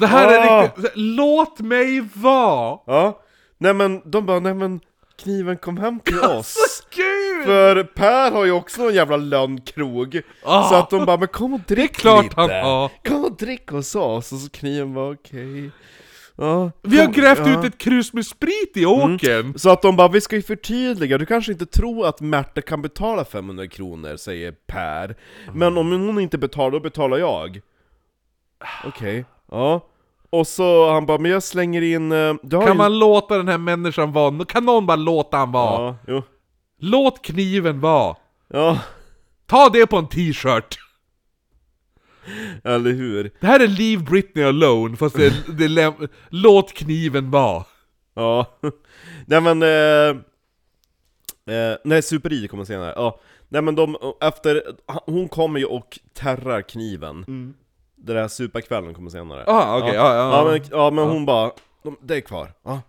Speaker 1: Det här är
Speaker 2: Ah!
Speaker 1: riktigt... så här, Låt mig vara!
Speaker 2: Ja, nej men de bara nej men kniven kom hem till oss
Speaker 1: Gud!
Speaker 2: För Per har ju också en jävla lönnkrog
Speaker 1: Ah.
Speaker 2: Så att de bara men kom och drick
Speaker 1: klart
Speaker 2: lite
Speaker 1: han har.
Speaker 2: Kom och drick hos oss och så kniven var okej Ja,
Speaker 1: Vi har
Speaker 2: kom-
Speaker 1: grävt
Speaker 2: ja. Mm.
Speaker 1: ut ett krus med sprit i åkern!
Speaker 2: Så att de bara, vi ska ju förtydliga, du kanske inte tror att Märta kan betala 500 kronor, säger Per. Men om hon inte betalar, då betalar jag. Okej, ja. Och så han bara, men jag slänger in... eh, Du har
Speaker 1: Kan
Speaker 2: ju...
Speaker 1: man låta den här människan vara? Kan någon bara låta han vara?
Speaker 2: Ja, jo.
Speaker 1: Låt kniven vara!
Speaker 2: Ja, <laughs>
Speaker 1: Ta det på en t-shirt!
Speaker 2: eller hur?
Speaker 1: Det här är Leave Britney Alone, fast det, är- det är läm- Låt kniven vara!
Speaker 2: Ja. <laughs> Nej men... Eh... Eh, nej, Super-I kommer senare. Ja. Nej men de, efter... Hon kommer ju och terrar kniven.
Speaker 1: Mm.
Speaker 2: Den där superkvällen kommer senare.
Speaker 1: Ah, okej, ja, ja,
Speaker 2: ja,
Speaker 1: ja.
Speaker 2: men, ja, men hon bara, de, det är kvar. Ja.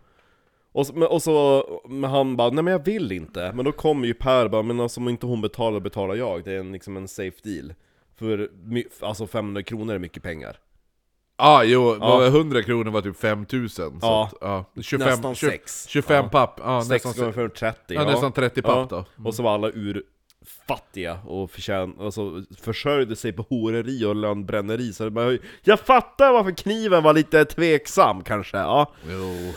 Speaker 2: Och så, men, och så men han bara, nej men jag vill inte. Men då kommer ju Per bara, men alltså, om inte hon betalar, betalar jag. Det är en, liksom en safe deal. För my- alltså 500 kronor är mycket pengar.
Speaker 1: Ja, ah, jo, vad var 100 kronor var typ 5000 så
Speaker 2: Ja.
Speaker 1: att, ja. 25,
Speaker 2: Nästan
Speaker 1: tju-
Speaker 2: sex.
Speaker 1: 25
Speaker 2: Ja.
Speaker 1: papp, ja,
Speaker 2: Sex
Speaker 1: nästan,
Speaker 2: gånger 530.
Speaker 1: ja, nästan 30 papp då.
Speaker 2: Och så var alla urfattiga och förtjän, alltså, försörjde sig på horeri och lönnbränneri. Så det bara, jag fattar varför kniven var lite tveksam kanske. Ja.
Speaker 1: Jo.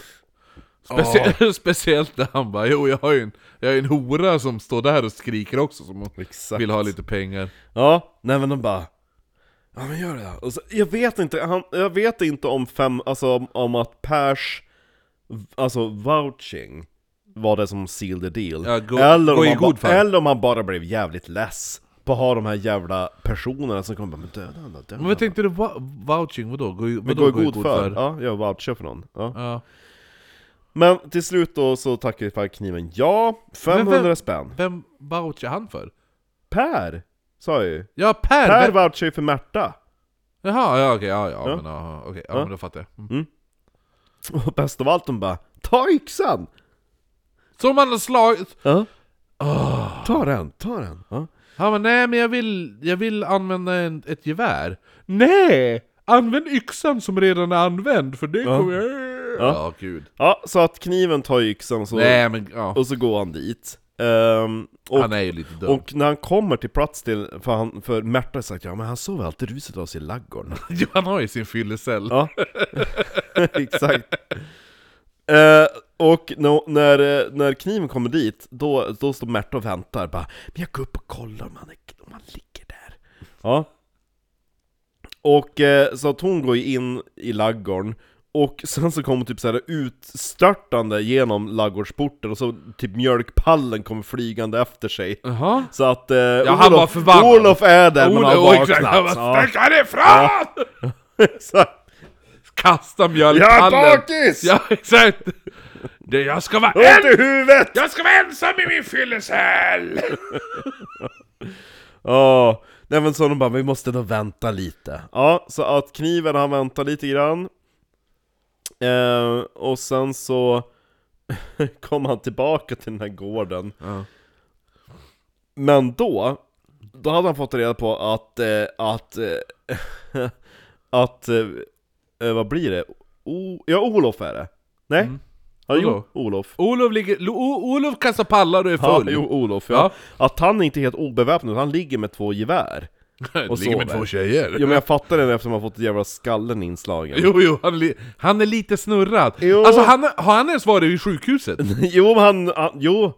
Speaker 1: Specie- <laughs> Speciellt när han bara 'Jo, jag har ju en, jag har ju en hora som står där och skriker också som
Speaker 2: Exakt.
Speaker 1: vill ha lite pengar'
Speaker 2: Ja, nej men de bara Ja men gör det då. och så, Jag vet inte, han, jag vet inte om fem, alltså om, om att Pers Alltså vouching var det som sealed the deal
Speaker 1: Ja, gå-
Speaker 2: eller,
Speaker 1: gå
Speaker 2: om
Speaker 1: i
Speaker 2: han
Speaker 1: god
Speaker 2: ba-
Speaker 1: för.
Speaker 2: eller om han bara blev jävligt less på att ha de här jävla personerna som kommer bara 'Men döda honom, döda
Speaker 1: Men vad
Speaker 2: honom'
Speaker 1: tänkte du, va- vouching, vadå? Gå, i-
Speaker 2: Men
Speaker 1: vadå
Speaker 2: går god för? Ja, jag vouchar för någon ja.
Speaker 1: Ja.
Speaker 2: Men till slut då så tackar vi för kniven ja, 500
Speaker 1: Men vem-
Speaker 2: spänn
Speaker 1: Vem vouchar han för?
Speaker 2: Per! Sa jag ju
Speaker 1: Ja, Per!
Speaker 2: Per
Speaker 1: vem-
Speaker 2: vouchar ju för Märta
Speaker 1: Jaha, ja okej, ja, ja,
Speaker 2: Ja.
Speaker 1: men ja, okej, ja,
Speaker 2: Ja.
Speaker 1: men då fattar jag. Mm.
Speaker 2: Och bäst av allt hon bara 'Ta yxan!'
Speaker 1: Som han har slagit...
Speaker 2: Ja.
Speaker 1: Åh.
Speaker 2: Ta den, ta den! Ah. Ja.
Speaker 1: Han bara, nej men jag vill, jag vill använda en, ett gevär.
Speaker 2: Nej!
Speaker 1: Använd yxan som redan är använd, för det
Speaker 2: Ja.
Speaker 1: kommer jag...
Speaker 2: Ja.
Speaker 1: Ja, gud.
Speaker 2: Ja, så att kniven tar yxan så,
Speaker 1: Nej men, ja.
Speaker 2: och så går han dit Ehm, och,
Speaker 1: Han är ju lite dum.
Speaker 2: och när han kommer till Pratstill, för, han, för Märta har sagt ja men han sov alltid ruset av sig i laggården
Speaker 1: Jo, <laughs> han har ju sin fyllecell.
Speaker 2: Ja, exakt. Eh, och nå- när, eh, när kniven kommer dit, då, då står Märta och väntar bara Men jag går upp och kollar om han, är, om han ligger där. Ja. Och eh, så att hon går ju in i laggården och sen så kommer typ så här utstörtande genom laggårdsporten och så typ mjölkpallen kommer flygande efter sig.
Speaker 1: Jaha.
Speaker 2: Så att eh, ja,
Speaker 1: han var förbannad.
Speaker 2: Olof är där men har
Speaker 1: Olof- och exakt, <laughs> han
Speaker 2: vaknat.
Speaker 1: bara,
Speaker 2: Ja, <laughs>
Speaker 1: Stick härifrån!
Speaker 2: exakt.
Speaker 1: Kasta
Speaker 2: Jag
Speaker 1: mjölkpallen!
Speaker 2: är bakis!
Speaker 1: Ja, <laughs> exakt! Det, jag ska vara
Speaker 2: Ont
Speaker 1: en...
Speaker 2: i huvudet!
Speaker 1: Jag ska vara ensam i min
Speaker 2: <laughs>
Speaker 1: fyllecell!
Speaker 2: Ja, nej men så de bara, vi måste nog vänta lite. Ja, så att kniven han väntar lite grann. Eh, och sen så <laughs> kom han tillbaka till den här gården.
Speaker 1: Ja.
Speaker 2: Men då, då hade han fått reda på att, eh, att, eh, <laughs> att, eh, eh, vad blir det? O- ja, Olof är det. Nej?
Speaker 1: Mm.
Speaker 2: Ja, jo,
Speaker 1: Olof.
Speaker 2: Olof.
Speaker 1: Olof ligger... Lo- O- Olof kastar pallar och är
Speaker 2: Ja,
Speaker 1: full! <laughs>
Speaker 2: jo, Olof ja. Att han är inte är helt obeväpnad, han ligger med två gevär.
Speaker 1: Och
Speaker 2: Och
Speaker 1: ligger med
Speaker 2: sover.
Speaker 1: två tjejer.
Speaker 2: Jo men jag fattar det eftersom han fått jävla skallen inslagen
Speaker 1: <laughs> Jo, jo, han, li- han är lite snurrad.
Speaker 2: Jo.
Speaker 1: Alltså, han, har han ens varit i sjukhuset?
Speaker 2: <laughs> Jo, men han, han, jo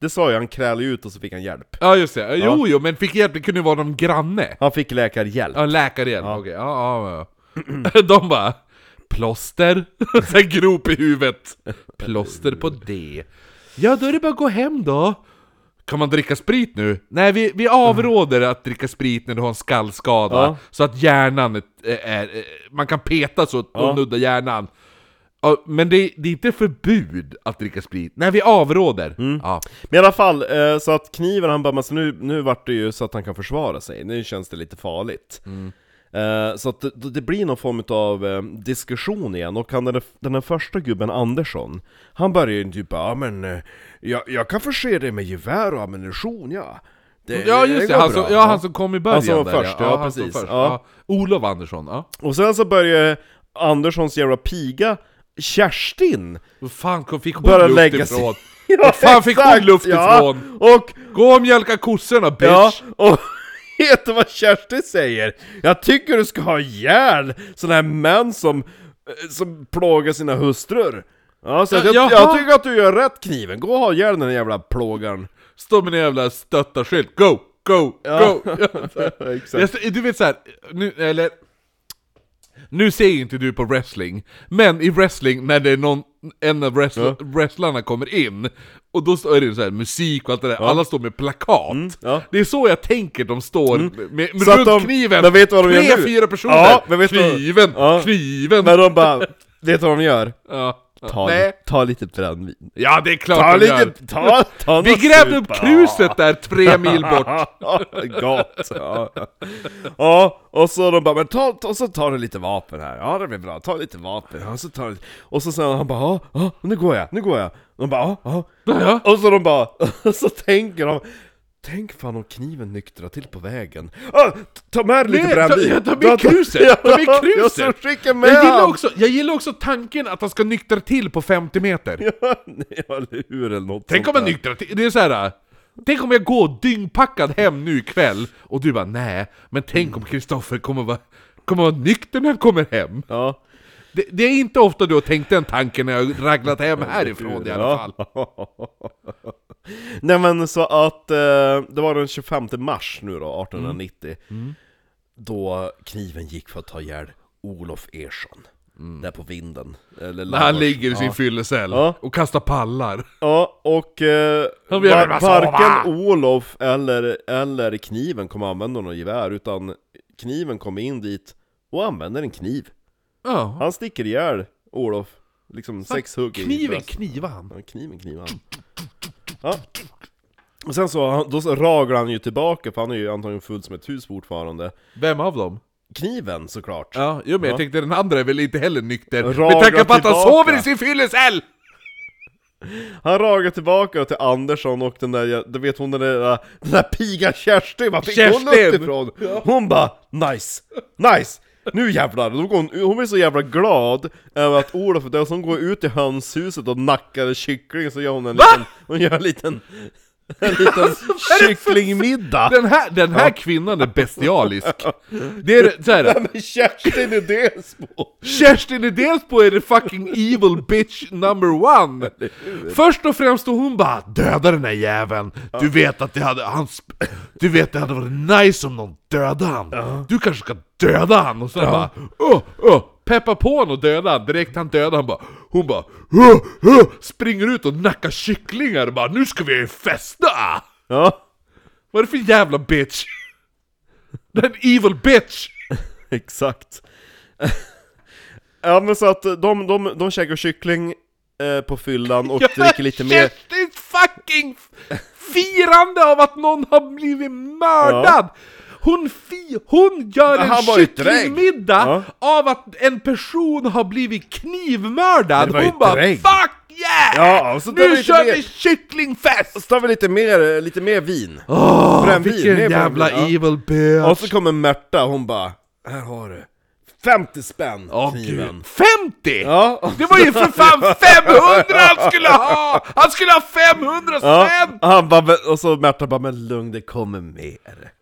Speaker 2: Det sa jag, han krälade ut och så fick han hjälp
Speaker 1: Ja, just det. Jo, jo, men fick hjälp, det kunde ju vara någon granne.
Speaker 2: Han fick läkarhjälp
Speaker 1: Ja, läkarhjälp. Okej, ja, ja, <clears throat> ja. De bara... Plåster, <laughs> sen grop i huvudet. Plåster på det. Ja, då är det bara att gå hem då. Kan man dricka sprit nu? Nej, vi, vi avråder att dricka sprit när du har en skallskada.
Speaker 2: Ja.
Speaker 1: Så att hjärnan är, är, är... Man kan peta så och
Speaker 2: Ja.
Speaker 1: nudda hjärnan. Ja, men det, det är inte förbud att dricka sprit. Nej, vi avråder.
Speaker 2: Mm.
Speaker 1: Ja.
Speaker 2: Men i alla fall, eh, så att kniven han bara men så nu, nu vart det ju så att han kan försvara sig Nu känns det lite farligt
Speaker 1: Mm.
Speaker 2: Eh, Så att det, det blir någon form av eh, diskussion igen, och han, den, där- den här första gubben Andersson Han börjar ju typ bara, ja men eh, jag, jag kan förse dig med gevär och ammunition ja Det-
Speaker 1: Ja just det,
Speaker 2: går
Speaker 1: han som,
Speaker 2: bra."
Speaker 1: ja, han som kom i början
Speaker 2: Han som var
Speaker 1: där,
Speaker 2: först, ja,
Speaker 1: han som
Speaker 2: precis.
Speaker 1: var Först,
Speaker 2: Ja.
Speaker 1: ja. Olof Andersson, ja.
Speaker 2: Och sen så börjar Anderssons jävla piga Kerstin
Speaker 1: Vad fan kom- fick hon
Speaker 2: börja
Speaker 1: luft
Speaker 2: lägga sig...
Speaker 1: <laughs>
Speaker 2: <laughs>
Speaker 1: ifrån? Vad fan fick hon
Speaker 2: exakt,
Speaker 1: luft
Speaker 2: ja.
Speaker 1: ifrån?
Speaker 2: Och,
Speaker 1: Gå och mjölka kossorna bitch!
Speaker 2: ja, och <laughs> vet du vad Kerstin säger? Jag tycker du ska ha ihjäl sådana här män som, eh, som plågar sina hustrur. Ja, så
Speaker 1: Ja,
Speaker 2: att jag,
Speaker 1: jaha.
Speaker 2: jag tycker att du gör rätt kniven, gå och ha ihjäl den här jävla
Speaker 1: <laughs>
Speaker 2: plågaren.
Speaker 1: Stå med en jävla stöttarskylt, go, go,
Speaker 2: Ja.
Speaker 1: go!
Speaker 2: <laughs> Exakt.
Speaker 1: Jag, du vet såhär, nu, eller... Nu ser ju inte du på wrestling, men i wrestling när det är någon, en av wrestl- wrestlarna kommer in, och då står- är det så här musik och allt det där, alla står med plakat.
Speaker 2: Mm, ja. Mm.
Speaker 1: Det är så jag tänker de står med, med
Speaker 2: Så att
Speaker 1: runt
Speaker 2: de-
Speaker 1: kniven,
Speaker 2: men vet du vad de gör
Speaker 1: tre,
Speaker 2: nu?
Speaker 1: fyra personer,
Speaker 2: Ja, men vet du vad-
Speaker 1: kniven,
Speaker 2: Ja.
Speaker 1: kniven!
Speaker 2: Men de bara, vet du vad de gör?
Speaker 1: ja.
Speaker 2: Ta,
Speaker 1: Nej.
Speaker 2: ta lite brännvin.
Speaker 1: ja, det är klart
Speaker 2: Ta
Speaker 1: de gör.
Speaker 2: lite, ta, ta
Speaker 1: Vi
Speaker 2: något
Speaker 1: grävde upp
Speaker 2: supa.
Speaker 1: kruset där tre mil bort.
Speaker 2: Gott! Ja. ja, och så de bara men ta, ta- och så tar du lite vapen här, ja det blir bra, ta lite vapen, ja, så tar du... Och så sen han bara ja, ja, nu går jag, nu går jag! De bara ja, ja.
Speaker 1: Ja.
Speaker 2: Och så de bara, <laughs> och så tänker de Tänk fan om kniven nyktrar till på vägen. Ah, t- ta med dig lite
Speaker 1: Nej, ta-
Speaker 2: brännvin!
Speaker 1: ja, ta med kruset, ta med
Speaker 2: Ja,
Speaker 1: kruset.
Speaker 2: Jag ska skicka med
Speaker 1: Jag gillar,
Speaker 2: han.
Speaker 1: också, jag gillar också tanken att han ska nyktra till på 50 meter.
Speaker 2: <laughs> Ja, nej, eller hur eller något
Speaker 1: Tänk om
Speaker 2: sånt
Speaker 1: jag
Speaker 2: där.
Speaker 1: nyktrar till, det är så här. Tänk om jag går dyngpackad hem nu ikväll och du bara nej, men tänk
Speaker 2: Mm.
Speaker 1: om Kristoffer kommer vara, kommer vara nykter när han kommer hem.
Speaker 2: Ja.
Speaker 1: Det, det är inte ofta du har tänkt den tanken när jag har raglat hem härifrån i alla fall.
Speaker 2: <laughs> Nej men så att eh, det var den 25 mars nu då,
Speaker 1: Mm.
Speaker 2: 1890 Då kniven gick för att ta ihjäl Olof Ersson Där på vinden. Eller
Speaker 1: När han
Speaker 2: Lars.
Speaker 1: Mm. ligger i sin
Speaker 2: ja.
Speaker 1: fyllecell
Speaker 2: Ja.
Speaker 1: och kastar pallar.
Speaker 2: Ja, och eh,
Speaker 1: Han vill
Speaker 2: var,
Speaker 1: bara sova.
Speaker 2: varken Olof eller, eller kniven kommer använda någon gevär, utan kniven kommer in dit och använder en kniv.
Speaker 1: Ja.
Speaker 2: Han sticker ihjäl Olof, liksom sex hugg i
Speaker 1: Kniven
Speaker 2: bröstet.
Speaker 1: knivar han.
Speaker 2: Ja, kniven knivar han. Ja. Och sen så, han- då så raglar han ju tillbaka, för han är ju antagligen full som ett hus fortfarande.
Speaker 1: Vem av dem?
Speaker 2: Kniven såklart.
Speaker 1: Ja, jo, men jag
Speaker 2: Ja.
Speaker 1: tänkte den andra är väl inte heller nykter.
Speaker 2: Raglar
Speaker 1: Med tanke på att han
Speaker 2: tillbaka.
Speaker 1: sover i sin fyllecell!
Speaker 2: Han raglar tillbaka till Andersson och den där, du vet hon den där, den där piga Kerstin, var fick hon upp
Speaker 1: Kerstin!
Speaker 2: ifrån? Hon bara 'nice, nice' Nu jävlar! Då går hon, hon blir så jävla glad över att Olof, det är som går ut i hönshuset och nackar kyckling så gör hon en liten, hon gör en liten,
Speaker 1: <laughs>
Speaker 2: en liten kycklingmiddag!
Speaker 1: Den här, den här kvinnan är <laughs> bestialisk. Det är så här.
Speaker 2: Men Kerstin är Delsbo!
Speaker 1: Kerstin i Delsbo är the fucking evil bitch number one! Först och främst och hon bara 'Döda den här jäveln! Du vet att det hade, han, sp- du vet det hade varit nice om någon dödade han! Du kanske ska döda han!' Och sen bara oh, oh, Peppa på honom och döda han, direkt han dödar han bara Hon bara oh, oh, Springer ut och nackar kycklingar och bara 'Nu ska vi festa!'
Speaker 2: Ja,
Speaker 1: Vad är det för jävla bitch? Den evil bitch!
Speaker 2: exakt. Ja men så att de, de, de käkar kyckling eh, på fyllan och dricker lite mer
Speaker 1: Kerstin fucking f- firande av att någon har blivit mördad! Hon, fi- hon gör
Speaker 2: Men han
Speaker 1: en
Speaker 2: var ju drägg.
Speaker 1: kycklingmiddag av att en person har blivit knivmördad!
Speaker 2: Det var ju
Speaker 1: Hon bara
Speaker 2: drägg.
Speaker 1: 'Fuck yeah!
Speaker 2: Ja, och så tar vi
Speaker 1: nu
Speaker 2: lite
Speaker 1: kör
Speaker 2: mer-
Speaker 1: vi kycklingfest!'
Speaker 2: Så tar vi lite mer, lite mer vin.
Speaker 1: Åh,
Speaker 2: Brännvin,
Speaker 1: vilken
Speaker 2: mer
Speaker 1: jävla
Speaker 2: brännvin, ja.
Speaker 1: evil bitch!
Speaker 2: Och så kommer Märta, hon bara Här har du 50 spänn
Speaker 1: Åh
Speaker 2: kniven.
Speaker 1: gud, 50!
Speaker 2: Ja.
Speaker 1: Det var ju för
Speaker 2: <laughs>
Speaker 1: fan 500 han skulle ha! Han skulle ha 500
Speaker 2: Ja,
Speaker 1: spänn!
Speaker 2: han bara, "Men-" och så Märta bara 'Men lugn, det kommer mer'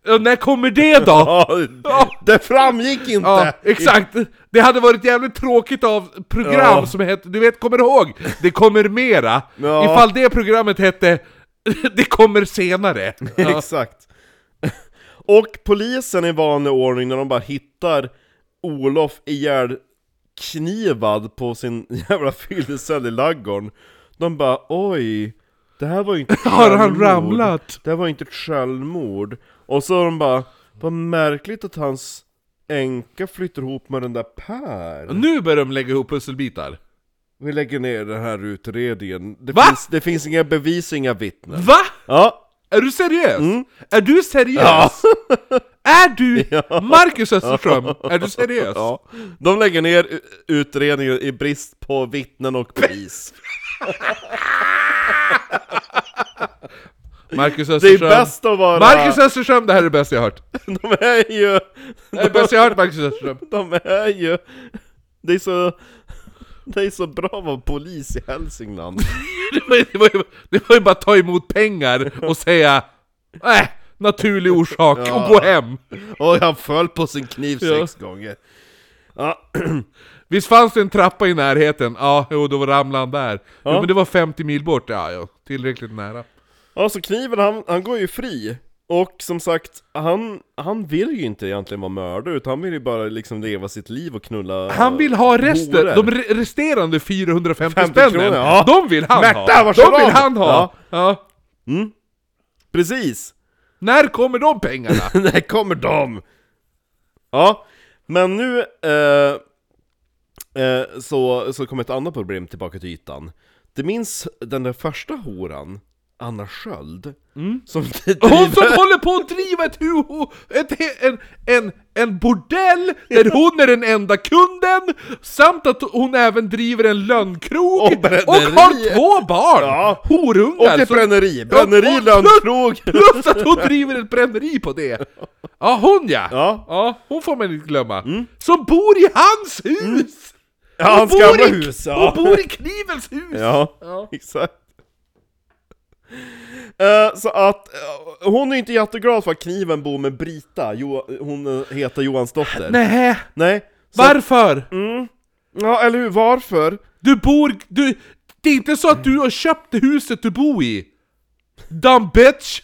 Speaker 1: Ja. När kommer det då?
Speaker 2: Ja, det framgick inte!
Speaker 1: Ja, exakt! Det hade varit jävligt tråkigt av program
Speaker 2: Ja.
Speaker 1: som hette, du vet, kommer du ihåg? Det kommer mera!
Speaker 2: Ja.
Speaker 1: Ifall det programmet hette <laughs> Det kommer senare! Ja.
Speaker 2: <laughs> Exakt. Och polisen i vanlig ordning när de bara hittar Olof ihjälknivad på sin <laughs> jävla fyllecell i laggården. De bara oj, det här var ju inte ett
Speaker 1: <laughs> Har han
Speaker 2: självmord.
Speaker 1: ramlat?
Speaker 2: Det här var ju inte ett självmord. Och så de bara, vad märkligt att hans änka flyttar ihop med den där Per.
Speaker 1: Nu börjar de lägga ihop pusselbitar.
Speaker 2: Vi lägger ner den här utredningen. Det,
Speaker 1: Va?
Speaker 2: finns, det finns inga bevis, inga vittnen.
Speaker 1: Va?
Speaker 2: Ja,
Speaker 1: Är du seriös? Är du seriös? Är <laughs> du Marcus Österström? Är du seriös?
Speaker 2: Ja, de lägger ner u- utredningen i brist på vittnen och bevis.
Speaker 1: Marcus
Speaker 2: Det är
Speaker 1: Österström.
Speaker 2: bäst att vara...
Speaker 1: Marcus Österström, det här är det bästa jag hört.
Speaker 2: De är ju...
Speaker 1: Det är det bästa jag hört Marcus Österström.
Speaker 2: De är ju... Det är så... Det är så bra att vara polis i Hälsingland.
Speaker 1: <laughs> Det var, ju- det, var ju, det var ju bara att ta emot pengar och säga äh, naturlig orsak och gå hem.
Speaker 2: Och han föll på sin kniv sex gånger. Ja,
Speaker 1: Visst fanns det en trappa i närheten? Ja, jo, då ramlade han där. Jo, men det var 50 mil bort. Ja, ja, tillräckligt nära.
Speaker 2: Ja, så kniven han, han går ju fri. Och som sagt, han, han vill ju inte egentligen vara mördare, utan han vill ju bara liksom leva sitt liv och knulla...
Speaker 1: Han vill ha resten,
Speaker 2: horor.
Speaker 1: de re- resterande 450
Speaker 2: 50
Speaker 1: spennen,
Speaker 2: kronor, ja.
Speaker 1: de vill han
Speaker 2: Märta,
Speaker 1: ha!
Speaker 2: varsågod!
Speaker 1: De vill han ha!
Speaker 2: Ja.
Speaker 1: Ja.
Speaker 2: Precis!
Speaker 1: När kommer de
Speaker 2: <laughs>
Speaker 1: pengarna?
Speaker 2: När kommer de? Ja, men nu eh, eh, så, så kommer ett annat problem tillbaka till ytan. Du minns den där första horan, Anna Sköld? Som
Speaker 1: Mm. Hon som
Speaker 2: driver...
Speaker 1: håller på att driva ett, hu- ett, he- en, en, en bordell där hon är den enda kunden, samt att hon även driver en lönnkrog
Speaker 2: Och
Speaker 1: och,
Speaker 2: bränneri.
Speaker 1: har två barn!
Speaker 2: Ja.
Speaker 1: Horungar!
Speaker 2: Och <laughs> ett
Speaker 1: som-
Speaker 2: bränneri! Bränneri,
Speaker 1: Ja, och plus-
Speaker 2: lönnkrog!
Speaker 1: Plus att hon driver ett bränneri på det! Ja, hon ja!
Speaker 2: Ja. Mm.
Speaker 1: hon får man inte glömma. Som bor i hans hus!
Speaker 2: Ja, hans
Speaker 1: Hon bor
Speaker 2: gamla
Speaker 1: i-
Speaker 2: hus! Ja.
Speaker 1: Hon bor i knivens hus!
Speaker 2: Ja,
Speaker 1: Ja.
Speaker 2: exakt. Eh, så att, eh, hon är inte jätteglad för att kniven bor med Brita, jo, hon eh, heter Johansdotter.
Speaker 1: Nej,
Speaker 2: Nej. Så,
Speaker 1: varför?
Speaker 2: ja, eller hur, varför?
Speaker 1: Du bor... Du, det är inte så att du har köpt det huset du bor i! Dumb bitch!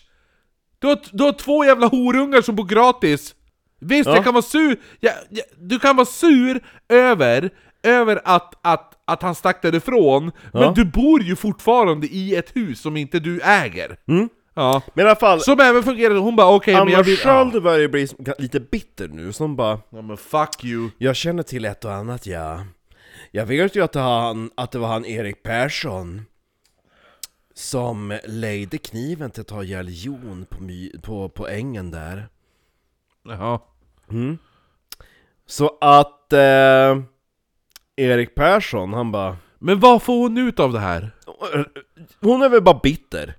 Speaker 1: Du har, du har två jävla horungar som bor gratis! Visst, jag kan vara sur... Jag, jag, du kan vara sur över... över att, att, att han stack därifrån, men
Speaker 2: Ja.
Speaker 1: du bor ju fortfarande i ett hus som inte du äger.
Speaker 2: Mm.
Speaker 1: Ja.
Speaker 2: Men i alla fall,
Speaker 1: Som även fungerade, hon bara okej men
Speaker 2: Anna
Speaker 1: jag vill... Ja.
Speaker 2: Sköld börjar ju bli som- lite bitter nu, som bara
Speaker 1: ja men fuck you.
Speaker 2: Jag känner till ett och annat ja. Jag vet ju att det, var han, att det var han Erik Persson som lejde kniven till att ta ihjäl Jon på, my, på, på ängen där.
Speaker 1: Ja.
Speaker 2: Så att eh, Erik Persson, han bara
Speaker 1: Men vad får hon ut av det här?
Speaker 2: Hon är väl bara bitter?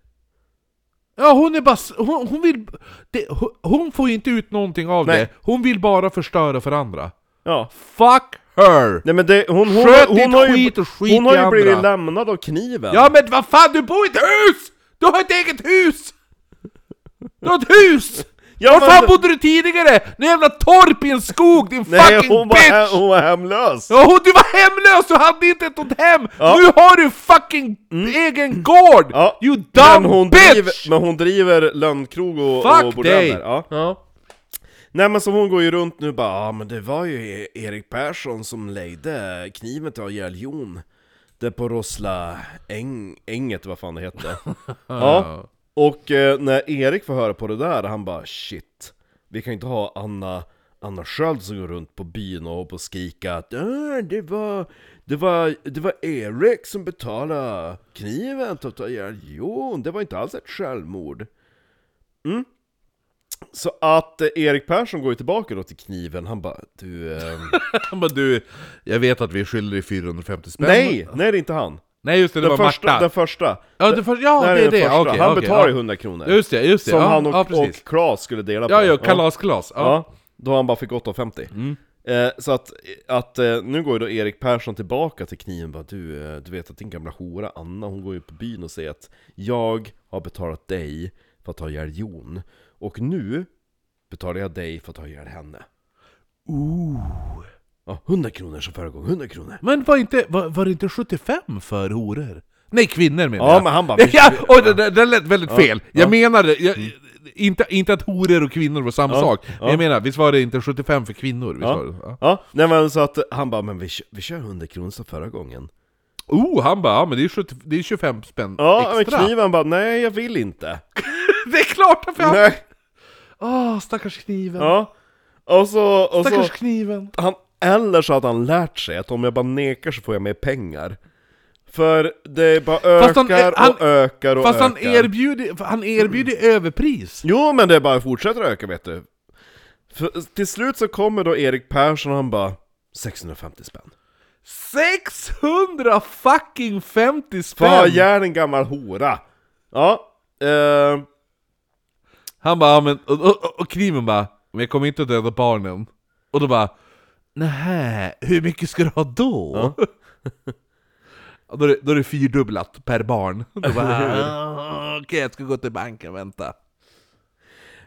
Speaker 1: Ja hon är bara... s- Hon, hon vill... Det, hon, hon får ju inte ut någonting av
Speaker 2: Nej.
Speaker 1: det, hon vill bara förstöra för andra.
Speaker 2: Ja.
Speaker 1: Fuck her!
Speaker 2: Nej men det, hon, hon,
Speaker 1: Sköt
Speaker 2: hon,
Speaker 1: ditt
Speaker 2: har ju,
Speaker 1: skit och skit
Speaker 2: hon har
Speaker 1: i
Speaker 2: ju blivit
Speaker 1: andra.
Speaker 2: lämnad av kniven.
Speaker 1: Ja men vad fan, du bor i ett hus! Du har ett eget hus! Du har ett hus!
Speaker 2: Ja,
Speaker 1: Var
Speaker 2: men-
Speaker 1: fan bodde du tidigare? Nu jävla torp i en skog, din
Speaker 2: Nej,
Speaker 1: fucking
Speaker 2: hon var,
Speaker 1: bitch!
Speaker 2: he- hon var hemlös!
Speaker 1: Ja, och du var hemlös, du hade inte ett sånt hem!
Speaker 2: Ja. Mm.
Speaker 1: Nu har du fucking egen gård!
Speaker 2: Ja,
Speaker 1: You dumb
Speaker 2: men hon
Speaker 1: bitch!
Speaker 2: Driver, men hon driver lönnkrog och, och
Speaker 1: Fuck dig!
Speaker 2: bordeller. Ja. Nej men så hon går ju runt nu bara ja men det var ju E- Erik Persson som lejde kniven till ihjäl Jon Där på Rossla äng, änget, vad fan det hette Ja, och eh, när Erik får höra på det där, han bara shit Vi kan ju inte ha Anna, Anna Sköld som går runt på byn och, och skrika att "Äh, det var, det, var, det var Erik som betalade kniven till att ta ihjäl Jon, det var inte alls ett självmord så att eh, Erik Persson går ju tillbaka då till kniven, han bara du...
Speaker 1: <laughs>
Speaker 2: ehm,
Speaker 1: Men du, jag vet att vi skyller dig 450 spänn.
Speaker 2: nej! Nej det är inte han!
Speaker 1: Nej just det, det
Speaker 2: Den
Speaker 1: var
Speaker 2: första,
Speaker 1: Marta.
Speaker 2: den första!
Speaker 1: ja, det, för, ja,
Speaker 2: här
Speaker 1: det är det.
Speaker 2: första.
Speaker 1: Okej,
Speaker 2: han
Speaker 1: okej,
Speaker 2: betalar ju
Speaker 1: ja.
Speaker 2: 100 kronor
Speaker 1: Just det, just det.
Speaker 2: Som
Speaker 1: ja,
Speaker 2: han och,
Speaker 1: ja, precis.
Speaker 2: och Klas skulle dela
Speaker 1: Ja,
Speaker 2: på
Speaker 1: ja, kalasglas. Ja. Mm.
Speaker 2: ja, Då han bara fick 8,50 eh, Så att, att eh, nu går ju då Erik Persson tillbaka till kniven bara du, eh, du vet att din gamla hora Anna hon går ju på byn och säger att Jag har betalat dig för att ta ihjäl Jon Och nu betalar jag dig för att ta ihjäl henne
Speaker 1: Ooh.
Speaker 2: Ja, 100 kronor som förra gången, 100 kronor
Speaker 1: Men var, inte, var, var det inte 75 för horor? Nej, kvinnor menar
Speaker 2: Ja,
Speaker 1: jag.
Speaker 2: men han bara...
Speaker 1: <laughs> Ja, och det, det, det lät väldigt fel. Jag
Speaker 2: ja.
Speaker 1: menade, jag, inte, inte att horor och kvinnor var samma
Speaker 2: Ja,
Speaker 1: sak. Men
Speaker 2: ja.
Speaker 1: jag menar, visst var det inte 75 för kvinnor? Visst
Speaker 2: Ja.
Speaker 1: var det? Ja.
Speaker 2: Ja, nej men så att han bara 'Men vi, kö- vi kör 100 kronor som förra gången'
Speaker 1: Oh, han bara, ja, men det är, 70, det är 25 spänn
Speaker 2: Ja,
Speaker 1: extra.
Speaker 2: men kniven bara 'Nej, jag vill inte'
Speaker 1: Det är klart! För han...
Speaker 2: Nej.
Speaker 1: Åh, stackars kniven.
Speaker 2: Ja, och så... Och så
Speaker 1: Stackars kniven.
Speaker 2: han, eller så hade han lärt sig att om jag bara nekar så får jag mer pengar För det bara ökar
Speaker 1: Fast han- han-
Speaker 2: och ökar och
Speaker 1: Fast
Speaker 2: ökar
Speaker 1: han erbjuder, han erbjuder överpris.
Speaker 2: Jo men det bara fortsätter öka vet du För, Till slut så kommer då Erik Persson och han bara 650 spänn
Speaker 1: 600 fucking 50
Speaker 2: Fan,
Speaker 1: spänn!
Speaker 2: jag är en gammal hora! Ja, eh...
Speaker 1: Han bara, ja, men, och, och, och kniven bara, men jag kommer inte att döda barnen. Och då bara, nähä, hur mycket ska du ha då? <laughs> Och då, är det, då är det fyrdubblat per
Speaker 2: <laughs>
Speaker 1: barn. Då bara, "Ah, okej jag ska gå till banken, vänta.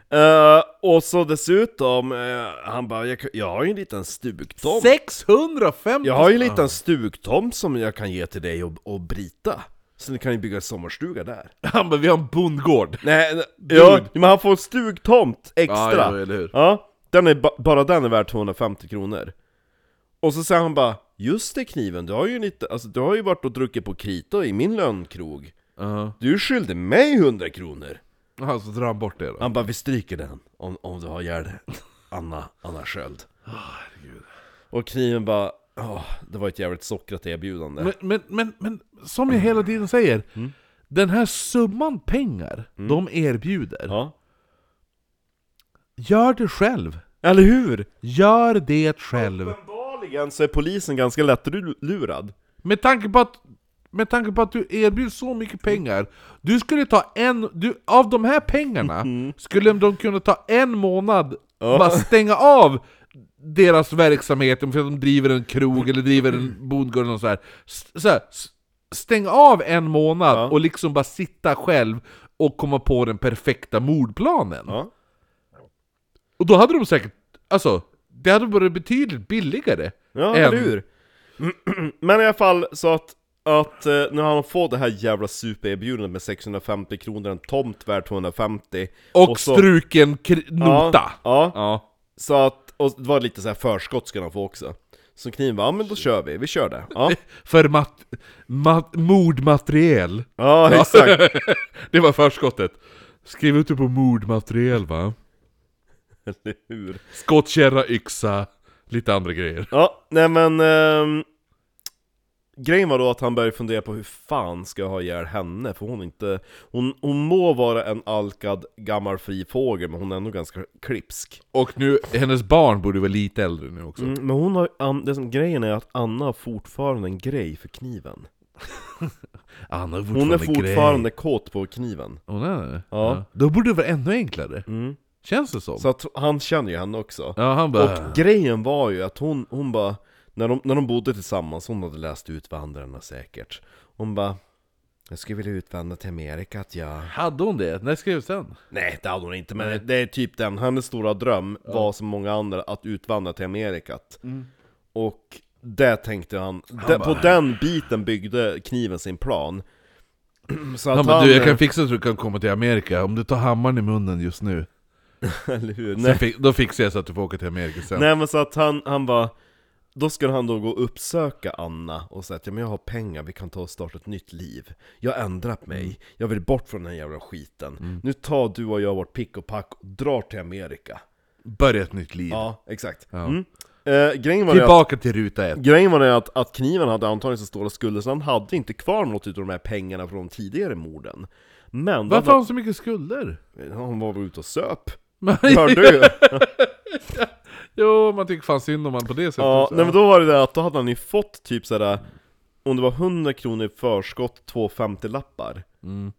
Speaker 2: Eh, och så dessutom, eh, han bara jag, kan- jag har ju en liten stugtomt
Speaker 1: 650
Speaker 2: Jag har ju en
Speaker 1: spänn.
Speaker 2: liten stugtomt som jag kan ge till dig och, och Brita Så ni kan ju bygga en
Speaker 1: <laughs>
Speaker 2: sommarstuga där
Speaker 1: Han bara, vi har en bondgård.
Speaker 2: Nej, nej, ja, men han får en stugtomt extra!
Speaker 1: Ja, jo, eller hur.
Speaker 2: Ja, den är, ba- bara den är värd 250 kronor Och så säger han bara Just det kniven, du har ju lite, alltså, du har ju varit och druckit på Krita i min lönnkrog
Speaker 1: Ja.
Speaker 2: Du skyllde mig 100 kronor!
Speaker 1: Jaha, så drar han bort det då.
Speaker 2: Han bara, vi stryker den om, om du har ihjäl Anna, Anna Sköld. och kniven bara, åh, det var ett jävligt sockrat erbjudande.
Speaker 1: Men, men, men, men som jag hela tiden säger, den här summan pengar de erbjuder,
Speaker 2: Ja.
Speaker 1: gör det själv.
Speaker 2: Eller hur?
Speaker 1: Gör det själv.
Speaker 2: Uppenbarligen så är polisen ganska lättlurad.
Speaker 1: Med tanke på att, med tanke på att du erbjuds så mycket
Speaker 2: Mm.
Speaker 1: pengar, du skulle ta en, du, av de här pengarna
Speaker 2: Mm.
Speaker 1: skulle de kunna ta en månad, bara stänga av deras verksamhet, om de driver en krog eller driver en bondgård eller så här. S- Så här s- stäng av en månad
Speaker 2: Ja.
Speaker 1: och liksom bara sitta själv och komma på den perfekta mordplanen.
Speaker 2: Ja.
Speaker 1: Och då hade de säkert, alltså, det hade varit betydligt billigare.
Speaker 2: Ja,
Speaker 1: än-
Speaker 2: eller hur? Men i alla fall så att, att eh, nu har han fått det här jävla supererbjudandet med 650 kronor, en tomt värd 250.
Speaker 1: Och,
Speaker 2: så-
Speaker 1: struken kri- nota.
Speaker 2: Ja, ja,
Speaker 1: Ja.
Speaker 2: så att, och det var lite så här förskott ska han få också. Som kniv bara, ja men då kör vi, vi kör det. Ja,
Speaker 1: För mat, mat, mordmateriel.
Speaker 2: ja exakt.
Speaker 1: det var förskottet. Skriv ut det på mordmateriel va?
Speaker 2: Eller hur?
Speaker 1: Skottkärra, yxa, lite andra grejer.
Speaker 2: Ja, nej men... ehm, grejen var då att han började fundera på hur fan ska jag ha ihjäl henne? För hon är inte... Hon, hon må vara en alkad gammal fri fågel, men hon är ändå ganska klipsk.
Speaker 1: Och nu, hennes barn borde vara lite äldre nu också.
Speaker 2: Mm, men hon har, an, det som, grejen är att Anna har fortfarande en grej för kniven.
Speaker 1: Anna är Ah,
Speaker 2: Hon
Speaker 1: fortfarande
Speaker 2: är fortfarande kåt på kniven.
Speaker 1: Grej. Hon är det?
Speaker 2: Ja.
Speaker 1: Då borde det vara ännu enklare.
Speaker 2: Mm.
Speaker 1: Känns det som.
Speaker 2: Så att han känner ju henne också.
Speaker 1: Ja, han bara...
Speaker 2: Och grejen var ju att hon, hon bara, när de, när de bodde tillsammans, hon hade läst ut vandrarna säkert. Hon bara, jag skulle vilja utvandra till Amerika att jag...
Speaker 1: Hade hon det? När skrevs den?
Speaker 2: Nej det hade hon inte, men det är typ den, hennes stora dröm var som många andra att utvandra till Amerika. Och det tänkte han, de,
Speaker 1: Mm. bara-
Speaker 2: på den biten byggde kniven sin plan. <clears throat> Så att
Speaker 1: Han
Speaker 2: han,
Speaker 1: bara, du jag kan fixa så du kan komma till Amerika om du tar hammaren i munnen just nu.
Speaker 2: <laughs> eller hur?
Speaker 1: Sen
Speaker 2: Nej,
Speaker 1: fi- då fixar jag så att du får åka till Amerika sen.
Speaker 2: nej men så att han, han bara, då skulle han då gå och uppsöka Anna och säga att ja, men jag har pengar, vi kan ta och starta ett nytt liv. Jag har ändrat
Speaker 1: Mm.
Speaker 2: mig, jag vill bort från den här jävla skiten. Nu tar du och jag vårt pick och pack och drar till Amerika.
Speaker 1: Börja ett nytt liv.
Speaker 2: Ja, exakt. Mm. Eh, grejen var det att-
Speaker 1: Tillbaka till ruta ett.
Speaker 2: Grejen var det att, att kniven hade antagligen så stora skulder så han hade inte kvar något utav de här pengarna från de tidigare morden. Men
Speaker 1: Varför
Speaker 2: då
Speaker 1: har
Speaker 2: hade-
Speaker 1: hon så mycket skulder?
Speaker 2: han var väl ute
Speaker 1: <laughs>
Speaker 2: och söp.
Speaker 1: Men- <laughs>
Speaker 2: Hörde du?
Speaker 1: jo, man tycker fan synd om man på det sättet.
Speaker 2: ja,
Speaker 1: så.
Speaker 2: nej men då var det det att då hade han ju fått typ sådär, om det var 100 kronor i förskott, två 50-lappar.
Speaker 1: Mm.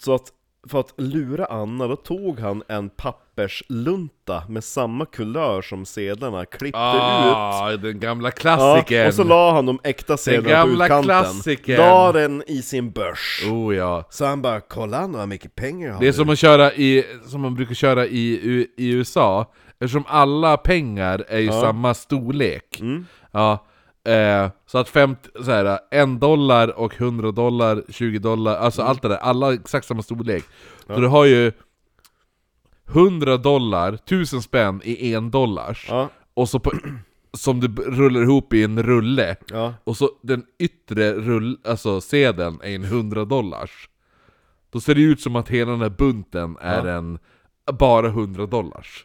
Speaker 2: Så att för att lura Anna, då tog han en papperslunta med samma kulör som sedlarna, klippte ut
Speaker 1: Ah, den gamla
Speaker 2: Ja,
Speaker 1: klassikern!
Speaker 2: och så la han de äkta sedlarna på
Speaker 1: gamla
Speaker 2: utkanten.
Speaker 1: klassikern.
Speaker 2: La den i sin börs.
Speaker 1: Oh ja.
Speaker 2: Så han bara 'Kolla nu vad mycket pengar jag har
Speaker 1: Det är
Speaker 2: nu."
Speaker 1: som att köra i, som man brukar köra i, U- i USA, eftersom alla pengar är ju samma storlek.
Speaker 2: Mm.
Speaker 1: Ja, eh, så att femt, så här, en dollar och 100 dollar, 20 dollar, alltså
Speaker 2: Mm.
Speaker 1: allt det där, alla har exakt samma storlek. Så du har ju 100 dollar, 1000 spänn i en dollars,
Speaker 2: Ja,
Speaker 1: och så på, som du b- rullar ihop i en rulle,
Speaker 2: ja,
Speaker 1: och så den yttre rull, alltså sedeln är en 100 dollars Då ser det ut som att hela den här bunten är en bara 100 dollars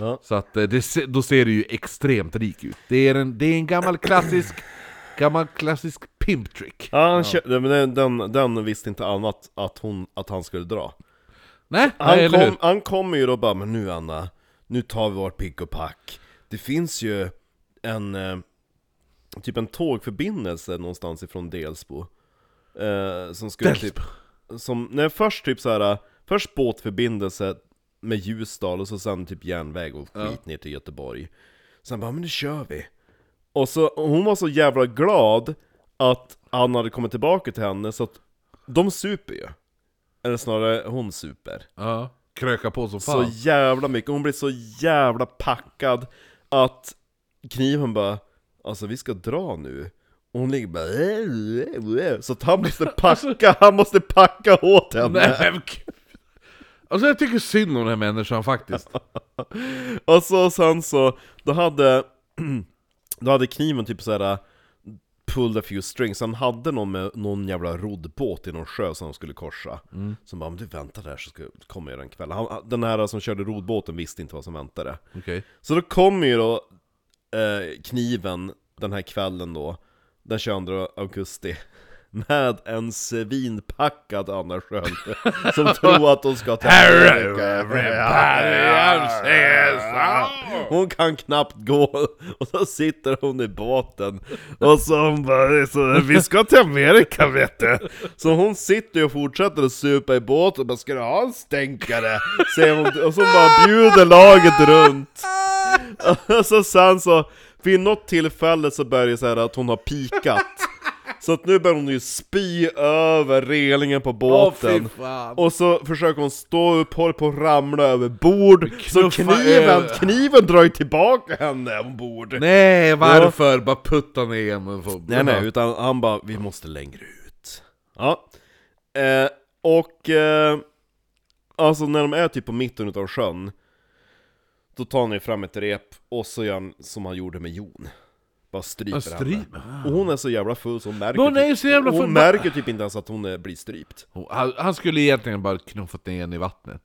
Speaker 2: Ja.
Speaker 1: Så att eh, det, se- då ser det ju extremt rik ut Det är en, det är en gammal klassisk Gammal klassisk pimptrick
Speaker 2: ja, han kö- men den, den, den visste inte annat att, hon, att han skulle dra
Speaker 1: Nej, nej
Speaker 2: Han
Speaker 1: eller hur?
Speaker 2: kom, han kom ju då bara 'Men nu Anna, nu tar vi vårt pick och pack' Det finns ju en, eh, typ en tågförbindelse någonstans ifrån Delsbo eh, Som skulle
Speaker 1: Delsbo.
Speaker 2: typ, som, nej först typ så här först båtförbindelse med Ljusdal och så sen typ järnväg och skit ner till Göteborg Sen bara 'Men nu kör vi' Och så, och hon var så jävla glad att han hade kommit tillbaka till henne så att de super ju Eller snarare hon super
Speaker 1: Ja, kröka på som
Speaker 2: så
Speaker 1: fan
Speaker 2: jävla mycket, hon blir så jävla packad att kniven bara Alltså vi ska dra nu Och hon ligger bara "Äh, äh, äh." Så att han
Speaker 1: <laughs>
Speaker 2: måste packa, han måste packa åt henne!
Speaker 1: Nej, men gud. Alltså jag tycker synd om den här människan
Speaker 2: <laughs>
Speaker 1: faktiskt
Speaker 2: Och så sen så, då hade, <clears throat> då hade kniven typ såhär Pulled a few strings, han hade någon med någon jävla roddbåt i någon sjö som de skulle korsa
Speaker 1: Mm.
Speaker 2: Som bara 'Men du väntar där så ska, kommer jag den kvällen' han, Den här som körde roddbåten visste inte vad som väntade
Speaker 1: Okej,
Speaker 2: Så då kommer ju då eh, kniven den här kvällen då, den 22 augusti <laughs> med en svinpackad Anna Sköld som tror att hon ska till
Speaker 1: Hello everybody, I'm
Speaker 2: Amerika.
Speaker 1: serious.
Speaker 2: Hon kan knappt gå, och så sitter hon i båten och så hon bara så, 'Vi ska till Amerika vet du' Så hon sitter ju och fortsätter att supa i båten och bara 'Ska du ha en stänkare?' Säger hon, och så bara bjuder laget runt <laughs> så sen så, vid något tillfälle så börjar det så här att hon
Speaker 1: <laughs>
Speaker 2: har pikat Så att nu börjar hon ju spy över relingen på båten
Speaker 1: Åh, fy fan.
Speaker 2: Och så försöker hon stå upp, håller på att ramla över bord Så
Speaker 1: Knuffa
Speaker 2: kniven,
Speaker 1: över.
Speaker 2: kniven drar ju tillbaka henne ombord
Speaker 1: Nej, varför? Bara putta ner henne på-
Speaker 2: Nej nej, utan han bara 'Vi måste längre ut' Ja eh, Och, eh, alltså när de är typ på mitten utav sjön Då tar han ju fram ett rep och så gör han som han gjorde med Jon Bara
Speaker 1: Ja,
Speaker 2: stryper
Speaker 1: stryp. Ah.
Speaker 2: henne. Och hon är så jävla full så hon märker,
Speaker 1: Hon är ju så jävla
Speaker 2: hon
Speaker 1: full.
Speaker 2: märker typ inte ens att hon eh, blir strypt.
Speaker 1: Hon- Han, han skulle egentligen bara knuffat ner henne i vattnet.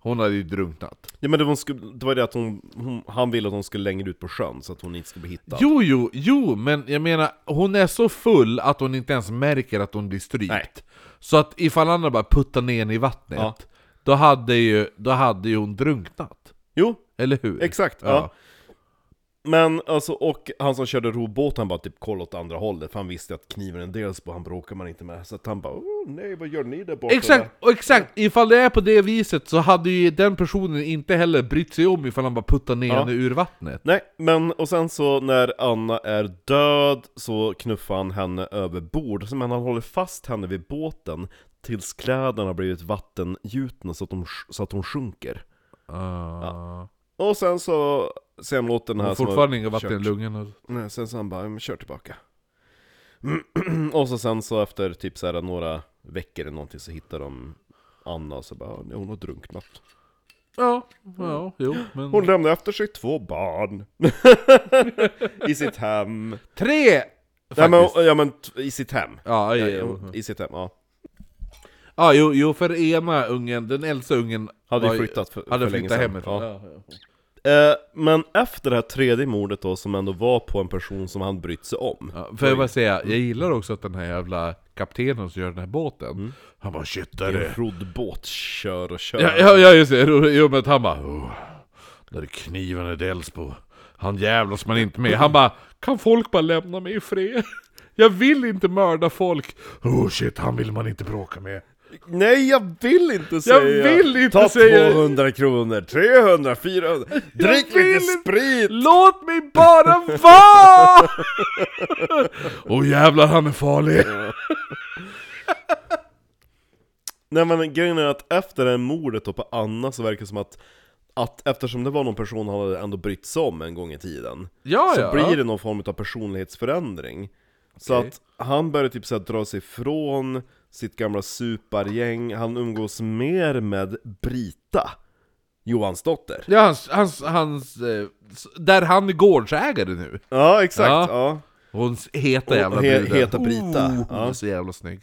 Speaker 1: Hon hade ju drunknat.
Speaker 2: Ja, men det, var- hon skulle, det var det att hon, hon, han ville att hon skulle längre ut på sjön så att hon inte skulle bli hittad.
Speaker 1: Jo, jo, jo, men jag menar, hon är så full att hon inte ens märker att hon blir strypt.
Speaker 2: Nej.
Speaker 1: Så att ifall han hade bara puttat ner henne i vattnet,
Speaker 2: Ja.
Speaker 1: då, hade ju, då hade ju hon drunknat.
Speaker 2: Jo,
Speaker 1: Eller hur?
Speaker 2: exakt. Ja.
Speaker 1: Ja.
Speaker 2: Men alltså, och han som körde robåt han bara typ kollade åt andra hållet, för han visste att kniven är en dels på, han bråkar man inte med. Så att han bara "Åh, nej vad gör ni där borta?
Speaker 1: Exakt, och exakt! Ifall det är på det viset så hade ju den personen inte heller brytt sig om ifall han bara puttar ner
Speaker 2: Ja.
Speaker 1: henne ur vattnet.
Speaker 2: Nej, men och sen så när Anna är död så knuffar han henne över bord, så men han håller fast henne vid båten tills kläderna har blivit vattengjutna så att, de, så att hon sjunker.
Speaker 1: Ja.
Speaker 2: Och sen så ser han åt den här
Speaker 1: Ah. Och
Speaker 2: som har
Speaker 1: fortfarande inga vatten i
Speaker 2: alltså, kört-
Speaker 1: lungorna.
Speaker 2: Nej, sen så han bara, "Men kör tillbaka. <clears throat> och så sen så efter typ så här några veckor eller någonting så hittar de Anna och så bara, "Nej, hon har drunknat.
Speaker 1: Ja, ja, jo, men...
Speaker 2: Hon lämnar efter sig två barn. <laughs> I sitt hem.
Speaker 1: Tre!
Speaker 2: Nej,
Speaker 1: Faktiskt.
Speaker 2: men, ja men t- i sitt hem.
Speaker 1: Ja, mhm.
Speaker 2: Ja,
Speaker 1: ja,
Speaker 2: i-
Speaker 1: ja.
Speaker 2: I sitt hem, ja.
Speaker 1: ja jo, jo, för ena ungen, den äldsta ungen
Speaker 2: Hade
Speaker 1: var
Speaker 2: ju
Speaker 1: ju-
Speaker 2: flyttat för,
Speaker 1: hade
Speaker 2: för länge
Speaker 1: flyttat
Speaker 2: sedan.
Speaker 1: hemifrån.
Speaker 2: Ja.
Speaker 1: Ja. Ja.
Speaker 2: Eh, men efter det här tredje mordet då, som ändå var på en person som han brytt sig om.
Speaker 1: för jag bara säga,
Speaker 2: Mm.
Speaker 1: jag gillar också att den här jävla kaptenen som gör den här båten,
Speaker 2: Mm.
Speaker 1: han bara 'Shit, där
Speaker 2: Det är
Speaker 1: är
Speaker 2: en roddbåt, kör och kör.
Speaker 1: Ja, ja, ja just det, Jo, jo men han bara oh, Där är kniven i Delsbo Han jävlas man inte med Han bara Kan folk bara lämna mig i fred? Jag vill inte mörda folk Oh shit, han vill man inte bråka med
Speaker 2: Nej jag vill inte säga!
Speaker 1: vill inte
Speaker 2: Ta
Speaker 1: säga.
Speaker 2: 200 kronor, 300, 400, drick
Speaker 1: vill
Speaker 2: lite
Speaker 1: inte.
Speaker 2: sprit!
Speaker 1: Låt mig bara vara! Åh jävlar han är farlig!
Speaker 2: Nej men grejen är att efter det här mordet då på Anna så verkar det som att, att eftersom det var någon person han hade ändå brytt sig om en gång i tiden
Speaker 1: Ja
Speaker 2: Så
Speaker 1: Ah, ja!
Speaker 2: blir det någon form av personlighetsförändring Så
Speaker 1: Okej.
Speaker 2: att han börjar typ så här dra sig ifrån sitt gamla supergäng Han umgås mer med Brita Johans dotter
Speaker 1: Ja, hans, hans, hans, eh, s- där han är gårdsägare nu
Speaker 2: Ja exakt, ja.
Speaker 1: Ja. Hon s- heta
Speaker 2: Och
Speaker 1: jävla
Speaker 2: he-
Speaker 1: bruden
Speaker 2: heta Brita,
Speaker 1: oh, Hon är
Speaker 2: ja.
Speaker 1: så jävla snygg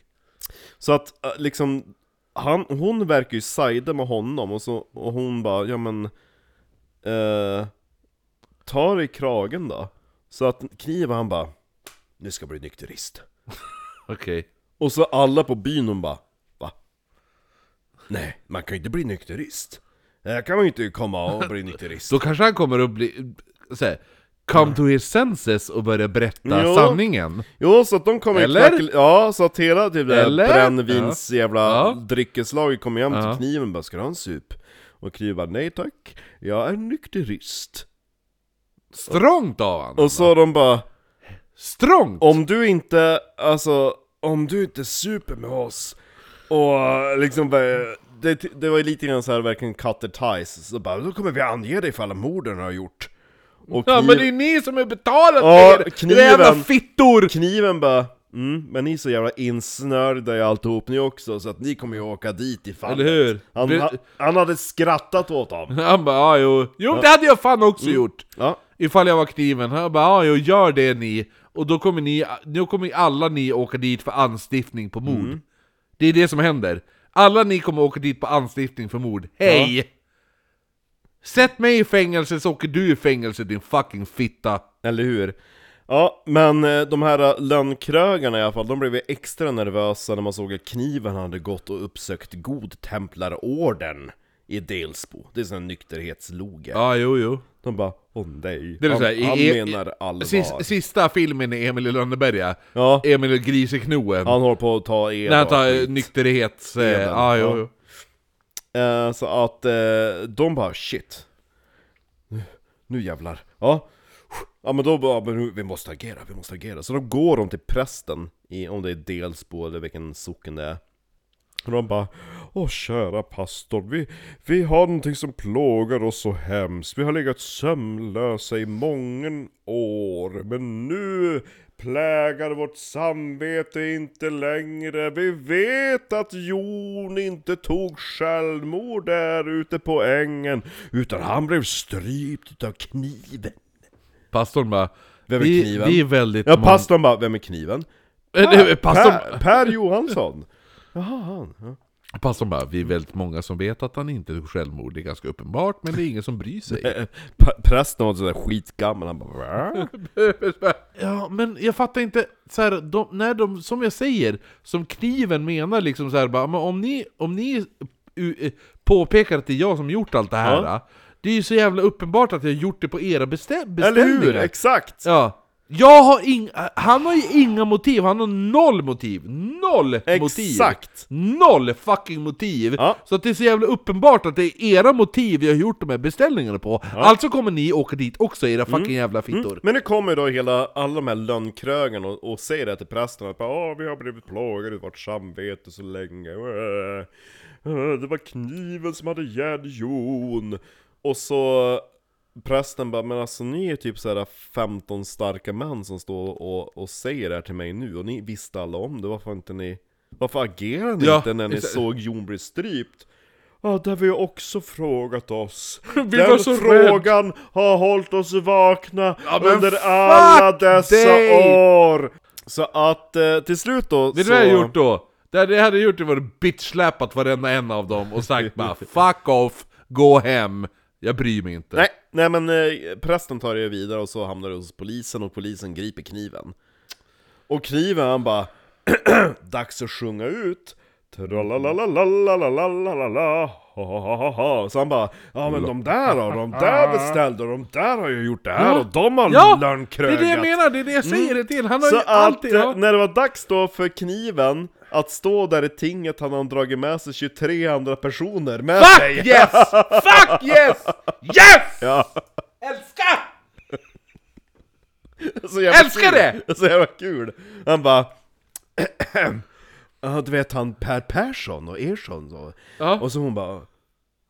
Speaker 2: Så att eh, liksom han, Hon verkar ju sajda med honom och, så, och hon bara, ja men eh, Ta dig i kragen då Så att Kniva han bara Nu ska jag bli nykterist
Speaker 1: Okej
Speaker 2: Och så alla på byn och bara Va? Nej, man kan ju inte bli nykterist Här kan man ju inte komma och bli nykterist
Speaker 1: Då kanske han kommer att bli såhär, come to his senses och börja berätta
Speaker 2: Jo.
Speaker 1: sanningen.
Speaker 2: Jo, så att de kommer ju
Speaker 1: Eller?
Speaker 2: knacka- Ja, så att hela typ det här
Speaker 1: Eller?
Speaker 2: brännvins jävla
Speaker 1: Ja.
Speaker 2: dryckeslaget kommer hem till
Speaker 1: Ja.
Speaker 2: kniven och bara 'Ska du ha en sup?' Och kniven bara 'Nej tack, jag är nykterist'
Speaker 1: Strångt av honom!
Speaker 2: Och så de bara
Speaker 1: Strångt!
Speaker 2: Om du inte, alltså, om du inte super med oss och liksom bara- det, det var ju lite grann så här verkligen cut the ties, så bara då kommer vi ange dig för alla morden du har gjort. Och
Speaker 1: Ja
Speaker 2: kniv,
Speaker 1: men det är ni som är betalat
Speaker 2: Ja,
Speaker 1: er! Era jävla
Speaker 2: kniven.
Speaker 1: fittor!
Speaker 2: kniven bara mm, men ni är så jävla insnörda i alltihop ni också, så att ni kommer ju åka dit i fallet.
Speaker 1: Eller hur?
Speaker 2: Han,
Speaker 1: Blir-
Speaker 2: han, han hade skrattat åt dem.
Speaker 1: Han bara ja, jo, jo det hade jag fan
Speaker 2: Mm.
Speaker 1: också gjort!
Speaker 2: Ja.
Speaker 1: Ifall jag var kniven, han bara ja, jo, gör det ni, och då kommer ni, då kommer alla ni åka dit för anstiftning på mord.
Speaker 2: Mm.
Speaker 1: Det är det som händer. Alla ni kommer åka dit på anstiftning för mord. Hej! Sätt mig i fängelse så åker du i fängelse din fucking fitta.
Speaker 2: Eller hur? Ja, men eh, de här eh, lönnkrögarna i alla fall, de blev ju extra nervösa när man såg att kniven hade gått och uppsökt godtemplarorden i Delsbo. Det är sån här nykterhetsloge.
Speaker 1: Ja, jo, jo.
Speaker 2: De bara, åh nej,
Speaker 1: Det är
Speaker 2: han,
Speaker 1: så här, i-
Speaker 2: han
Speaker 1: i-
Speaker 2: menar allvar.
Speaker 1: Sis, sista filmen i Emil i Lönneberga,
Speaker 2: Ja,
Speaker 1: Emil och Griseknoen.
Speaker 2: han håller på att ta el
Speaker 1: när han
Speaker 2: och
Speaker 1: tar
Speaker 2: skit.
Speaker 1: eh, nykterhets... Eh,
Speaker 2: Eden,
Speaker 1: ja,
Speaker 2: ja.
Speaker 1: jo, jo.
Speaker 2: Eh, Så att eh, de bara, shit. Nu- Nu jävlar. Ja. Ja men då bara, men vi måste agera, vi måste agera. Så då går de till prästen, i, om det är Delsbo eller vilken socken det är. Och de bara Åh kära pastor, vi, vi har någonting som plågar oss så hemskt. Vi har legat sömnlösa i många år. Men nu plägar vårt samvete inte längre. Vi vet att Jon inte tog självmord där ute på ängen. Utan han blev strypt utav kniven.
Speaker 1: Pastorn bara,
Speaker 2: Vem är
Speaker 1: Vi,
Speaker 2: kniven?
Speaker 1: vi är väldigt...
Speaker 2: ja,
Speaker 1: mång-
Speaker 2: pastorn bara, vem är kniven?
Speaker 1: Eh, nej, pastorn-
Speaker 2: per, per Johansson! Jaha, han. Ja.
Speaker 1: Pastorn bara, vi är väldigt många som vet att han inte är självmord, det är ganska uppenbart, men det är ingen som bryr sig.
Speaker 2: Pa- <laughs> Prästen var sådär skitgammal, han bara va?
Speaker 1: <laughs> ja, men jag fattar inte, så här, de, när de, som jag säger, som kniven menar liksom så här, bara, men om ni, om ni u- eh, påpekar att det är jag som gjort allt det här,
Speaker 2: Ja.
Speaker 1: det är ju så jävla uppenbart att jag har gjort det på era bestä-
Speaker 2: Eller
Speaker 1: beställningar.
Speaker 2: hur? Exakt!
Speaker 1: Ja. Jag har ing- han har ju inga motiv, han har noll motiv! Noll motiv!
Speaker 2: Exakt!
Speaker 1: Noll fucking motiv!
Speaker 2: Ja.
Speaker 1: Så att det är så jävla uppenbart att det är era motiv jag har gjort de här beställningarna på Alltså kommer ni åka dit också, era
Speaker 2: Mm.
Speaker 1: fucking jävla fittor!
Speaker 2: Men nu kommer då hela, alla de här lönnkrögarna och, och säger det till prästen att ah, vi har blivit plågade i vårt samvete så länge. Äh, äh, Det var kniven som hade ihjäl Jon. Och så prästen bara, men alltså ni är typ så här 15 starka män som står och, och säger det här till mig nu och ni visste alla om det, varför inte ni... Varför agerade ni
Speaker 1: Ja,
Speaker 2: inte när ni
Speaker 1: exakt.
Speaker 2: såg Jon bli strypt? Ja, det har vi också frågat oss.
Speaker 1: <laughs> Vi
Speaker 2: Den
Speaker 1: var så
Speaker 2: frågan har hållit oss vakna
Speaker 1: Ja, men
Speaker 2: under
Speaker 1: fuck
Speaker 2: alla dessa
Speaker 1: dig!
Speaker 2: år! Så att eh, till slut då
Speaker 1: Vet du
Speaker 2: så...
Speaker 1: vad jag hade gjort då? Det hade jag hade gjort det var att bitchsläpat varenda en av dem och sagt
Speaker 2: <laughs>
Speaker 1: bara 'Fuck off, gå hem, jag bryr mig inte'
Speaker 2: Nej, nej men eh, prästen tar det vidare och så hamnar det hos polisen och polisen griper kniven. Och kniven han bara <clears throat> Dags att sjunga ut! Tralalalalalalalala, ha, ha, ha, ha, ha. Så han bara, ja men de där då, de
Speaker 1: <laughs>
Speaker 2: där beställde, och de där har ju gjort det här
Speaker 1: Ja.
Speaker 2: och de har
Speaker 1: Ja, det
Speaker 2: lönnkrögat
Speaker 1: är det jag menar, det är det jag säger det till! Han har
Speaker 2: Så
Speaker 1: ju
Speaker 2: att
Speaker 1: alltid...
Speaker 2: eh,
Speaker 1: ja.
Speaker 2: när det var dags då för kniven att stå där i tinget hade han dragit med sig 23 andra personer med sig!
Speaker 1: Fuck yes! Fuck yes! Yes!
Speaker 2: Ja,
Speaker 1: Älska!
Speaker 2: så jävla
Speaker 1: Älskar
Speaker 2: kul. Så jävla kul! Han bara... <clears throat> Ja, du vet han Per Persson och Ersson så.
Speaker 1: Ja.
Speaker 2: Och så hon bara...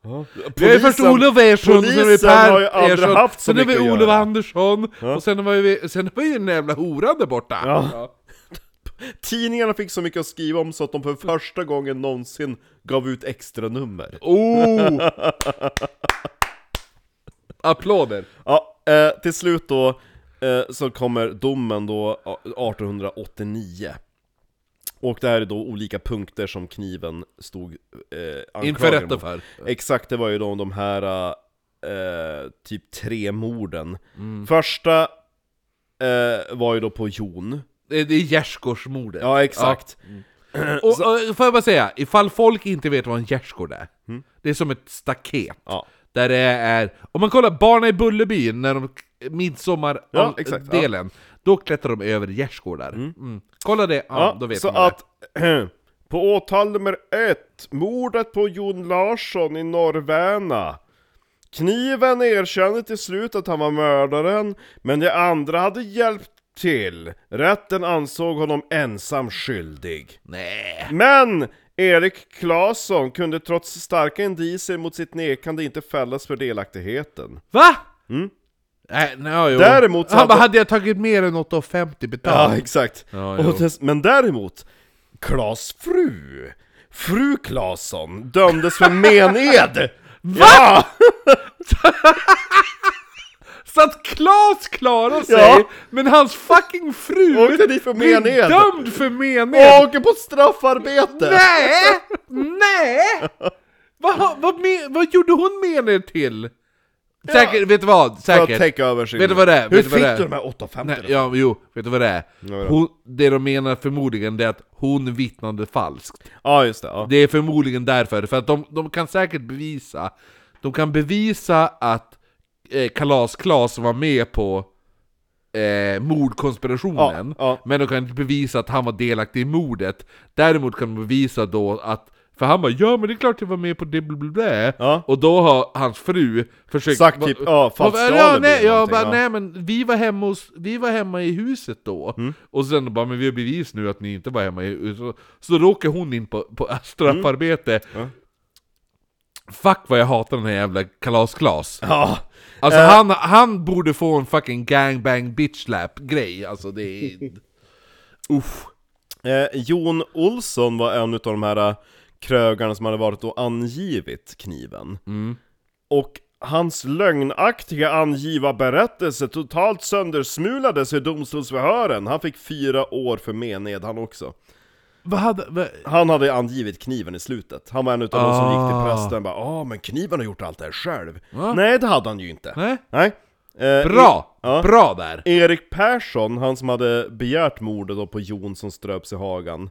Speaker 2: Ja.
Speaker 1: Vi har ju först Olof Ersson, sen har vi
Speaker 2: polisen har ju
Speaker 1: Per
Speaker 2: aldrig
Speaker 1: Ersson,
Speaker 2: haft så
Speaker 1: sen har vi
Speaker 2: mycket att
Speaker 1: Olof
Speaker 2: göra.
Speaker 1: Andersson, och sen har vi, sen har vi den jävla horan där borta!
Speaker 2: Ja. Tidningarna fick så mycket att skriva om så att de för första gången någonsin gav ut extra nummer.
Speaker 1: Oh! Applåder!
Speaker 2: Ja, eh, till slut då eh, så kommer domen då a- 1889. Och det här är då olika punkter som kniven stod eh, anklagad
Speaker 1: Inför rätta
Speaker 2: mot.
Speaker 1: för.
Speaker 2: Exakt, det var ju då de här eh, typ tre morden.
Speaker 1: Mm.
Speaker 2: Första eh, var ju då på Jon.
Speaker 1: Det det är gärdsgårdsmordet.
Speaker 2: Ja, exakt.
Speaker 1: Och, och får jag bara säga, ifall folk inte vet vad en gärdsgård är,
Speaker 2: Mm.
Speaker 1: det är som ett staket.
Speaker 2: Ja.
Speaker 1: Där det är, om man kollar Barnen i Bullerby, när de
Speaker 2: Ja, exakt, ja.
Speaker 1: midsommar-delen, då klättrar de över gärdsgårdar. Mm. Kolla det, ja,
Speaker 2: Ja,
Speaker 1: då vet
Speaker 2: så
Speaker 1: man det.
Speaker 2: att <clears throat> på åtal nummer ett, mordet på Jon Larsson i Norrväna. Kniven erkände till slut att han var mördaren, men de andra hade hjälpt till. Rätten ansåg honom ensam skyldig.
Speaker 1: Nej.
Speaker 2: Men Erik Claesson kunde trots starka indicier mot sitt nekande inte fällas för delaktigheten.
Speaker 1: Va? Äh, Nej, nej, jo.
Speaker 2: Mm. Däremot så
Speaker 1: Han bara,
Speaker 2: hade-
Speaker 1: hade jag tagit mer än 8,50
Speaker 2: Ja,
Speaker 1: betalt?
Speaker 2: exakt.
Speaker 1: Ja,
Speaker 2: och
Speaker 1: jo.
Speaker 2: dess, men däremot, Klas fru, fru Claesson, dömdes
Speaker 1: <laughs>
Speaker 2: för mened! Va? Ja,
Speaker 1: Så att Klas klarar sig,
Speaker 2: Ja.
Speaker 1: men hans fucking fru
Speaker 2: Åkte dit för
Speaker 1: blir
Speaker 2: mened.
Speaker 1: dömd för mened!
Speaker 2: och åker på straffarbete!
Speaker 1: Nej! Nej!
Speaker 2: <laughs>
Speaker 1: Vad, vad, men- vad gjorde hon mened till? Säkert, vet du vad?
Speaker 2: För att
Speaker 1: Säkert.
Speaker 2: täcka över sin...
Speaker 1: Vet du vad det är?
Speaker 2: Hur
Speaker 1: Vet du
Speaker 2: fick
Speaker 1: vad det är?
Speaker 2: du de här 850?
Speaker 1: Nej, ja, jo, vet du vad det är?
Speaker 2: vadå?
Speaker 1: Hon, det de menar förmodligen det är att hon vittnade falskt.
Speaker 2: Ja, just det. Ja.
Speaker 1: Det är förmodligen därför, för att de, de kan säkert bevisa De kan bevisa att eh, Kalas Klas var med på eh, mordkonspirationen
Speaker 2: Ja, ja.
Speaker 1: Men de kan inte bevisa att han var delaktig i mordet Däremot kan de bevisa då att för han bara 'Ja men det är klart jag var med på det bla, bla, bla.
Speaker 2: Ja.
Speaker 1: Och då har hans fru försökt
Speaker 2: Sagt typ, ja, falskt
Speaker 1: ja,
Speaker 2: alibi
Speaker 1: nej,
Speaker 2: eller
Speaker 1: jag bara,
Speaker 2: någonting,
Speaker 1: nej men vi var hemma, hos, vi var hemma i huset då
Speaker 2: Mm.
Speaker 1: Och sen bara, men vi har bevis nu att ni inte var hemma i huset Så då åker hon in på, på straffarbete
Speaker 2: Mm.
Speaker 1: Fuck vad jag hatar den här jävla Kalas Klas
Speaker 2: Ja. Eh.
Speaker 1: Alltså han, han borde få en fucking gangbang bitch slap grej Alltså det är... Uff.
Speaker 2: Eh, Jon Olsson var en av
Speaker 1: Mm.
Speaker 2: de här eh, krögarna som hade varit och angivit kniven. Och Hans lögnaktiga angivarberättelse totalt söndersmulades i domstolsförhören. Han fick fyra år för mened han också.
Speaker 1: <laughs> Vad hade... Vad...
Speaker 2: Han hade angivit kniven i slutet. Han var en utav de som gick
Speaker 1: Ah.
Speaker 2: till prästen och bara ”Ah, men kniven har gjort allt det här själv”.
Speaker 1: Va?
Speaker 2: Nej, det hade han ju inte.
Speaker 1: Nej?
Speaker 2: Nej. Eh,
Speaker 1: Bra!
Speaker 2: Ja.
Speaker 1: Bra där!
Speaker 2: Erik Persson, han som hade begärt mordet då på Jon som ströps i Hagan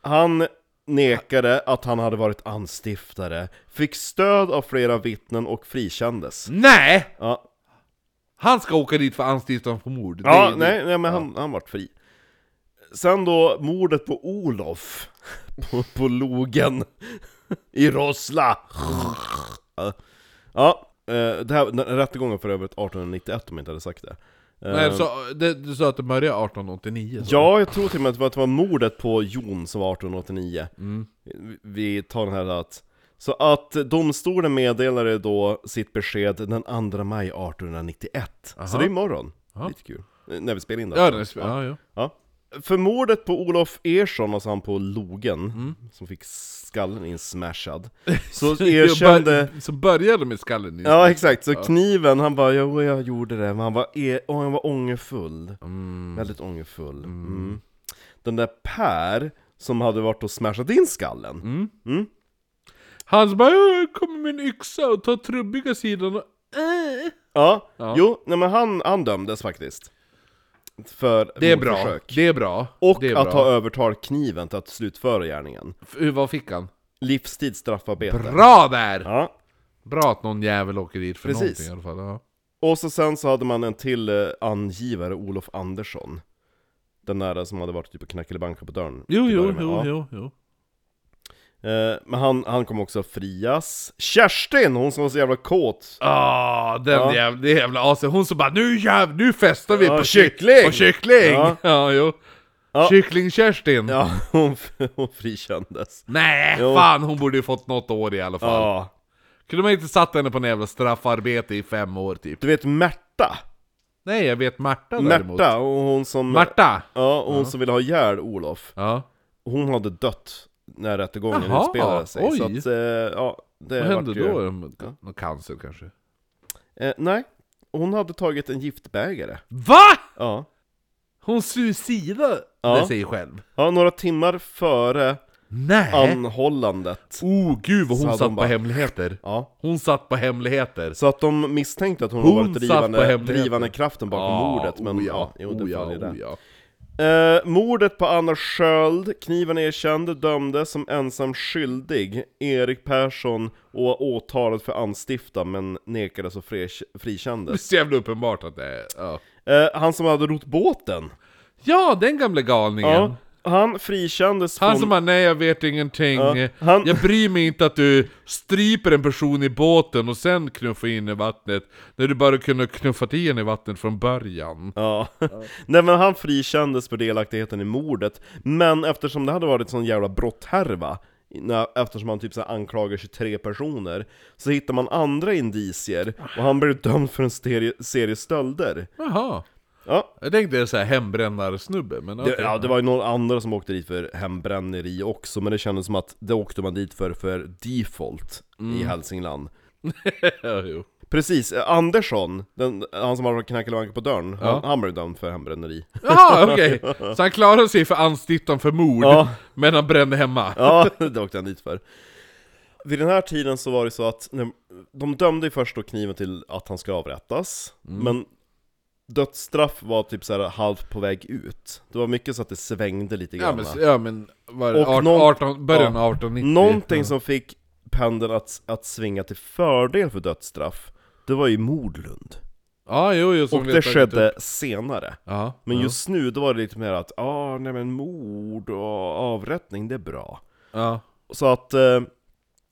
Speaker 2: Han nekade att han hade varit anstiftare Fick stöd av flera vittnen och frikändes
Speaker 1: Nej!
Speaker 2: Ja,
Speaker 1: Han ska åka dit för anstiftan för mord. Det
Speaker 2: ja
Speaker 1: är-
Speaker 2: nej, nej men han, han vart fri Sen då mordet på Olof <laughs> På, på logen <laughs> I Rossla Ja, Ja, eh, det här, den här rättegången för övrigt 1891 om jag inte hade sagt det Eh,
Speaker 1: Nej, du, sa, det, du sa att det började 1889? så.
Speaker 2: Ja, jag tror till och med att det var- att det var mordet på Jon som var 1889 Vi- Vi tar den här att Så att domstolen meddelade då sitt besked den 2 maj 1891 Så det är imorgon, lite kul Eh, När vi spelar in det
Speaker 1: Ja, det, är- Alltså. ja, ja.
Speaker 2: Ja. För mordet på Olof Ersson, alltså han på logen Som fick skallen insmashad Så erkände
Speaker 1: Så började med skallen i-
Speaker 2: Ja exakt, så kniven, han bara jo jag gjorde det, men han var, e- och han var ångerfull
Speaker 1: Mm.
Speaker 2: Väldigt ångerfull mm. Den där Per, som hade varit och smashat in skallen
Speaker 1: Mm. Han som bara "Jag kommer med en yxa och tar trubbiga sidan och... Äh.
Speaker 2: ja.
Speaker 1: Ja.
Speaker 2: jo, nej men han, han dömdes faktiskt För
Speaker 1: Det är bra,
Speaker 2: mordförsök.
Speaker 1: det är bra.
Speaker 2: Och
Speaker 1: det är
Speaker 2: att
Speaker 1: bra.
Speaker 2: ha övertalat kniven till att slutföra gärningen
Speaker 1: F- hur- Vad fick han?
Speaker 2: Livstids straffarbete
Speaker 1: Bra där!
Speaker 2: Ja,
Speaker 1: Bra att någon jävel åker dit för
Speaker 2: Precis.
Speaker 1: någonting i alla fall. Ja.
Speaker 2: Och så sen så hade man en till eh, angivare, Olof Andersson Den där som hade varit typ och knackade banka på dörren
Speaker 1: Jo,
Speaker 2: till
Speaker 1: jo,
Speaker 2: början med.
Speaker 1: jo,
Speaker 2: Ja.
Speaker 1: jo, jo.
Speaker 2: Eh, Men han, han kom också att frias Kerstin, hon som var så jävla kåt
Speaker 1: Ah, den
Speaker 2: Ja.
Speaker 1: jävla, det jävla asen. Hon som bara nu jäv, nu festar vi
Speaker 2: Ja,
Speaker 1: på
Speaker 2: kyckling!
Speaker 1: På kyckling! <laughs> Ja,
Speaker 2: Ja.
Speaker 1: jo.
Speaker 2: Ja.
Speaker 1: Kyckling-Kerstin.
Speaker 2: Ja, <laughs> hon, hon frikändes
Speaker 1: Nej,
Speaker 2: Jo.
Speaker 1: fan hon borde ju fått något år i alla fall.
Speaker 2: Ja
Speaker 1: Kunde man inte satt henne på en jävla straffarbete i fem år typ?
Speaker 2: Du vet Märta?
Speaker 1: Nej, jag vet Marta däremot.
Speaker 2: Märta, och hon som
Speaker 1: Marta!
Speaker 2: Ja, och hon som ville ha ihjäl Olof
Speaker 1: Ja.
Speaker 2: Hon hade dött när rättegången
Speaker 1: Jaha,
Speaker 2: utspelade sig
Speaker 1: oj.
Speaker 2: Så att, eh, ja det
Speaker 1: Vad
Speaker 2: Eh, vart
Speaker 1: hände
Speaker 2: ju...
Speaker 1: då? Någon- Någon cancer kanske?
Speaker 2: Eh, nej, hon hade tagit en giftbägare
Speaker 1: VA?
Speaker 2: Ja
Speaker 1: Hon suicidade
Speaker 2: Ja.
Speaker 1: sig själv?
Speaker 2: Ja, några timmar före
Speaker 1: Nej!
Speaker 2: anhållandet.
Speaker 1: oh gud vad
Speaker 2: Så
Speaker 1: hon
Speaker 2: hade
Speaker 1: satt
Speaker 2: hon
Speaker 1: på
Speaker 2: bara-
Speaker 1: hemligheter!
Speaker 2: Ja.
Speaker 1: Hon satt på hemligheter!
Speaker 2: Så att de misstänkte att hon,
Speaker 1: Hon
Speaker 2: hon varit
Speaker 1: satt på
Speaker 2: drivande,
Speaker 1: hemligheten.
Speaker 2: drivande kraften bakom mordet, men
Speaker 1: oja,
Speaker 2: ja, jo, det
Speaker 1: oja,
Speaker 2: följer det.
Speaker 1: oja.
Speaker 2: Eh, mordet på Anna Sköld, kniven erkände, dömdes som ensam skyldig. Erik Persson och åtalad för anstifta, men nekades och fri-
Speaker 1: Det är
Speaker 2: frikändes.
Speaker 1: så jävla uppenbart att det är... Ja,
Speaker 2: Eh, han som hade rott båten,
Speaker 1: ja den gamla galningen!
Speaker 2: ja, han frikändes
Speaker 1: Han
Speaker 2: från...
Speaker 1: som bara, nej jag vet ingenting,
Speaker 2: Ja, han-
Speaker 1: jag bryr mig inte att du stryper en person i båten och sen knuffar in i vattnet, när du bara kunde knuffat i en i vattnet från början.
Speaker 2: Ja. <laughs> Nej men han frikändes för delaktigheten i mordet, men eftersom det hade varit sån jävla brotthärva, när- eftersom han typ så här anklagar 23 personer, så hittar man andra indicier, och han blir dömd för en serie, serie stölder.
Speaker 1: Jaha.
Speaker 2: Ja.
Speaker 1: Jag tänkte såhär hembrännarsnubbe, men
Speaker 2: Det,
Speaker 1: okej.
Speaker 2: ja, det var ju några andra som åkte dit för hembränneri också, men det kändes som att det åkte man dit för för default i
Speaker 1: Mm.
Speaker 2: Hälsingland.
Speaker 1: Ja, jo.
Speaker 2: Precis, eh, Andersson, den, han som har knackat bank på dörren, han, han blev dömd för hembränneri.
Speaker 1: <laughs> Jaha, okej! Så han klarade sig för anstiftan för mord,
Speaker 2: Ja.
Speaker 1: men han brände hemma.
Speaker 2: Ja, <laughs> det åkte han dit för. Vid den här tiden så var det så att när- de dömde ju först då kniven till att han ska avrättas,
Speaker 1: Mm.
Speaker 2: men dödsstraff var typ så här halvt på väg ut. Det var mycket så att det svängde lite
Speaker 1: Ja
Speaker 2: grann.
Speaker 1: men, ja, men var det
Speaker 2: Och
Speaker 1: 18,
Speaker 2: någon-
Speaker 1: 18, början av 1890?
Speaker 2: Någonting som fick pendeln att, att svinga till fördel för dödsstraff, det var ju Mordlund.
Speaker 1: Ja, jo, jo, som
Speaker 2: Och
Speaker 1: vi
Speaker 2: det
Speaker 1: har tagit
Speaker 2: skedde
Speaker 1: upp.
Speaker 2: senare.
Speaker 1: Ja,
Speaker 2: Men
Speaker 1: ja.
Speaker 2: just nu, då var det lite mer att ah, nej men mord och avrättning, det är bra.
Speaker 1: Ja.
Speaker 2: Så att eh,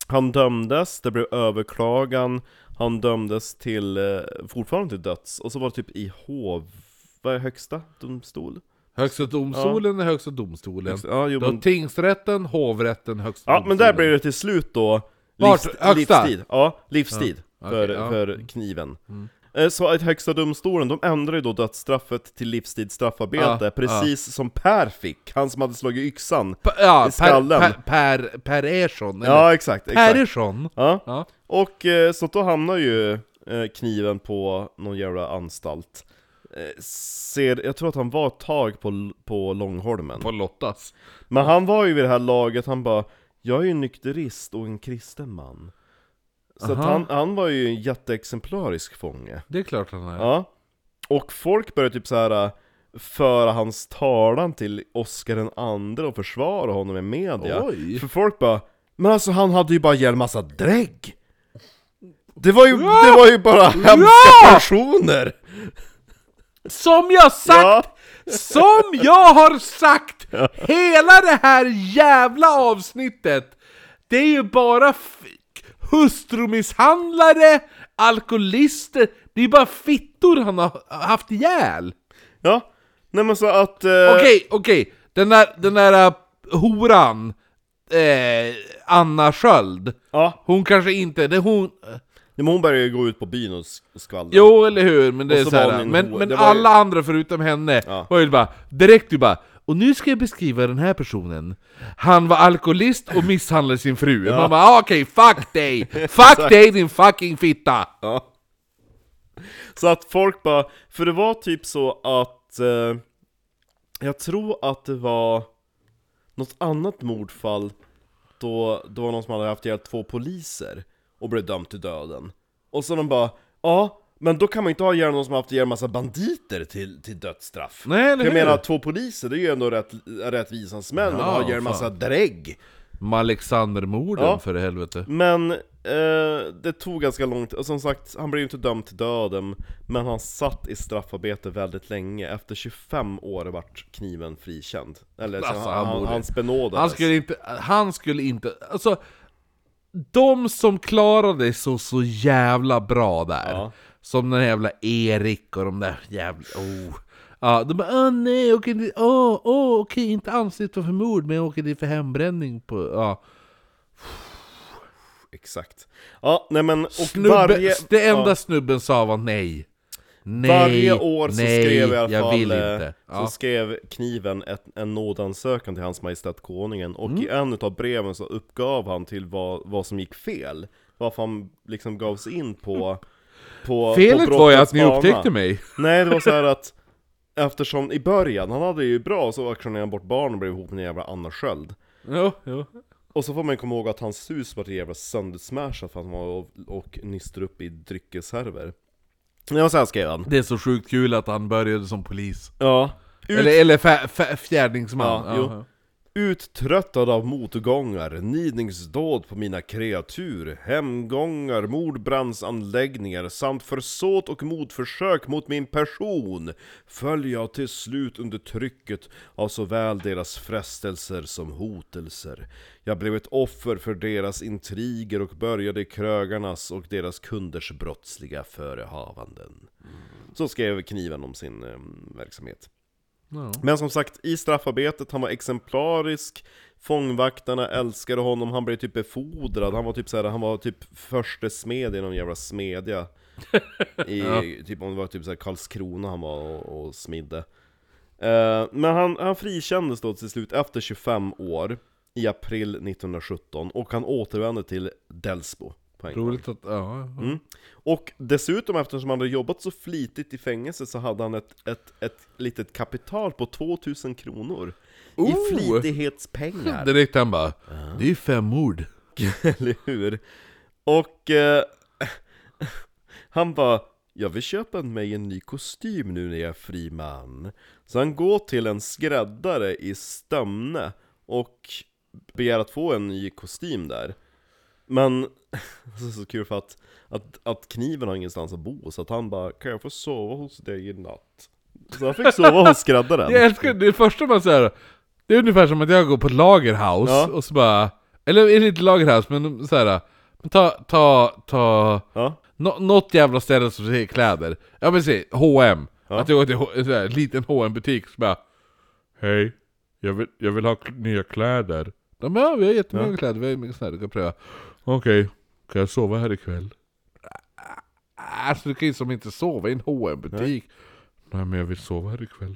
Speaker 2: han dömdes, det blev överklagan, han dömddes till, eh, fortfarande till döds, och så var det typ i hov, vad är högsta domstol?
Speaker 1: Högsta domstolen är Högsta domstolen.
Speaker 2: Högsta- Ja, jo,
Speaker 1: Då
Speaker 2: men,
Speaker 1: tingsrätten, hovrätten, Högsta
Speaker 2: ja men
Speaker 1: domstolen.
Speaker 2: där blev det till slut då
Speaker 1: Vart? Högsta?
Speaker 2: livstid, ja, livstid
Speaker 1: Ja, Mm.
Speaker 2: för,
Speaker 1: okej, ja.
Speaker 2: för kniven. Eh, Så att Högsta domstolen, de ändrade ju då dödsstraffet till livstidsstraffarbete,
Speaker 1: Ja,
Speaker 2: precis som Per fick, han som hade slagit yxan.
Speaker 1: P- ja,
Speaker 2: I
Speaker 1: per,
Speaker 2: skallen.
Speaker 1: per, per, per Ersson, eller?
Speaker 2: Ja, exakt, exakt.
Speaker 1: Persson?
Speaker 2: Ja.
Speaker 1: Ja.
Speaker 2: Och eh, så då hamnar ju eh, kniven på någon jävla anstalt. Eh, Ser, jag tror att han var ett tag på, på Långholmen.
Speaker 1: På Lottas.
Speaker 2: Men han var ju vid det här laget, han bara Jag är ju nykterist och en kristen man. Så att
Speaker 1: Aha.
Speaker 2: han, han var ju en jätteexemplarisk fånge.
Speaker 1: Det är klart han är.
Speaker 2: Ja. Och folk började typ så här föra hans talan till Oscar den andre och försvara honom i media.
Speaker 1: Oj.
Speaker 2: För folk bara, men alltså han hade ju bara ihjäl massa drägg! Det var ju, det var ju bara hemska personer!
Speaker 1: Som jag sagt!
Speaker 2: Ja.
Speaker 1: Som jag har
Speaker 2: <laughs>
Speaker 1: sagt! Hela det här jävla avsnittet! Det är ju bara f- hustrumisshandlare, alkoholister, det är bara fittor han har haft ihjäl!
Speaker 2: ja, nej men så att... Eh,
Speaker 1: Okej, okej, den där, den där äh, horan, eh, Anna Sköld,
Speaker 2: Ja,
Speaker 1: hon kanske inte, det är hon... eh,
Speaker 2: men hon började ju gå ut på byn och s- och skvallra.
Speaker 1: Jo, eller hur, men det
Speaker 2: Och
Speaker 1: är
Speaker 2: så
Speaker 1: så
Speaker 2: var
Speaker 1: här,
Speaker 2: hon en
Speaker 1: Men,
Speaker 2: hora.
Speaker 1: men
Speaker 2: Det var ju-
Speaker 1: alla andra förutom henne
Speaker 2: Ja.
Speaker 1: var ju bara direkt ju bara och nu ska jag beskriva den här personen Han var alkoholist och misshandlade sin fru Man bara ah, okej, fuck dig!
Speaker 2: <laughs>
Speaker 1: Fuck dig din fucking fitta!
Speaker 2: Ja. Så att folk bara, för det var typ så att eh, Jag tror att det var något annat mordfall Då det var någon som hade haft ihjäl två poliser och blev dömd till döden Och så de bara, ja men då kan man inte ha ihjäl någon som har haft ihjäl en massa banditer till, till dödsstraff
Speaker 1: Nej, eller
Speaker 2: För Jag
Speaker 1: hur?
Speaker 2: menar att två poliser, det är ju ändå rätt, rättvisans män, men
Speaker 1: Ja,
Speaker 2: har ihjäl en
Speaker 1: fan.
Speaker 2: massa drägg
Speaker 1: Med Alexandermorden
Speaker 2: Ja.
Speaker 1: för helvete
Speaker 2: men eh, det tog ganska lång tid, och som sagt, han blev ju inte dömd till döden Men han satt i straffarbete väldigt länge, efter 25 år vart kniven frikänd Eller så
Speaker 1: Alltså,
Speaker 2: han,
Speaker 1: han
Speaker 2: han, han,
Speaker 1: borde-
Speaker 2: benådades
Speaker 1: Han skulle inte, han skulle inte, alltså De som klarade sig så jävla bra där
Speaker 2: Ja.
Speaker 1: Som den här jävla Erik och de där jävla, oh Ja, de bara åh nej, jag åker dit, åh, åh okej, inte ansett för mord men jag åker dit för hembränning på, ja
Speaker 2: Exakt Ja, nej men, och
Speaker 1: Snubben,
Speaker 2: varje,
Speaker 1: det enda
Speaker 2: ja,
Speaker 1: snubben sa var nej Nej,
Speaker 2: varje år så
Speaker 1: nej,
Speaker 2: skrev i alla
Speaker 1: jag
Speaker 2: fall
Speaker 1: vill
Speaker 2: eh,
Speaker 1: inte ja.
Speaker 2: Så skrev kniven ett, en nådansökan till hans majestät konungen Och i
Speaker 1: Mm.
Speaker 2: en av breven så uppgav han till vad, vad som gick fel Varför han liksom gav sig in på på,
Speaker 1: Felet
Speaker 2: på
Speaker 1: var ju
Speaker 2: brottets
Speaker 1: att ni
Speaker 2: bana.
Speaker 1: upptäckte mig
Speaker 2: Nej, det var så här att Eftersom i början, han hade ju bra, så auktionerade han bort barn och blev ihop med en jävla Anna Sköld
Speaker 1: Jo, jo
Speaker 2: Och så får man komma ihåg att hans hus var jävla söndersmashat för att han var och, och nystade upp i dryckeshärvor Det var såhär skrev han
Speaker 1: Det är så sjukt kul att han började som polis
Speaker 2: Ja Ut,
Speaker 1: Eller, eller fä, fä, fjärdingsman.
Speaker 2: Ja,
Speaker 1: Ja,
Speaker 2: jo.
Speaker 1: ja.
Speaker 2: Uttröttad av motgångar, nidningsdåd på mina kreatur, hemgångar, mordbrandsanläggningar samt försåt och mordförsök mot min person föll jag till slut under trycket av såväl deras frestelser som hotelser. Jag blev ett offer för deras intriger och började i krögarnas och deras kunders brottsliga förehavanden.
Speaker 1: Mm.
Speaker 2: Så skrev kniven om sin eh, verksamhet.
Speaker 1: Ja.
Speaker 2: Men som sagt, i straffarbetet, han var exemplarisk Fångvaktarna älskade honom, han blev typ befordrad Han var typ såhär, han var typ förste smed i någon jävla smedja I, typ, om det var typ såhär Karlskrona han var och, och smidde Eh, Men han, han frikändes då till slut efter 25 år I april 1917 och han återvände till Delsbo på en gång.
Speaker 1: Roligt att, ja.
Speaker 2: Mm. Och dessutom eftersom han hade jobbat så flitigt i fängelse så hade han ett, ett, ett litet kapital på 2000 kronor I
Speaker 1: Oh!
Speaker 2: flitighetspengar,
Speaker 1: Direkt han bara, det är ju fem mord.
Speaker 2: eller hur? Och eh, han bara jag vill köpa mig en ny kostym nu när jag är fri man Så han går till en skräddare i Stömne och begär att få en ny kostym där Men, <laughs> alltså så kul för att, att, att kniven har ingenstans att bo så att han bara 'Kan jag få sova hos dig i natt?' Så han fick sova
Speaker 1: <laughs>
Speaker 2: hos skräddaren
Speaker 1: Jag älskar det första man säger, det är ungefär som att jag går på ett lagerhouse
Speaker 2: Ja.
Speaker 1: och så bara, eller är det inte lagerhouse men så här, men ta, ta, ta,
Speaker 2: Ja,
Speaker 1: nå- något jävla ställe som säljer kläder. Ja men se, H&M Att jag går till H- en sån här liten hm butik så bara, hej, jag vill, jag vill ha kl- nya kläder. De bara, ja vi har jättemånga kläder, vi har mycket sådana här, du kan pröva. Okej, kan jag sova här ikväll? Alltså du kan ju som inte sova i en hm butik Nej men jag vill sova här ikväll.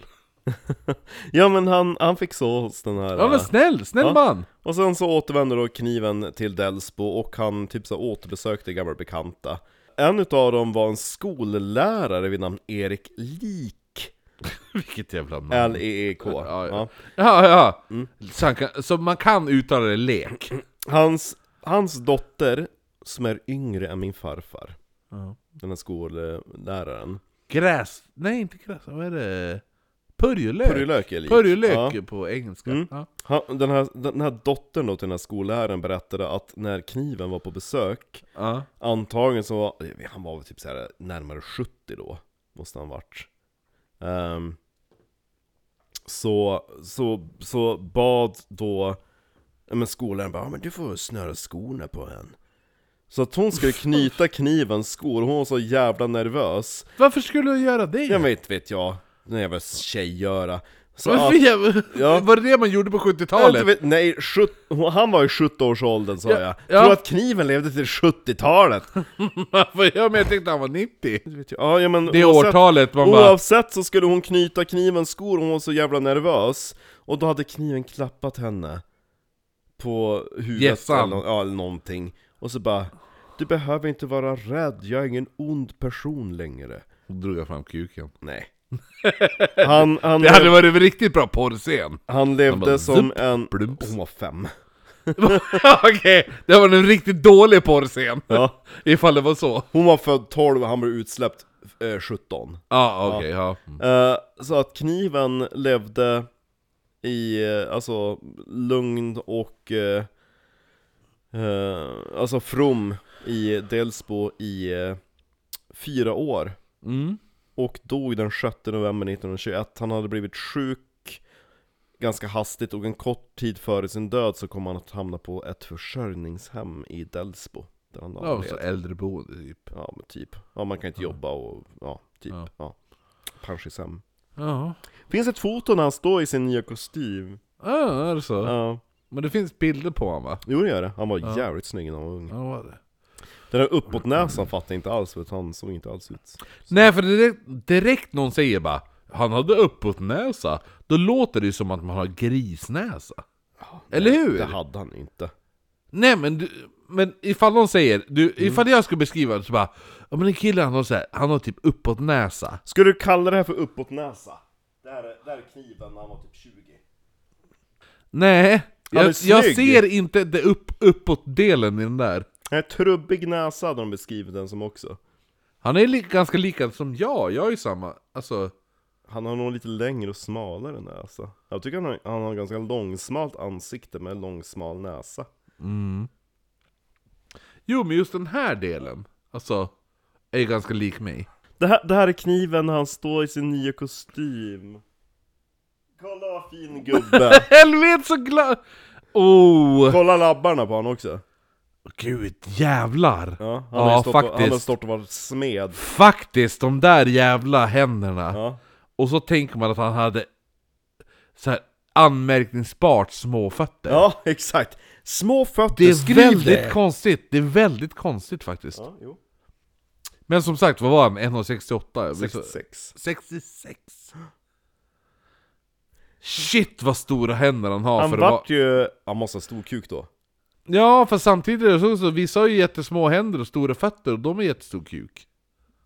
Speaker 2: Ja men han, han fick så hos den här...
Speaker 1: Ja men
Speaker 2: eh,
Speaker 1: snäll, snäll
Speaker 2: Ja.
Speaker 1: man!
Speaker 2: Och sen så återvänder då kniven till Delsbo och han typ så återbesökte gamla bekanta. En utav dem var en skollärare vid namn Erik Lik.
Speaker 1: <laughs> Vilket jävla Mm. namn.
Speaker 2: L-E-E-K.
Speaker 1: Ja, ja.
Speaker 2: Ja.
Speaker 1: Ja, ja. Så, han kan, så man kan uttala det lek.
Speaker 2: Hans, hans dotter, som är yngre än min farfar. Den här skolläraren.
Speaker 1: Gräs... Nej, inte gräs. Vad är det? Purjolök.
Speaker 2: Purjolök är lik.
Speaker 1: Purjolök
Speaker 2: Ja.
Speaker 1: på engelska.
Speaker 2: Mm.
Speaker 1: Ja.
Speaker 2: Han, den, här, den här dottern då till den här skolläraren berättade att när kniven var på besök,
Speaker 1: Ja.
Speaker 2: antagligen så var, han var väl typ så här närmare 70 då, måste han varit. Ehm, så, så, så bad då, ja, men skolan bara, ja, men du får snöra skorna på en. Så att hon skulle <laughs> knyta knivens skor, hon var så jävla nervös.
Speaker 1: Varför skulle du göra det?
Speaker 2: Jag vet, vet jag, när jag var tjejgöra. Så
Speaker 1: Varför
Speaker 2: att,
Speaker 1: jag... <laughs>
Speaker 2: Ja.
Speaker 1: Var det det man gjorde på
Speaker 2: jag inte
Speaker 1: 70-talet?
Speaker 2: vet, nej, sjut, han var i 70-årsåldern sa
Speaker 1: Ja,
Speaker 2: jag.
Speaker 1: ja.
Speaker 2: Tror att kniven levde till <laughs> 70-talet.
Speaker 1: Varför? ja, men jag tänkte han var 90.
Speaker 2: Vet jag. Ja, ja, men
Speaker 1: Det är
Speaker 2: oavsett-
Speaker 1: årtalet man bara...
Speaker 2: Oavsett så skulle hon knyta knivens skor, hon var så jävla nervös Och då hade kniven klappat henne På huvudet
Speaker 1: Hjässan.
Speaker 2: eller, nå- ja, eller någonting Och så bara Du behöver inte vara rädd, jag är ingen ond person längre
Speaker 1: Då drog jag fram kuken. <laughs>
Speaker 2: Nej Han, han,
Speaker 1: Det hade varit en riktigt bra porrscen.
Speaker 2: han levde
Speaker 1: bara,
Speaker 2: som en...
Speaker 1: blumps.
Speaker 2: Hon var fem
Speaker 1: <laughs> Okej, det var en riktigt dålig porrscen.
Speaker 2: ja.
Speaker 1: Ifall det var så.
Speaker 2: Hon var född 12 och han blev utsläppt eh, 17
Speaker 1: Ja, okej, ja.
Speaker 2: Eh, Så att kniven levde i eh, alltså, lugn och eh, eh, alltså from i Delsbo i eh, fyra år.
Speaker 1: Mm.
Speaker 2: Och dog den 6 november 1921. Han hade blivit sjuk ganska hastigt och en kort tid före sin död så kom han att hamna på ett försörjningshem i Delsbo. Där han
Speaker 1: Ja,
Speaker 2: avled.
Speaker 1: så äldreboende typ.
Speaker 2: ja men typ. Ja man kan inte jobba och ja, typ.
Speaker 1: Ja.
Speaker 2: Ja. Pensionshem.
Speaker 1: Ja.
Speaker 2: Finns ett foto när han står i sin nya kostym.
Speaker 1: Ja, är det så?
Speaker 2: Ja.
Speaker 1: Men det finns bilder på honom va?
Speaker 2: Jo det gör det, han var jävligt snygg när han var ung.
Speaker 1: Ja, det var det.
Speaker 2: Den där uppåtnäsan fattar jag inte alls för att han såg inte alls ut.
Speaker 1: Nej, för direkt, direkt någon säger bara Han hade uppåtnäsa. Då låter det ju som att man har grisnäsa. Eller hur?
Speaker 2: Det hade han inte.
Speaker 1: Nej men du, men ifall någon säger,
Speaker 2: Mm.
Speaker 1: du, ifall jag skulle beskriva det så bara Ja men en kille han har så här, han har typ uppåtnäsa.
Speaker 2: Ska du kalla det här för uppåtnäsa? Där är, där är kniven när han var typ 20.
Speaker 1: Nej,
Speaker 2: Han är
Speaker 1: jag, jag
Speaker 2: snygg.
Speaker 1: ser inte det upp, uppåt-delen i den där.
Speaker 2: Nej, trubbig näsa hade de beskrivit den som också.
Speaker 1: Han är li, ganska likadan som jag, jag är ju samma, alltså
Speaker 2: Han har nog lite längre och smalare näsa. Jag tycker han har, han har ganska långsmalt ansikte med långsmal näsa.
Speaker 1: Jo men just den här delen, alltså, är ju ganska lik mig.
Speaker 2: Det här, det här är kniven när han står i sin nya kostym. Kolla vad
Speaker 1: <laughs>
Speaker 2: fin gubbe!
Speaker 1: Helvete så glad! Oh!
Speaker 2: Kolla labbarna på honom också.
Speaker 1: Gud jävlar!
Speaker 2: Ja, han, har
Speaker 1: Ja,
Speaker 2: ju stått och, han har
Speaker 1: faktiskt.
Speaker 2: stått och varit smed.
Speaker 1: Faktiskt, de där jävla händerna.
Speaker 2: Ja.
Speaker 1: Och så tänker man att han hade så här anmärkningsbart små fötter.
Speaker 2: ja, <laughs> exakt. Små fötter,
Speaker 1: Det är
Speaker 2: skriv
Speaker 1: väldigt
Speaker 2: det!
Speaker 1: konstigt, det är väldigt konstigt faktiskt.
Speaker 2: Ja, jo.
Speaker 1: Men som sagt, vad var han? 1,68? Jag blir så-
Speaker 2: 66.
Speaker 1: 66! Shit vad stora händer han har!
Speaker 2: Han
Speaker 1: för att vara-
Speaker 2: vart ju... Han måste ha stor kuk då.
Speaker 1: Ja, för samtidigt är det så, så vissa har ju jättesmå händer och stora fötter och de har jättestor kuk.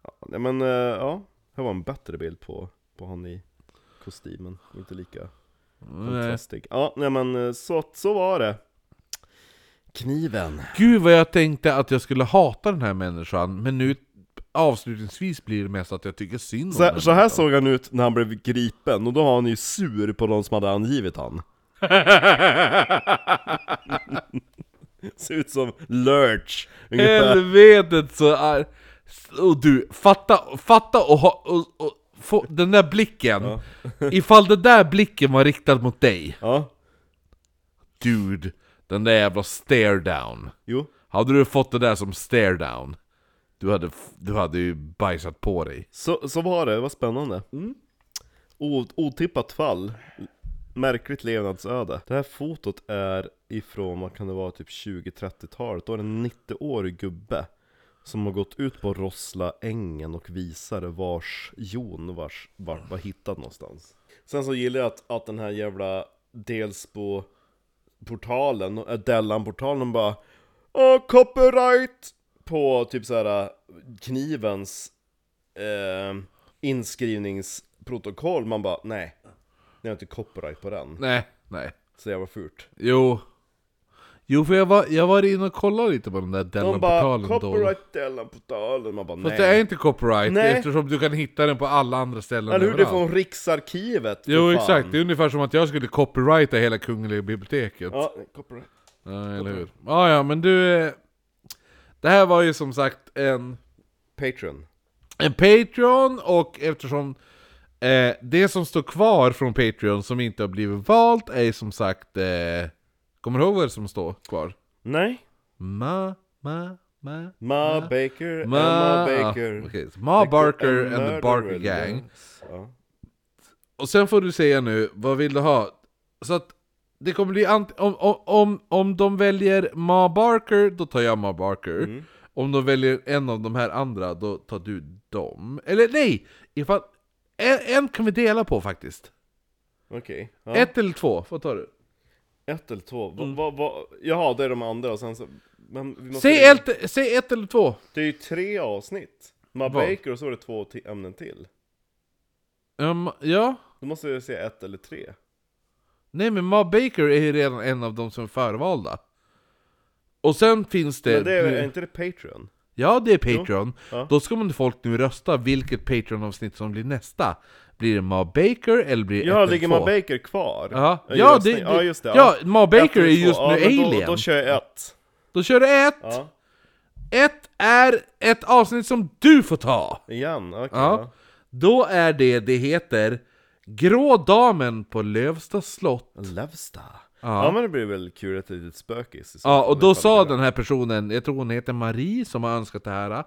Speaker 2: Ja, nej, men eh, ja, här var en bättre bild på, på han i kostymen. Inte lika
Speaker 1: Nej.
Speaker 2: fantastisk. Ja, nej men eh, så, att- så var det. Kniven.
Speaker 1: Gud vad jag tänkte att jag skulle hata den här människan, men nu avslutningsvis blir det mest att jag tycker synd om
Speaker 2: Så,
Speaker 1: den
Speaker 2: så här
Speaker 1: människan.
Speaker 2: såg han ut när han blev gripen, och då var han ju sur på de som hade angivit han. Ser ut som Lurch, ungefär.
Speaker 1: Helvetet så är... Och du, fatta, fatta och, ha, och, och få den där blicken. <laughs> Ifall den där blicken var riktad mot dig,
Speaker 2: Ja,
Speaker 1: dude. Den där jävla stare down.
Speaker 2: jo.
Speaker 1: Hade du fått det där som stare down, du hade, f- du hade ju bajsat på dig.
Speaker 2: Så, så var det, det var spännande. O, otippat fall. Märkligt levnadsöde. Det här fotot är ifrån, vad kan det vara, typ 20-30-talet. Då är det en 90-årig gubbe. Som har gått ut på Rossla ängen och visar vars Jon vars, vart var hittad någonstans. Sen så gillar jag att, att den här jävla Delsbo portalen, äh, Dellan-portalen bara Åh, copyright! På typ såhär knivens eh, inskrivningsprotokoll, man bara nej, ni har inte copyright på den.
Speaker 1: Nej, nej.
Speaker 2: Så jävla fult.
Speaker 1: Jo. Jo, för jag var, jag var inne och kollade lite på den där
Speaker 2: De bara
Speaker 1: Dellan-portalen då.
Speaker 2: copyright Dellan-portalen, man bara
Speaker 1: Fast det är
Speaker 2: nej.
Speaker 1: inte copyright,
Speaker 2: Nej.
Speaker 1: eftersom du kan hitta den på alla andra ställen
Speaker 2: Eller hur, det är
Speaker 1: överallt.
Speaker 2: från Riksarkivet! för
Speaker 1: Jo,
Speaker 2: fan.
Speaker 1: exakt. Det är ungefär som att jag skulle copyrighta hela Kungliga biblioteket.
Speaker 2: Ja, copyright.
Speaker 1: Ja, eller hur? Ja, ja, men du... eh, Det här var ju som sagt en,
Speaker 2: Patreon.
Speaker 1: en Patreon, och eftersom eh, det som står kvar från Patreon som inte har blivit valt är ju som sagt... Eh, kommer du ihåg vad det som står kvar?
Speaker 2: Nej.
Speaker 1: Ma, ma, ma...
Speaker 2: Ma Baker,
Speaker 1: Ma,
Speaker 2: Emma
Speaker 1: ja,
Speaker 2: Baker.
Speaker 1: okej, så Ma Barker
Speaker 2: and
Speaker 1: and the Barker
Speaker 2: murderer,
Speaker 1: Gang.
Speaker 2: yes. Ja.
Speaker 1: Och sen får du säga nu, vad vill du ha? Så att det kommer bli ant- om, om, om, om de väljer Ma Barker, då tar jag Ma Barker.
Speaker 2: Mm.
Speaker 1: Om de väljer en av de här andra, då tar du dem. Eller nej! Ifall, en, en kan vi dela på faktiskt.
Speaker 2: Okej. Ja.
Speaker 1: Ett eller två, vad tar du?
Speaker 2: Ett eller två? Va, va, va? Jaha, det är de andra och sen så... Men vi måste
Speaker 1: Säg ett, säg ett eller två!
Speaker 2: Det är ju tre avsnitt. Ma
Speaker 1: Vad?
Speaker 2: Baker och så var det två ti- ämnen till.
Speaker 1: Um, ja?
Speaker 2: Då måste jag säga ett eller tre.
Speaker 1: Nej men Ma Baker är ju redan en av de som är förvalda. Och sen finns det...
Speaker 2: Men det är, är inte det Patreon?
Speaker 1: Ja, det är Patreon.
Speaker 2: Ja.
Speaker 1: Då ska man folk nu rösta vilket Patreon-avsnitt som blir nästa. Blir det Ma Baker eller blir det ett
Speaker 2: Ja,
Speaker 1: eller
Speaker 2: ligger
Speaker 1: två?
Speaker 2: Ma Baker kvar?
Speaker 1: Ja,
Speaker 2: I
Speaker 1: ja, det,
Speaker 2: röstning?
Speaker 1: det,
Speaker 2: ja just det.
Speaker 1: ja, Ma
Speaker 2: Ett
Speaker 1: Baker
Speaker 2: eller
Speaker 1: är just
Speaker 2: två.
Speaker 1: nu
Speaker 2: men
Speaker 1: alien.
Speaker 2: Då,
Speaker 1: Då,
Speaker 2: då kör jag ett.
Speaker 1: kör du ett!
Speaker 2: Ja,
Speaker 1: Ett är ett avsnitt som du får ta!
Speaker 2: igen. Okej.
Speaker 1: Ja.
Speaker 2: ja.
Speaker 1: Då är det, det heter Grå damen på Lövsta slott.
Speaker 2: Lövsta.
Speaker 1: Ja.
Speaker 2: Ja. men det blir väl kul att det är lite spökis i så
Speaker 1: Ja,
Speaker 2: fall,
Speaker 1: och då
Speaker 2: ifall
Speaker 1: sa
Speaker 2: det-
Speaker 1: den här personen, jag tror hon heter Marie som har önskat det här,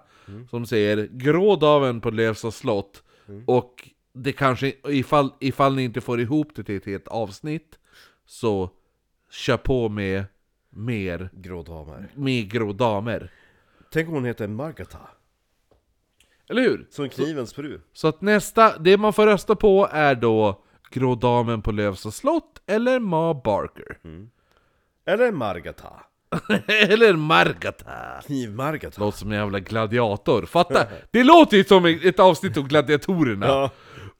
Speaker 1: som säger Gråd av en på Lövsta slott, och det kanske, ifall, ifall ni inte får ihop det till ett helt avsnitt, så kör på med mer,
Speaker 2: Grå damer.
Speaker 1: med grå damer.
Speaker 2: Tänk om hon heter Margata.
Speaker 1: Eller hur?
Speaker 2: Som knivens fru.
Speaker 1: Så att nästa, det man får rösta på är då Grå damen på Lövsta slott, eller Ma Barker.
Speaker 2: Eller Margata.
Speaker 1: <laughs> eller Margata.
Speaker 2: Knivmargata.
Speaker 1: Låter som en jävla gladiator, fatta! Det låter ju som ett avsnitt om gladiatorerna!
Speaker 2: Ja.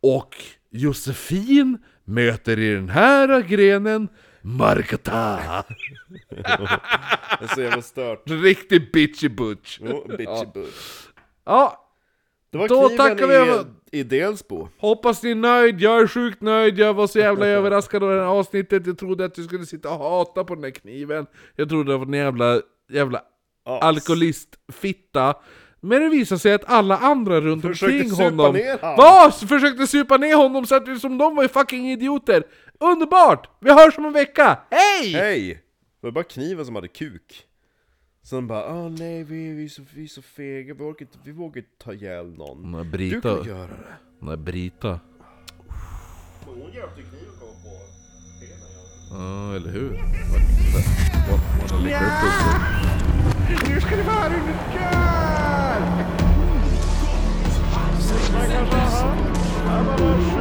Speaker 1: Och Josefin möter i den här grenen Markata!
Speaker 2: Det är så jävla stört.
Speaker 1: Riktig bitchy butch!
Speaker 2: Jo, bitchy
Speaker 1: Ja.
Speaker 2: butch.
Speaker 1: Ja,
Speaker 2: Det var
Speaker 1: Då
Speaker 2: kniven
Speaker 1: tackar vi
Speaker 2: i,
Speaker 1: över-
Speaker 2: i Delsbo.
Speaker 1: hoppas ni är nöjd, jag är sjukt nöjd, jag var så jävla överraskad av det här avsnittet Jag trodde att du skulle sitta och hata på den här kniven Jag trodde det var en jävla, jävla
Speaker 2: As.
Speaker 1: alkoholistfitta men det visade sig att alla andra runt
Speaker 2: Försökte
Speaker 1: omkring
Speaker 2: supa
Speaker 1: honom
Speaker 2: ner han.
Speaker 1: var, försökte supa ner honom så att det som de var ju fucking idioter! Underbart! Vi hörs om en vecka! Hej!
Speaker 2: Hej! Det var bara kniven som hade kuk. Sen bara åh nej vi, vi, är så, vi är så fega, vi vågar inte, vi vågar inte ta ihjäl någon.
Speaker 1: Nej,
Speaker 2: Du
Speaker 1: Brita.
Speaker 2: kan göra det.
Speaker 1: Nej, Brita.
Speaker 2: Hon hjälpte kniven komma på benen ja.
Speaker 1: Ja, eller hur?
Speaker 3: Nu ska det vara underkör! Man kanske har hört. Ja, vad var det?